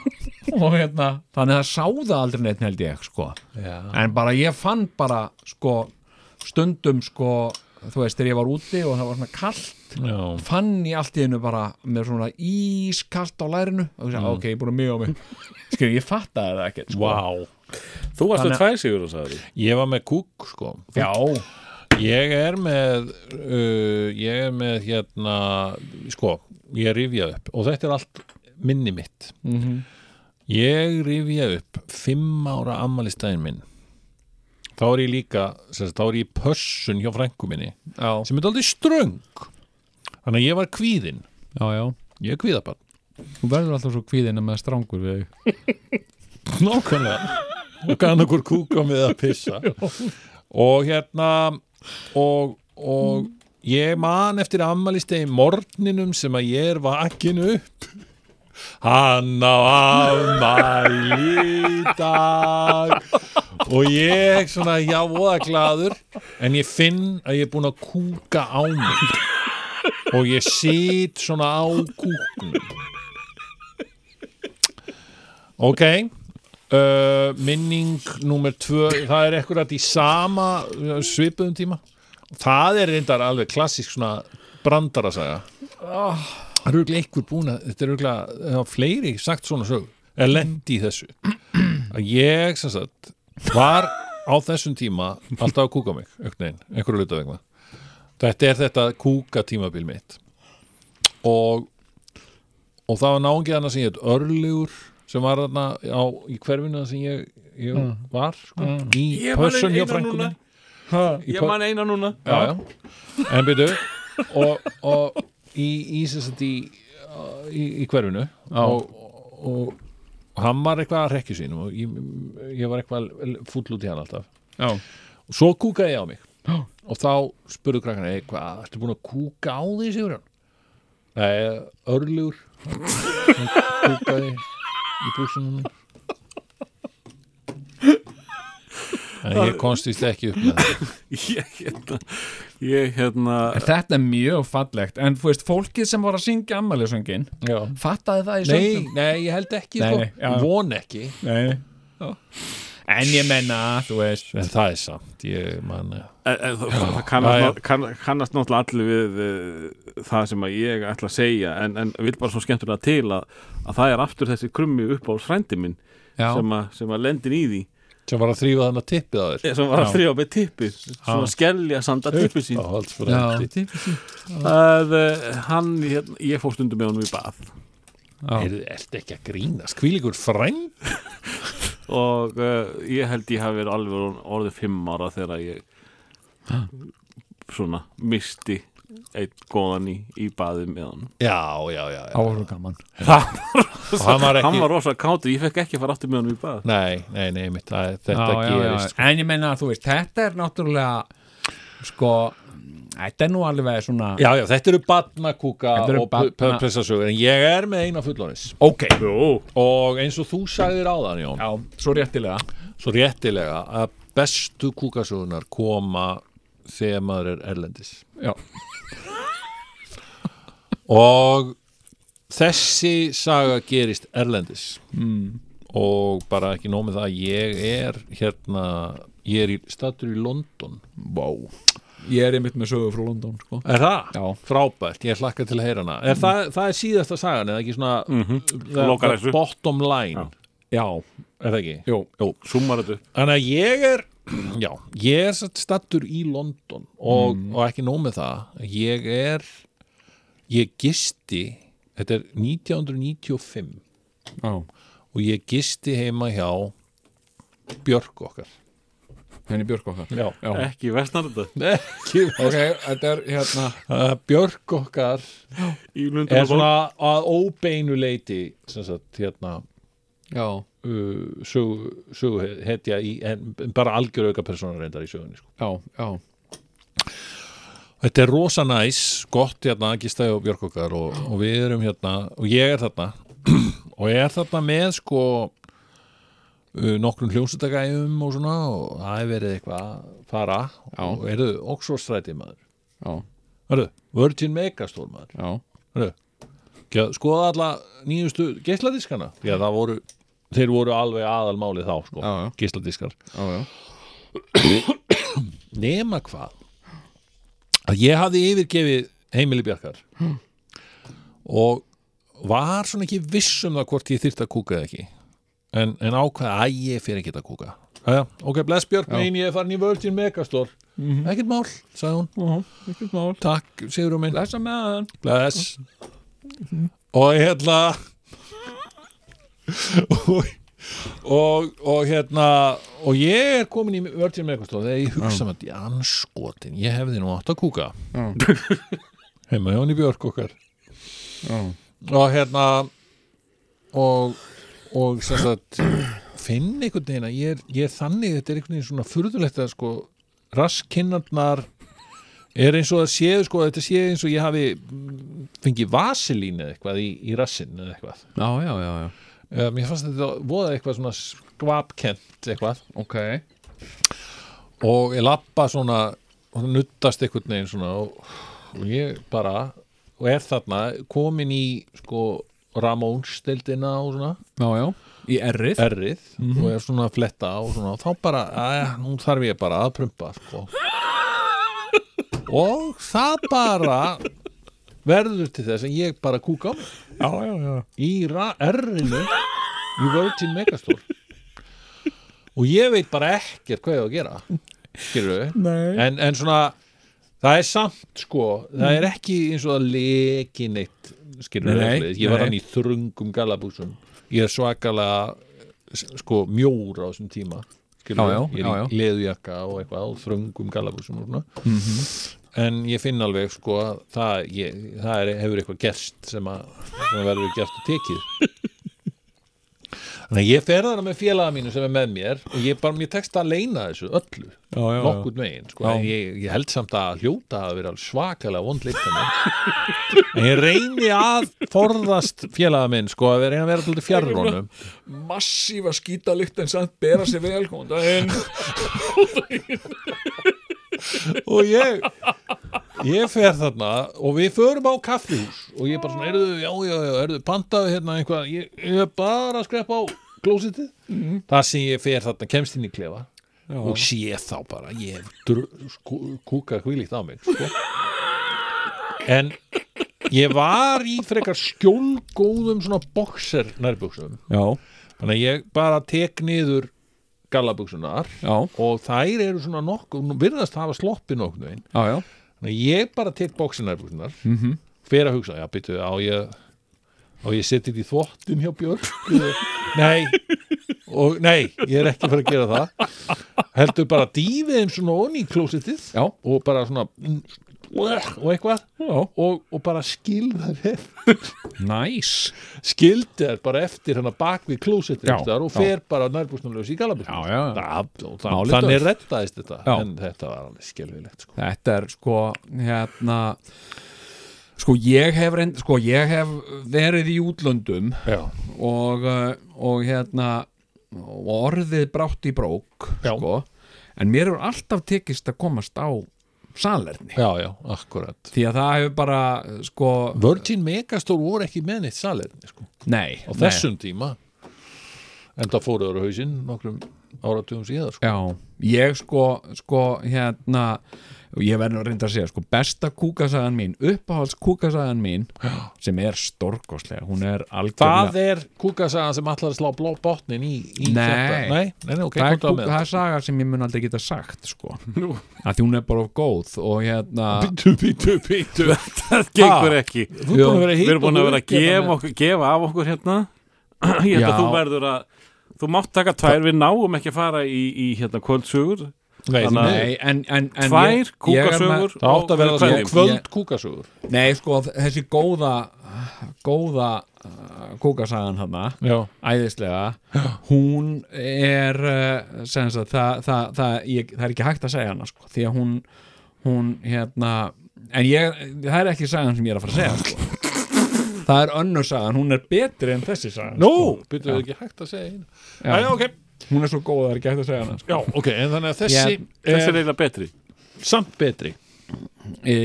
Speaker 3: <laughs> og hérna þannig að sá það aldrei neitt held ég sko
Speaker 2: já,
Speaker 3: en bara ég fann bara sko stundum sko þú veist þegar ég var úti og það var svona kalt
Speaker 2: já.
Speaker 3: fann ég allt í einu bara með svona ískalt á lærinu og ég sagði ok, ég er búin að mjög á mig skil, ég fattaði það ekkert sko.
Speaker 2: Vá,
Speaker 4: Þú varst með tvær sigur og sagði
Speaker 2: ég var með kúk sko
Speaker 3: já,
Speaker 2: Ég er með uh, ég er með hérna sko, ég rifjað upp og þetta er allt minni mitt Ég rifjað upp fimm ára ammælistæðin minn Þá er ég líka sem sagt, þá er ég í pössun hjá frænku minni
Speaker 3: já,
Speaker 2: sem er aldrei ströng Þannig að ég var kvíðinn
Speaker 3: já, já
Speaker 2: ég er kvíðabann
Speaker 3: þú verður alltaf svo kvíðina með strangur við þig
Speaker 2: Nákvæmlega og kann okkur kúka með að pissa og hérna og, og ég man eftir ammælistegi morgninum sem að ég er vakin upp hann á ammæli í dag og ég svona já voða gladur en ég finn að ég er búin að kúka á mig og ég sit svona á kúknum ok Uh, minning númer tvö það er ekkur í sama uh, svipuðum tíma það er reyndar alveg klassisk svona brandar að sagja það er auðvitað einhver búin að þetta er auðvitað fleiri sagt svona sög er lendi í þessu að ég sem sagt var á þessum tíma alltaf að kúka mig auknein, einhverju luta vegna þetta er þetta kúka tímabil mitt og og það var náungið hana sem ég heit Örlugur sem var þarna á, í hverfinu þar sem ég, ég var sko, í
Speaker 4: Ég man
Speaker 2: pössun hjá
Speaker 4: eina
Speaker 2: frænku
Speaker 4: núna.
Speaker 2: minni.
Speaker 4: ég
Speaker 2: Í
Speaker 4: Ég
Speaker 2: pö-
Speaker 4: man eina núna
Speaker 2: já, já. en byrju og, og í, í, sem sagt í, í, í hverfinu og, og, og hann var eitthvað að rekki sínum og ég, ég var eitthvað fúll út í hann alltaf
Speaker 3: já,
Speaker 2: og svo kúkaði ég á mig og þá spurðu krakkana "Hey, hvað, ertu búin að kúka á því Sigurjón? Nei, örlugur hann kúkaði í búsunum minn en ég konstist ekki upp með það
Speaker 4: <laughs> Ég hérna Ég hérna
Speaker 3: En þetta er mjög fallegt En þú veist, fólkið sem var að syngja ammælisöngin
Speaker 2: Já.
Speaker 3: Fattaði það í
Speaker 2: Nei,
Speaker 3: söngnum
Speaker 2: nei, ég held ekki
Speaker 3: Nei,
Speaker 2: sko.
Speaker 3: nei, já.
Speaker 2: von ekki
Speaker 3: Nei. En ég menna, þú veist
Speaker 2: en það er samt ég man, eh,
Speaker 4: e, e, það, það
Speaker 2: Já, já.
Speaker 4: kannast, kann, kannast náttúrulega allir við e, það sem að ég ætla að segja en, en vil bara svo skemmtur það til að, að það er aftur þessi krummi upp á frændi minn
Speaker 3: Já.
Speaker 4: sem, að, sem að lendir í því
Speaker 2: sem var að þrýfa þannig að tippið á þér
Speaker 4: sem var að þrjá með tippi svona skellja sanda tippi sín
Speaker 2: Uppáhaldsfrændi.
Speaker 4: að eh, hann, hérna, ég fór stundum með honum í bað
Speaker 2: Heyrðu, ertu ekki að grínast hvílíkur frænd
Speaker 4: og uh, ég held ég hafi verið alveg orðin- orðið fimm ára þegar ég svona misti einn góðan í, í baði með hann
Speaker 2: já, já, já, já.
Speaker 3: Áhverju gaman
Speaker 2: og hann var
Speaker 4: hann
Speaker 2: ekki
Speaker 4: var rosa kátur, ég fekk ekki að fara aftur með hann í bað
Speaker 2: Nei, nei, nei, mitt, það, þetta
Speaker 3: já, já, já.
Speaker 9: sko.
Speaker 2: gerist
Speaker 3: En ég menna, þú veist, þetta er náttúrulega Sko Þetta er nú alveg svona
Speaker 2: já, já, þetta eru barnakúka
Speaker 3: Þetta eru
Speaker 2: og barna...
Speaker 3: barna-
Speaker 2: pressasögur en ég er með eina fullónis
Speaker 3: Ok,
Speaker 2: og eins og þú sagðir á þann Jón
Speaker 3: já, svo réttilega
Speaker 2: svo réttilega að bestu kúkasögunar koma þegar maður er erlendis
Speaker 3: Já.
Speaker 2: og þessi saga gerist erlendis mm. og bara ekki nómið það ég er hérna ég er í, stattur í London
Speaker 3: wow. Ég er einmitt með sögu frá London sko.
Speaker 2: Er það?
Speaker 3: Já.
Speaker 2: Frábært, ég hlakka til að heyra hana Er það, það er síðasta sagan, eða ekki svona það-
Speaker 4: Lokar
Speaker 2: það-
Speaker 4: þessu.
Speaker 2: Bottom line,
Speaker 3: Mhm, Já,
Speaker 2: er það ekki?
Speaker 3: jú, jú
Speaker 4: súmar þetta upp
Speaker 2: Þannig að ég er <clears throat> Já, ég er satt stattur í London og,
Speaker 3: Mhm.
Speaker 2: og ekki nóg með það Ég er Ég gisti Þetta er 1995
Speaker 3: Já,
Speaker 2: og ég gisti heima hjá Björk okkar
Speaker 9: henni Björk okkar
Speaker 2: Já.
Speaker 4: ekki vestnarða
Speaker 2: Ekki,
Speaker 9: ok, þetta er hérna
Speaker 2: uh, Björk okkar
Speaker 4: í
Speaker 2: er
Speaker 4: lundunum
Speaker 2: svona að óbeinu leiti sem sagt hérna
Speaker 9: já,
Speaker 2: uh, sögu, sögu hetja í, en bara algjör auka persónar reyndar í sögunni sko.
Speaker 9: já, já,
Speaker 2: Þetta er rosa næs, gott hérna Gistæði og Björk okkar og, og við erum hérna og ég er þarna <clears throat> og ég er þarna með sko uh, nokkrum hljómsutagæfum og svona og það er verið eitthvað að fara
Speaker 9: Já.
Speaker 2: og eruðu Oxfordstræti maður
Speaker 9: já,
Speaker 2: Hörðu, Virgin Megastore maður
Speaker 9: já
Speaker 2: Hörðu, ekki að skoða alla nýjustu geisladiskana Já, það voru, þeir voru alveg aðalmálið þá sko,
Speaker 9: Já, já.
Speaker 2: geisladiskar
Speaker 9: já, já,
Speaker 2: nema hvað að ég hafði yfirgefið heimili bjarkar
Speaker 9: Hmm.
Speaker 2: og var svona ekki viss um það hvort ég þyrfti að kúka eða ekki en, en ákvaði að ég fyrir ekki að kúka Æja, ok, bless Björk mín, ég er farin í Virgin Megastore ekkert mál, sagði hún
Speaker 9: Mhm. ekkert mál
Speaker 2: takk, Sigur minn,
Speaker 9: lesa með hann
Speaker 2: bless og
Speaker 9: <laughs>
Speaker 2: hérna og, og, og hérna og ég er komin í Virgin Megastore þegar ég hugsa með því anskotin ég hefði nú átt að kúka <laughs> heima hjá hann í Björk okkar og hérna og og sem sagt finn einhvern veginn að ég er, ég er þannig þetta er einhvern veginn svona furðulegt að sko raskinnarnar er eins og það séu sko þetta séu eins og ég hafi mm, fengið vaselín eða eitthvað í, í rassinn eða eitthvað
Speaker 9: já, já, já, já,
Speaker 2: um, ég fannst þetta voða eitthvað svona skvapkent eitthvað
Speaker 9: ok
Speaker 2: og ég lappa svona og nuttast einhvern veginn svona og, og ég bara og er þarna komin í sko Ramóns-deildina og svona
Speaker 9: já, já, í errið
Speaker 2: errið og er svona að fletta og svona og þá bara, aðja, nú þarf ég bara að prumpa sko. og það bara verður til þess að ég bara kúka á mig já, já, já. í ra- errinu í Virgin Megastore og ég veit bara ekkert hvað ég á að gera skilur við en, en svona, það er samt sko, það er ekki eins og að leki neitt skilur
Speaker 9: Nei,
Speaker 2: við, ég var
Speaker 9: nei.
Speaker 2: hann í þrungum galabúsum ég er svakalega s- sko mjór á þessum tíma skilur,
Speaker 9: Já, já, já,
Speaker 2: ég
Speaker 9: já.
Speaker 2: er í leðujakka og eitthvað og þröngum galabúsum og svona
Speaker 9: Mhm.
Speaker 2: en ég finn alveg sko að það, ég, það er, hefur eitthvað gerst sem að, sem að verður gert og tekið þannig að ég fer þarna með félaga mínu sem er með mér og ég bara, mér tekst að leina þessu öllu
Speaker 9: já, já, já.
Speaker 2: nokkurn veginn sko. en ég, ég held samt að hljóta að vera alveg svakalega vond
Speaker 9: <laughs>
Speaker 2: leikta en ég reyni að forðast félaga minn sko að reyna að vera alltaf fjarrónum
Speaker 9: massífa skítalykt en samt bera sér vel góðan daginn
Speaker 2: og ég ég fer þarna og við förum á kaffihús og ég bara svona, erðu, já, já, já, erðu pantaðu hérna einhvað, ég, ég er bara að skrepa á klósitið, það sem ég fer þarna, kemst inn í klefa og sé þá bara, ég hef dr- skú- kúkað hvílíkt á mig sko. en ég var í frekar skjólgóðum svona boxer nærbuxum
Speaker 9: já,
Speaker 2: þannig að ég bara tek niður gallabuxunar
Speaker 9: já,
Speaker 2: og þær eru svona nokkuð, nú virðast hafa sloppi nokkuð veginn
Speaker 9: já, já
Speaker 2: Þannig að ég bara tek bóksinarbúsinar mm
Speaker 9: Mhm.
Speaker 2: -hmm. fyrir að hugsa, já, byrju, á ég á ég setið í þvottin hjá Björk nei og nei, ég er ekki fyrir að gera það heldur bara dýfið þeim svona onni í klósitið
Speaker 9: Já.
Speaker 2: og bara svona mm, og eitthvað og, og bara skilða þeir
Speaker 9: næs
Speaker 2: skildi þær bara eftir hana bak við klósitið
Speaker 9: Já,
Speaker 2: einhvers staðar og
Speaker 9: já.
Speaker 2: fer bara nærbúsnumlaus í galabús
Speaker 9: Já, já, já. Málið
Speaker 2: þannig
Speaker 9: dælt.
Speaker 2: rettaðist þetta
Speaker 9: Já.
Speaker 2: en þetta var alveg skelfilegt sko.
Speaker 9: Þetta er sko hérna sko ég hef reynd sko ég hef verið í útlöndum
Speaker 2: Já.
Speaker 9: og, uh, og hérna og orðið brátt í brók
Speaker 2: Já.
Speaker 9: sko en mér hefur alltaf tekist að komast á salerni
Speaker 2: já, já, akkurat
Speaker 9: því að það hefur bara uh, sko
Speaker 2: Virgin Megastore voru ekki með neitt salerni sko, á
Speaker 9: nei, nei.
Speaker 2: þessum tíma en það fóruður á hausinn nokkrum áratugum síðar sko.
Speaker 9: Já, ég sko, sko hérna ég verður að reynda að segja, sko, besta kúkasagan mín uppáhalds kúkasagan mín sem er storkoslega, hún er
Speaker 2: það
Speaker 9: algjörlega
Speaker 2: er kúkasagan sem allar að slá blá botnin í, í
Speaker 9: Nei.
Speaker 2: þetta nei, nei, nei, ok,
Speaker 9: það, er
Speaker 2: komdu á
Speaker 9: kúk,
Speaker 2: með
Speaker 9: það er saga sem ég mun aldrei geta sagt sko, að því hún er bara of góð og hérna
Speaker 2: bítu, bítu, bítu
Speaker 4: <laughs> það gengur ekki
Speaker 2: þú erum búin að vera
Speaker 4: við
Speaker 2: hitt
Speaker 4: erum búin að vera að gefa,
Speaker 2: með...
Speaker 4: okkur, gefa af okkur hérna <clears throat> ég held
Speaker 9: Já.
Speaker 4: að þú verður að þú mátt taka tvær, við náum ekki að fara í, í hérna kvöldsögur
Speaker 2: Nei,
Speaker 4: Þannig að-
Speaker 3: Nei, en, en, en ég-
Speaker 4: Tvær
Speaker 3: ég er með-
Speaker 4: kúkasögur
Speaker 2: það átt að vera
Speaker 4: og
Speaker 2: svona
Speaker 4: kveðjum.
Speaker 2: kvöld kúkasögur
Speaker 3: Nei, sko, þessi góða góða uh, kúkasagan hana,
Speaker 2: Já,
Speaker 3: æðislega hún er uh, sem sagt, það, það, það, ég, það er ekki hægt að segja hana, sko, því að hún hún, hérna en ég, það er ekki sagan sem ég er að fara að segja sko. það er önnur sagan hún er betri en þessi sagan
Speaker 2: nú,
Speaker 3: sko.
Speaker 2: byrjuðu ekki hægt að segja hérna
Speaker 3: Já.
Speaker 2: Já, ok,
Speaker 3: hún er svo góð að það er ekki hægt að segja hana sko.
Speaker 2: já, ok, en þannig að þessi
Speaker 3: Ég-
Speaker 4: Þessi er
Speaker 2: er
Speaker 4: eiginlega betri
Speaker 2: samt betri
Speaker 3: e,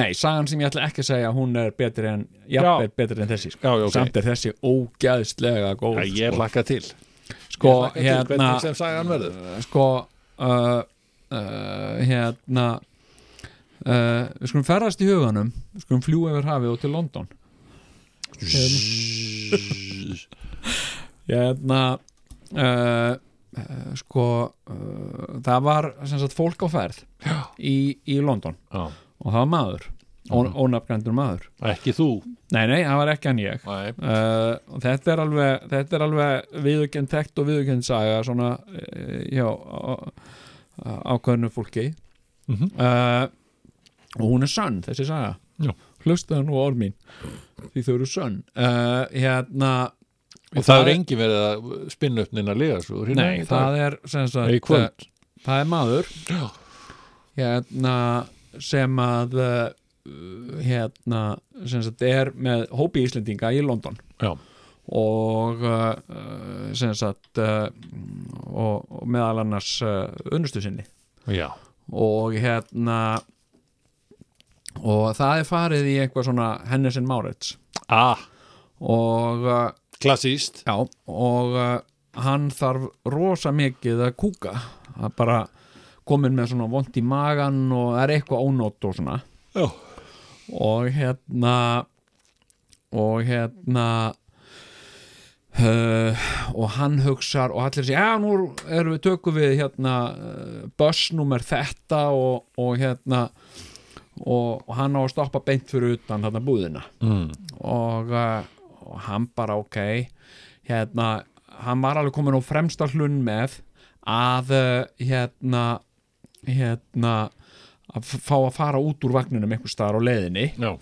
Speaker 3: nei, sagan sem ég ætla ekki að segja hún er betri en, jafnvel betri en þessi sko.
Speaker 2: Já, já, ok.
Speaker 3: samt er þessi ógæðslega góð
Speaker 2: Já, ég
Speaker 3: sko.
Speaker 2: laka til
Speaker 3: sko,
Speaker 2: Laka til
Speaker 3: hérna,
Speaker 2: hvernig sem sagan verður
Speaker 3: sko uh, uh, hérna uh, við skulum ferðast í huganum við skulum fljú yfir hafið og til London hérna uh, uh, sko uh, það var sem sagt fólk á ferð í, í London
Speaker 2: Já.
Speaker 3: og það var maður, ó- ónafngrandur maður
Speaker 2: Ekki þú
Speaker 3: nei, nei, það var ekki hann ég
Speaker 2: Nei.
Speaker 3: uh, og þetta er alveg þetta er alveg viðurkend þekkt og viðurkend saga svona uh, já, á- á- ákveðnu fólki
Speaker 2: Mhm.
Speaker 3: uh, og hún er sönn þessi saga
Speaker 2: Já.
Speaker 3: hlustaðu nú á orð mín því þau eru sönn uh, hérna
Speaker 2: Og það er engi verið að spinna upp neina lega svo
Speaker 3: nei, það er sem sagt,
Speaker 2: Nei, í kvöld.
Speaker 3: uh, það er maður
Speaker 2: Já.
Speaker 3: hérna sem að uh, hérna sem sagt er með hópi Íslendinga í London
Speaker 2: Já.
Speaker 3: og uh, uh, sem sagt uh, og, og meðal annars uh, unnustu sinni
Speaker 2: Já,
Speaker 3: og hérna og það er farið í eitthvað svona Hennessin Márets
Speaker 2: ah,
Speaker 3: og uh,
Speaker 2: klassíst
Speaker 3: Já, og uh, hann þarf rosa mikið að kúka að bara komin með svona vond í magan og það er eitthvað ónótt og svona
Speaker 2: Já.
Speaker 3: og hérna og hérna uh, og hann hugsar og allir sér, já nú erum við tökum við hérna uh, bussnúmer þetta og, og hérna og, og hann á að stoppa beint fyrir utan þarna búðina
Speaker 2: mm.
Speaker 3: og, uh, og hann bara ok hérna, hann var alveg komin á fremsta hlunn með að uh, hérna hérna að f- fá að fara út úr vagninum einhvers staðar á leiðinni
Speaker 2: Já,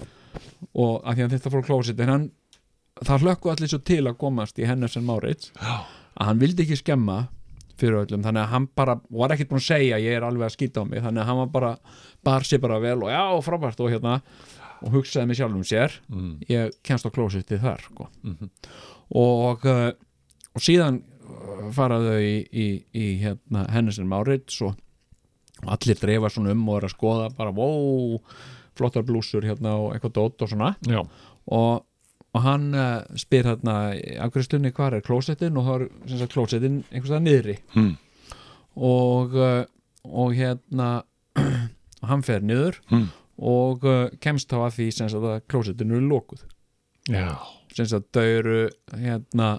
Speaker 3: og að því að þetta fór klósit en hann, það hlökku allir svo til að komast í Hennesson Márits
Speaker 2: Já.
Speaker 3: að hann vildi ekki skemma fyrir öllum þannig að hann bara, og var ekkert búin að segja ég er alveg að skýta á mig, þannig að hann var bara bar sér bara vel og já, frábært og hérna og hugsaði mig sjálfum sér
Speaker 2: Mm. Mhm.
Speaker 3: ég kemst á klósiti þar sko. og uh, og síðan uh, faraðu í, í, í hérna, hennisinn Márits og og allir dreifa svona um og er að skoða bara, wow, flottar blúsur hérna og eitthvað dót og svona
Speaker 2: já,
Speaker 3: og, og hann uh, spyr hérna afgriðslunni hvar er klósettin og það er sem sagt klósettin einhvers það niðri hmm. og uh, og hérna <clears throat> og hann fer niður
Speaker 2: Hmm.
Speaker 3: og uh, kemst þá að því sem sagt að klósettinu er lokuð
Speaker 2: já
Speaker 3: sem sagt þau eru hérna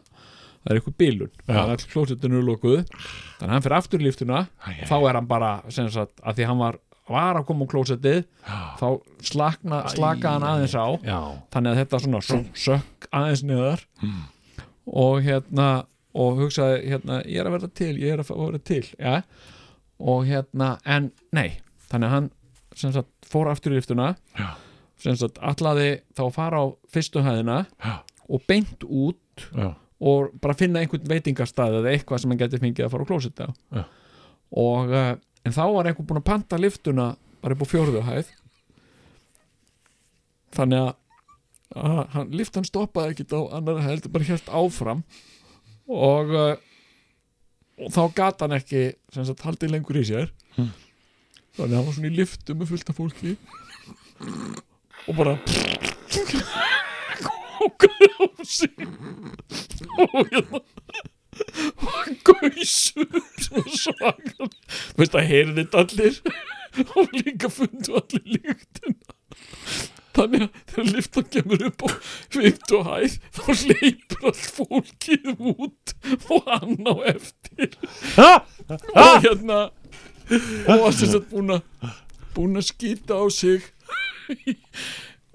Speaker 3: það er eitthvað bílun
Speaker 2: Já.
Speaker 3: það er all klósettinu er lokuð þannig að hann fer aftur í liftuna
Speaker 2: Æ, æ,
Speaker 3: þá er hann bara sem sagt að því hann var var að koma úr klósettið þá slakna, slaka hann aðeins á
Speaker 2: Já,
Speaker 3: þannig að þetta svona sum, sökk aðeins niður
Speaker 2: Hmm.
Speaker 3: og hérna og hugsaði hérna ég er að verða til, ég er að fá að verða til ja? og hérna, en nei þannig að hann sem sagt fór aftur í liftuna
Speaker 2: Já.
Speaker 3: sem sagt allaði þá að fara á fyrstu hæðina
Speaker 2: Já.
Speaker 3: og beint út
Speaker 2: já,
Speaker 3: og bara finna einhvern veitingastað eða eitthvað sem hann geti fengið að fara á klósitt á
Speaker 2: Já.
Speaker 3: og eh, en þá var einhver búin að panta liftuna bara upp á fjórðu hæð þannig að, að hann, liftan stoppaði ekkit á annar hæð bara helt áfram og, eh, og þá gat hann ekki sem sagt haldið lengur í sér
Speaker 2: Hm.
Speaker 3: þannig að hann var svona í liftu með fullt af fólki og bara kókaði á sig og hérna hann gaus upp svo svakan þú veist að heyrði þetta allir og líka fundu allir líktina þannig að þegar liftan kemur upp á 50 hæð þá leipur all fólkið út og hann á eftir og hérna og var sem sagt búin að búin að skýta á sig í,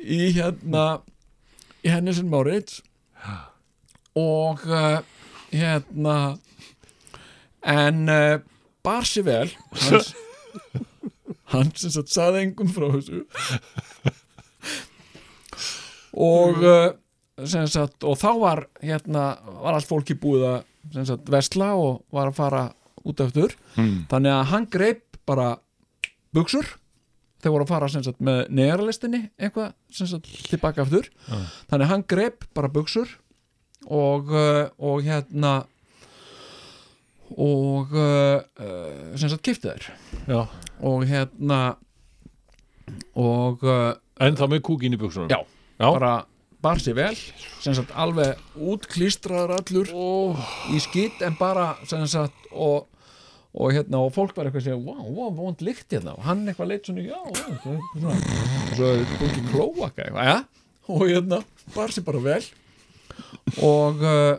Speaker 3: í hérna í hennisinn Márits eh, og uh, hérna en uh, bar sér vel hans, hann sem satt saði engum frá þessu og uh, sem sagt, og þá var hérna, var allt fólki búið að sem sagt, vesla og var að fara út eftir, þannig að hann greip bara buksur þeir voru að fara sem sagt með neðarlistinni eitthvað sem sagt tilbaka aftur þannig að hann greip bara buksur og, uh, og hérna og uh, uh, sem sagt kipti þær
Speaker 2: Já.
Speaker 3: og hérna og uh,
Speaker 2: En þá með kúkin í buksunum
Speaker 3: já, bara bar sér vel sem sagt alveg útklístraður allur í skýt en bara sem sagt og og hérna og fólk var eitthvað að segja wow, wow, vond lykt hérna og hann eitthvað leitt svona já, já, þetta er svona og svo er þetta ekki klóaka eitthvað ja? og hérna, bar sér bara vel og uh,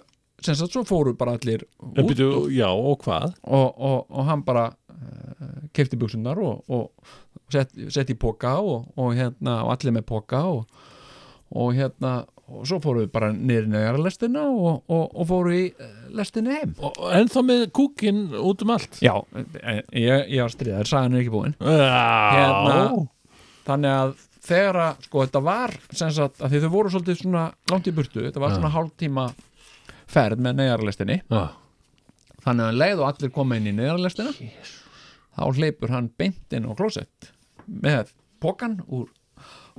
Speaker 3: sem sagt svo fóru bara allir
Speaker 2: En
Speaker 3: út
Speaker 2: býtu, já, og hvað?
Speaker 3: og, og, og hann bara uh, kefti buksunar og, og sett, sett í póka og, og, hérna, og allir með póka og, og hérna og svo fóru við bara niður í nægara lestina og, og, og fóru í eh, lestina heim
Speaker 2: Og, en þá með kúkin út um allt
Speaker 3: já, eh, ég, ég var stríðar, sagan er ekki búin
Speaker 2: Hérna
Speaker 3: Hérna. þannig að þegar að sko þetta var sem sagt að því þau voru svolítið svona langt í burtu, þetta var svona hálftíma ferð með neðarlestinni
Speaker 2: Já.
Speaker 3: þannig að um leið og allir koma inn í neðarlestina þá hleypur hann beint inn á klósett með pokan úr,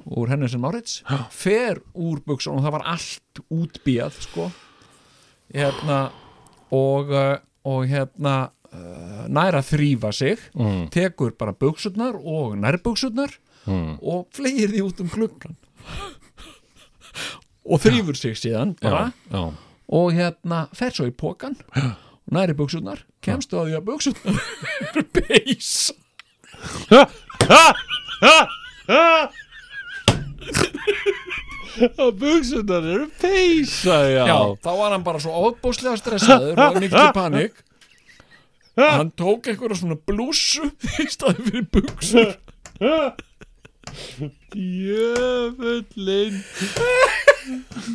Speaker 3: úr henni sem Márits fer úr buksun og það var allt útbíjað sko hérna og, uh, og hérna uh, næra þrýfa sig
Speaker 2: Mm.
Speaker 3: tekur bara buksurnar og nærbuksurnar
Speaker 2: Mm.
Speaker 3: og fleir því út um klukkan og þrýfur sig síðan bara
Speaker 2: Já,
Speaker 3: og hérna fer svo í pókan og næri buksurnar, kemstu að því að buksurnar eru <laughs> beis
Speaker 2: og buksunar eru peysa, já,
Speaker 3: Já, þá var hann bara svo ofbóðslega stressaður og mikil
Speaker 2: <laughs>
Speaker 3: panik að hann tók einhverja svona blússu í staði fyrir buksur
Speaker 2: Jöfullin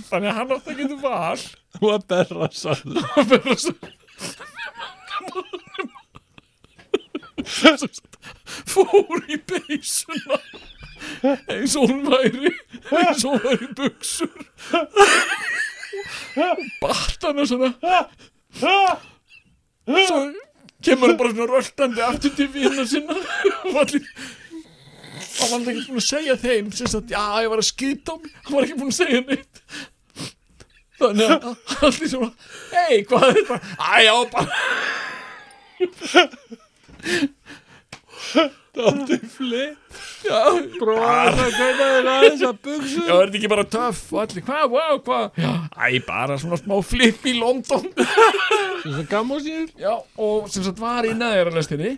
Speaker 3: þannig að hann átti að geta val
Speaker 2: og að berra sann
Speaker 3: fór í beysuna eins og hún væri eins og hún væri buksur bart hana svona svo kemur hann bara svona röltandi aftur til vina sinna og allir hann var ekki búin að segja þeim sem sagt, já, ég var að skýta á mig hann var ekki búin að segja neitt þannig að allir svona hei, hvað er þetta? Æ, já, bara já,
Speaker 2: Bróða, hvernig er aðeins að buksu
Speaker 3: Já, er þetta ekki bara töff og allir, hvað, wow, hvað Já, æ, bara svona smá flip í London
Speaker 2: Svo gamm og sér
Speaker 3: Já, og sem sagt var í neðaralestinni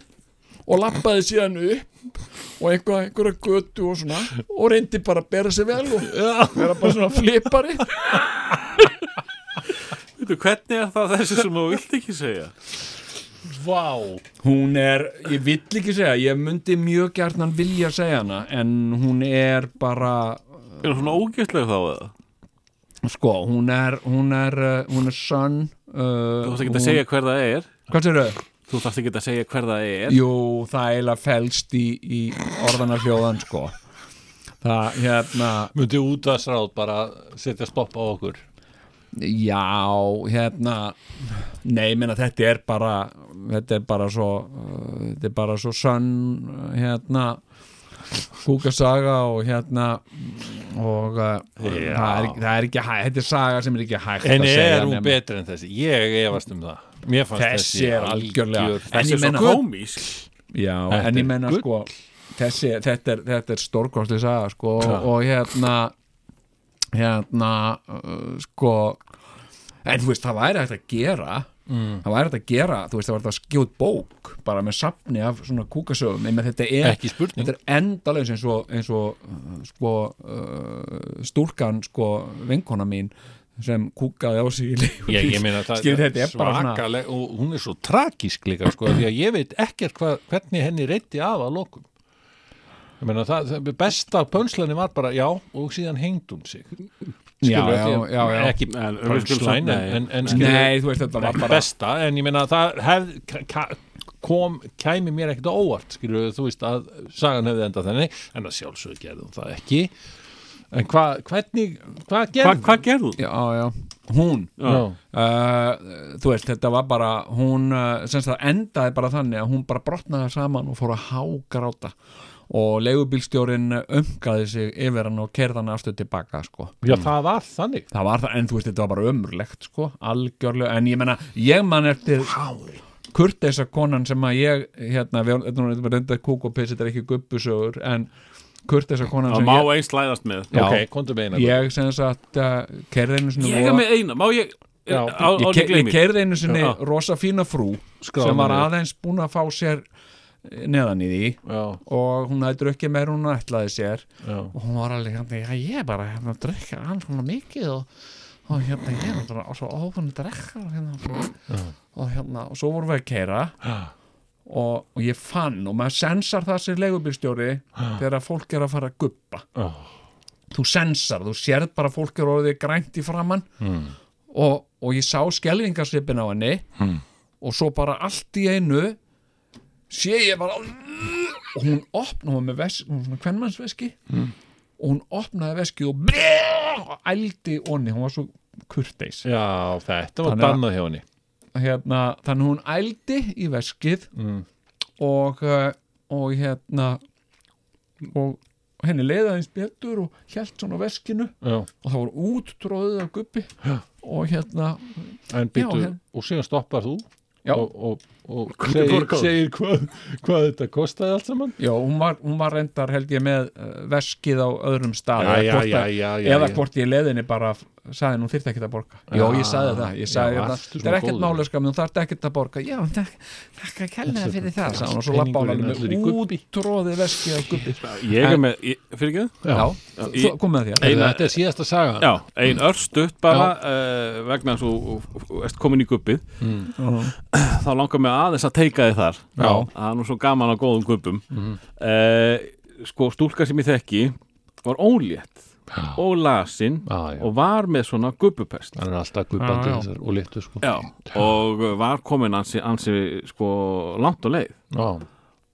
Speaker 3: og lappaði síðan upp og einhver, einhverja götu og svona og reyndi bara að bera sig vel og vera bara svona flipari
Speaker 4: Veitu, hvernig er það þessi sem þú vilt ekki segja?
Speaker 2: Vá
Speaker 3: Hún er, ég vill ekki segja ég myndi mjög gjarnan vilja segja hana en hún er bara
Speaker 4: Er hún svona ógjöflega þá eða?
Speaker 3: sko, hún er hún er, uh, hún er sönn uh,
Speaker 4: Þú þarfst ekki að segja hver það er
Speaker 3: Hvað sér þau?
Speaker 4: Þú þarfst ekki að segja hver það er
Speaker 3: Jú, það eiginlega fælst í, í orðana hljóðan sko Það, hérna,
Speaker 2: Myndi út að sráð bara setja stopp á okkur
Speaker 3: já, hérna Nei, ég meina þetta er bara þetta er bara svo uh, þetta er bara svo sönn uh, hérna kúkasaga og hérna og uh, það,
Speaker 2: Já.
Speaker 3: er, það er ekki hægt þetta er saga sem er ekki hægt
Speaker 2: En
Speaker 3: að
Speaker 2: er
Speaker 3: segja
Speaker 2: hún
Speaker 3: nema-
Speaker 2: betri en þessi? Ég efast um það Mér fannst
Speaker 3: Þessi er algjörlega-
Speaker 2: algjör-
Speaker 3: En ég
Speaker 4: Þessi er svo
Speaker 3: meina-
Speaker 4: komísk
Speaker 3: Já,
Speaker 2: Þetta
Speaker 3: en
Speaker 2: er
Speaker 3: ég menna
Speaker 2: gull.
Speaker 3: sko þessi, þetta er, þetta er stórkostlega saga sko
Speaker 2: Ja.
Speaker 3: og hérna hérna uh, sko en þú veist það væri hægt að gera
Speaker 2: Mm.
Speaker 3: það væri hægt að gera, þú veist það væri hægt að skjóð bók bara með safni af svona kúkasögum en þetta er,
Speaker 2: Ekki spurning.
Speaker 3: þetta er endalaus eins og, eins og uh, sko uh, stúlkan sko vinkona mín sem kúkaði á sig í leigubíl.
Speaker 2: Ég, ég meina það
Speaker 3: Skilur, þetta er bara svona-
Speaker 2: svakaleg og hún er svo tragísk líka sko, því að ég veit ekkert hva, hvernig henni reytti af að lokum ég meina það, það besta pönslæni var bara já og síðan hengd hún sig
Speaker 3: já,
Speaker 2: Skilur,
Speaker 3: já,
Speaker 2: ekki-
Speaker 3: já, já.
Speaker 2: ekki
Speaker 4: En við skulum
Speaker 2: pönslæni
Speaker 4: samt-
Speaker 2: en, en, en skilur,
Speaker 3: Nei, þú veist þetta var bara
Speaker 2: besta en ég meina það hefð ka- ka- kom, kæmi mér ekkert á óvart skilur þú veist að sagan hefði endað þannig en að sjálfsög gerðum það ekki en hvað, hvernig hvað
Speaker 4: Hva,
Speaker 2: gerðum?
Speaker 4: hvað gerðu?
Speaker 3: já, já, hún
Speaker 2: Já.
Speaker 3: uh, þú veist, þetta var bara hún, uh, sem sagt, endaði bara þannig að hún bara brotnaði saman og fór að hágráta og leigubílstjórin umgaði sig yfir hann og kerði hann aftur tilbaka, sko
Speaker 2: já, það var þannig
Speaker 3: það var það, en þú veist, þetta var bara ömurlegt, sko algjörlega, en ég menna, ég man eftir kurteisa konan sem að ég, hérna, við þetta er nú- þetta er reyndað kúk og piss, þetta er ekki gubbusögur en kurteisa konan
Speaker 4: Það
Speaker 3: sem
Speaker 4: má
Speaker 3: ég
Speaker 4: eins læðast með
Speaker 3: Já.
Speaker 2: ok, komdu með eina
Speaker 3: ég sem sagt uh, kerði einu sinni
Speaker 4: Ég er
Speaker 3: voða-
Speaker 4: með eina, má ég
Speaker 2: Já.
Speaker 4: á, á,
Speaker 3: ég,
Speaker 4: ég,
Speaker 3: ke ég
Speaker 4: gleymi.
Speaker 3: kerði einu sinni
Speaker 4: Já.
Speaker 3: rosa fína frú
Speaker 2: Skráði
Speaker 3: sem var
Speaker 2: niður.
Speaker 3: aðeins búin að fá sér eh, neðan í því
Speaker 2: já,
Speaker 3: og hún hafði drukkið meir hún ætlaði sér
Speaker 2: já,
Speaker 3: og hún var alveg hérna, já ég er bara hérna að drukka hann svona mikið og, og hérna ég er bara svo ófunni drekka og hérna, og hérna og svo vorum við að keira og, og ég fann og maður sensar það sem leigubílstjóri þegar að fólk er að fara að guppa
Speaker 2: Já.
Speaker 3: þú sensar, þú sérð bara að fólk er orðið grænt í framann
Speaker 2: Hmm.
Speaker 3: og, og ég sá skelvingarsipin á henni
Speaker 2: Hmm.
Speaker 3: og svo bara allt í einu sé ég bara og hún opna, hún var með vesk, hún var svona kvenmannsveski og hún opnaði veski og og ældi onni, hún var svo kurteis
Speaker 2: já, þetta var
Speaker 3: Þannig að-
Speaker 2: bannað hjá henni
Speaker 3: hérna, þannig hún ældi í veskið
Speaker 2: Mm.
Speaker 3: og eh, og hérna og henni leiði aðeins betur og hjælt svona á veskinu
Speaker 2: já,
Speaker 3: og það voru útróðið af gubbi og hérna,
Speaker 2: en býtu,
Speaker 3: hérna.
Speaker 2: og síðan stoppar þú
Speaker 3: Já.
Speaker 2: og, og, og
Speaker 4: Komdu
Speaker 2: segir,
Speaker 4: borgað.
Speaker 2: segir hvað, hvað þetta kostaði allt saman
Speaker 3: já, hún var, hún var reyndar held ég með eh, veskið á öðrum stað
Speaker 2: já,
Speaker 3: eða
Speaker 2: já,
Speaker 3: hvort
Speaker 2: já,
Speaker 3: að-
Speaker 2: já, já,
Speaker 3: eða
Speaker 2: já.
Speaker 3: hvort ég leðinni bara f- sagði henni, hún þyrfti ekkert að borga já, ég sagði það, ég sagði
Speaker 2: Já,
Speaker 3: það
Speaker 2: varstu
Speaker 3: það er
Speaker 2: svona
Speaker 3: ekkert
Speaker 2: góður.
Speaker 3: málega skam, þú þarft ekkert að borga já, þakka kærlega fyrir það sagði hún og svo lappa hún
Speaker 2: Peningurinn allur í
Speaker 3: alveg með
Speaker 2: gubbi.
Speaker 3: útróðið veskið á gubbi
Speaker 4: ég er með, ég- fyrir ekki það?
Speaker 3: já,
Speaker 4: Í-
Speaker 3: þú kom með þér
Speaker 4: Eina-
Speaker 2: þetta er síðasta saga
Speaker 4: Já,
Speaker 2: Mm.
Speaker 4: ein örstutt bara uh, vegna þess að þú þú- þú ert komin í gubbið <clears throat> þá langar mig aðeins að teika þið þar
Speaker 2: Mm. Já. Mm.
Speaker 4: það er nú svo gaman á góðum gubbum Eh, sko stúlka sem ég þekki var ólétt
Speaker 2: Já.
Speaker 4: og lasin
Speaker 2: Já, já.
Speaker 4: og var með svona gubbupest
Speaker 2: hann er alltaf guppandi þessar og litur sko
Speaker 4: Já, og uh, var komin ansi, ansi sko langt og leið
Speaker 2: já,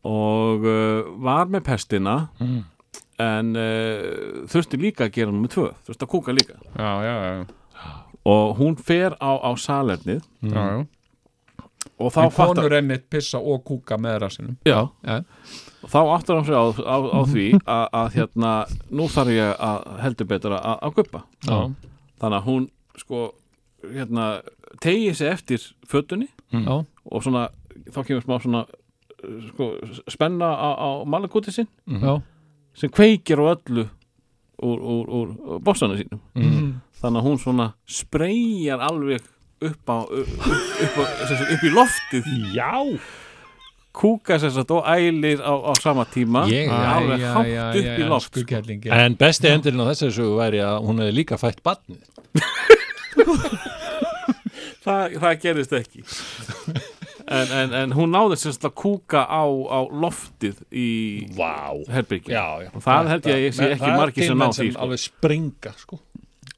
Speaker 4: og uh, var með pestina
Speaker 2: Mm.
Speaker 4: en uh, þurfti líka að gera nummer tvö þurfti að kúka líka
Speaker 11: já, já, já,
Speaker 4: og hún fer á, á salernið
Speaker 11: já, já.
Speaker 4: og þá
Speaker 3: En
Speaker 4: fattar
Speaker 3: konur einmitt pissa og kúka með rassinum
Speaker 4: já,
Speaker 3: Já.
Speaker 4: og þá áttar hann sig á, á, á því að, að hérna, nú þarf ég að heldur betur að, að guppa
Speaker 2: já,
Speaker 4: þannig að hún sko hérna, tegi sig eftir fötunni
Speaker 3: Já.
Speaker 4: og svona, þá kemur smá svona uh, sko, spenna á, á malakúti sinn
Speaker 3: Já.
Speaker 4: sem kveikir á öllu úr, úr, úr bossana sínum
Speaker 3: Mhm.
Speaker 4: þannig að hún svona spreyjar alveg upp á upp, upp, á, sem sagt, upp í loftið
Speaker 2: já.
Speaker 4: kúka sér satt og ælir á, á sama tíma
Speaker 2: Ég-
Speaker 4: alveg
Speaker 3: Æ,
Speaker 4: hátt
Speaker 3: já,
Speaker 4: upp
Speaker 3: já,
Speaker 4: í
Speaker 3: já,
Speaker 4: loft
Speaker 3: elsku
Speaker 4: sko.
Speaker 3: kerlingi.
Speaker 2: En besti endurinn á þessari sögu væri að hún hefði líka fætt barnið.
Speaker 4: það, það gerist ekki en, en, en hún náði sér satt að kúka á, á loftið í
Speaker 2: Vá.
Speaker 4: herbyggja
Speaker 2: Já, já.
Speaker 4: Það held ég að ég sé ekki
Speaker 2: það er
Speaker 4: margir
Speaker 2: til
Speaker 4: sem ná
Speaker 2: menn
Speaker 4: því, sko.
Speaker 2: alveg springa, sko.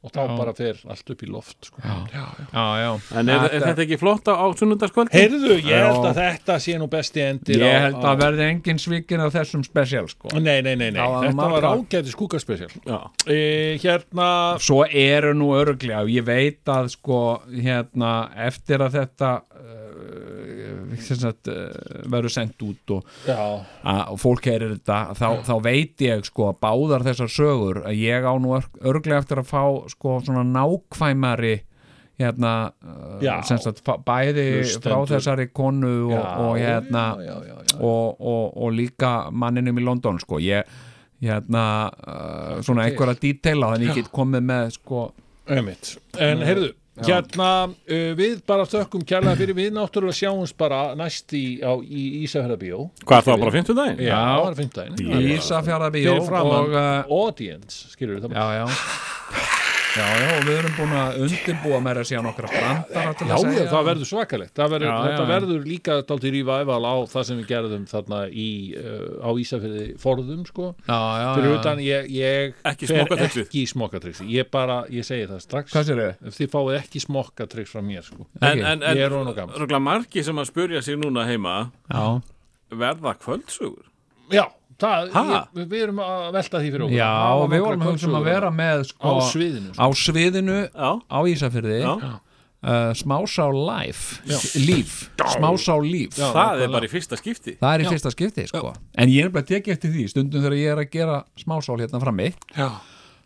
Speaker 2: Og þá bara fer allt upp í loft, sko. Já.
Speaker 11: já, já.
Speaker 4: en er, er þetta ekki flott á, á sunnundaskvöld?
Speaker 2: Heyrðu, ég held að þetta sé nú besti endir
Speaker 3: ég held að verði engin svikin af þessum spesial sko.
Speaker 2: Nei, nei, nei, nei.
Speaker 3: Það var
Speaker 2: Þetta var
Speaker 3: margar.
Speaker 2: ágætis kúkaspecial.
Speaker 4: Já,
Speaker 2: E, hérna,
Speaker 3: svo eru nú örglega ég veit að sko hérna, eftir að þetta uh, sem sagt, uh, verður sendt út og,
Speaker 2: já,
Speaker 3: að, og fólk heyrir þetta þá, þá veit ég sko að báðar þessar sögur að ég á nú örg- örglega eftir að fá sko svona nákvæmari hérna uh,
Speaker 2: Já.
Speaker 3: sem sagt, fá- bæði frá
Speaker 2: Hlustendur.
Speaker 3: þessari konu og,
Speaker 2: já,
Speaker 3: og hérna
Speaker 2: já, já, já, já.
Speaker 3: og, og, og líka manninum í London sko. ég hérna uh, svona einhverja dítela þannig ég get komið með sko
Speaker 2: Einmitt.
Speaker 4: Mm.
Speaker 2: En heyrðu, hérna, uh, við bara þökkum kærlega fyrir við náttúrulega sjáumst bara næst í, á, í Ísafjörðabíó.
Speaker 4: hvað er það bara 50 daginn?
Speaker 2: Já, það var fimmtæðin
Speaker 3: Ísafjara bíó
Speaker 2: Fyrir
Speaker 3: og
Speaker 2: framann
Speaker 3: uh,
Speaker 2: audience, skilur við það
Speaker 3: já já já, já, og við erum búin að undirbúa meira síðan okkra brandara til að
Speaker 2: Já, já,
Speaker 3: segja
Speaker 2: það verður svakalegt Það verður,
Speaker 3: Já,
Speaker 2: þetta
Speaker 3: já, já.
Speaker 2: verður líka dálítið rífæval á það sem við gerðum þarna í, uh, á Ísafirði forðum sko.
Speaker 3: já, já,
Speaker 2: fyrir
Speaker 3: já.
Speaker 2: utan ég, ég
Speaker 4: Ekki
Speaker 2: fer
Speaker 4: smokkatrixið.
Speaker 2: ekki í smokkatrixi ég bara, ég segi það strax
Speaker 3: hvað sér þau?
Speaker 2: ef þið fáið ekki smokkatrix frá mér sko.
Speaker 4: En, en,
Speaker 2: ég
Speaker 4: en
Speaker 2: er honum gammal
Speaker 4: örugglega margir sem að spurja sig núna heima
Speaker 3: Já,
Speaker 4: verða kvöldsögur
Speaker 2: já, það, ég,
Speaker 4: Ha?
Speaker 2: við erum að velta því fyrir okkur
Speaker 3: já
Speaker 2: Hafa
Speaker 3: við
Speaker 2: nokkra
Speaker 3: vorum að hugsa um að
Speaker 2: kvöldsögur
Speaker 3: vera með
Speaker 2: á
Speaker 3: sko,
Speaker 2: sviðinu
Speaker 3: á
Speaker 2: sko.
Speaker 3: sviðinu
Speaker 4: Já,
Speaker 3: á Ísafyrði
Speaker 4: já.
Speaker 3: uh, smásá life líf, smásá líf
Speaker 4: það er bara í fyrsta skipti
Speaker 3: það er í fyrsta skipti sko. en ég er bara að tekja eftir því stundum þegar ég er að gera smásál hérna frammi
Speaker 2: Já.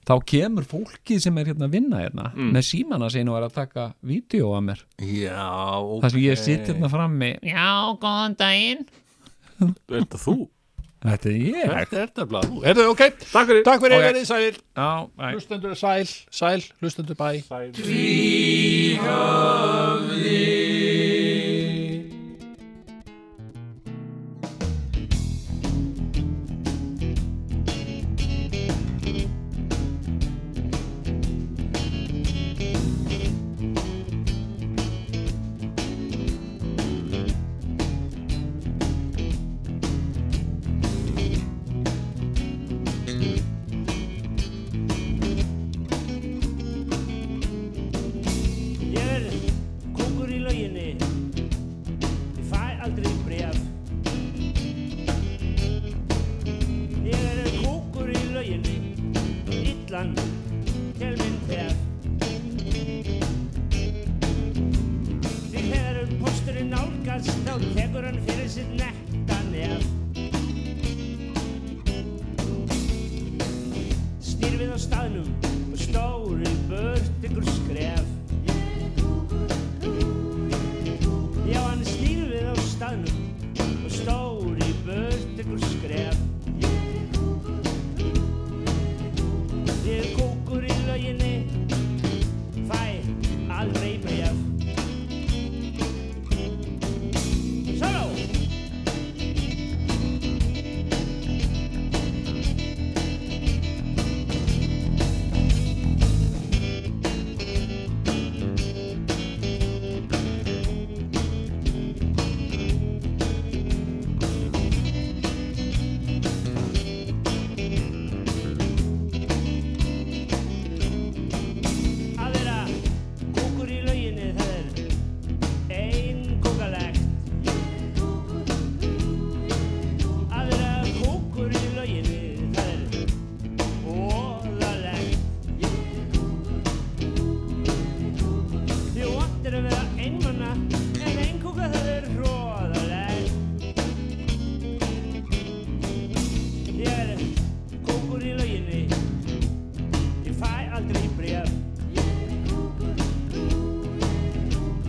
Speaker 3: þá kemur fólkið sem er hérna að vinna hérna með símana sín og er að taka vídeo að mér
Speaker 4: Já, og
Speaker 3: þar sem ég sitt hérna frammi já, góðan daginn
Speaker 4: er þetta þú?
Speaker 3: þetta er ég
Speaker 2: Þetta er þetta blað Erðu, ok, takk fyrir, takk fyrir verið sæl
Speaker 3: já, æ.
Speaker 2: Hlustendur sæl, sæl, hlustendur bæ
Speaker 12: Ég er kongur í lauginni Ég fæ aldrei bref Ég er kongur í lauginni Ítlan til minn tef Þegar posturinn nálgast þá tekur hann fyrir sitt netta nef Snýr við á staðnum og stóri bört ykkur skref Já, hann snýr við á staðnum og stór í börn tekur skref. Ég er kókur í lauginni, fæ aldrei bref. Sóló! Að vera kókur í lauginni, það er ein kókalegt. Að vera kókur í lauginni, það er óðalegt. Þið vantir að vera einmanna, en ein kóka það er hróðalegt. Ég er kókur í lauginni, ég fæ aldrei bref.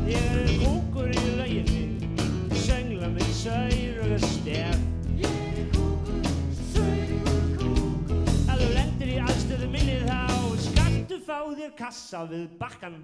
Speaker 12: Ég er kókur í lauginni, söngla með saur og stef. Ef þú lendir í aðstöðu minni þá skaltu fá þér kassa við bakkan.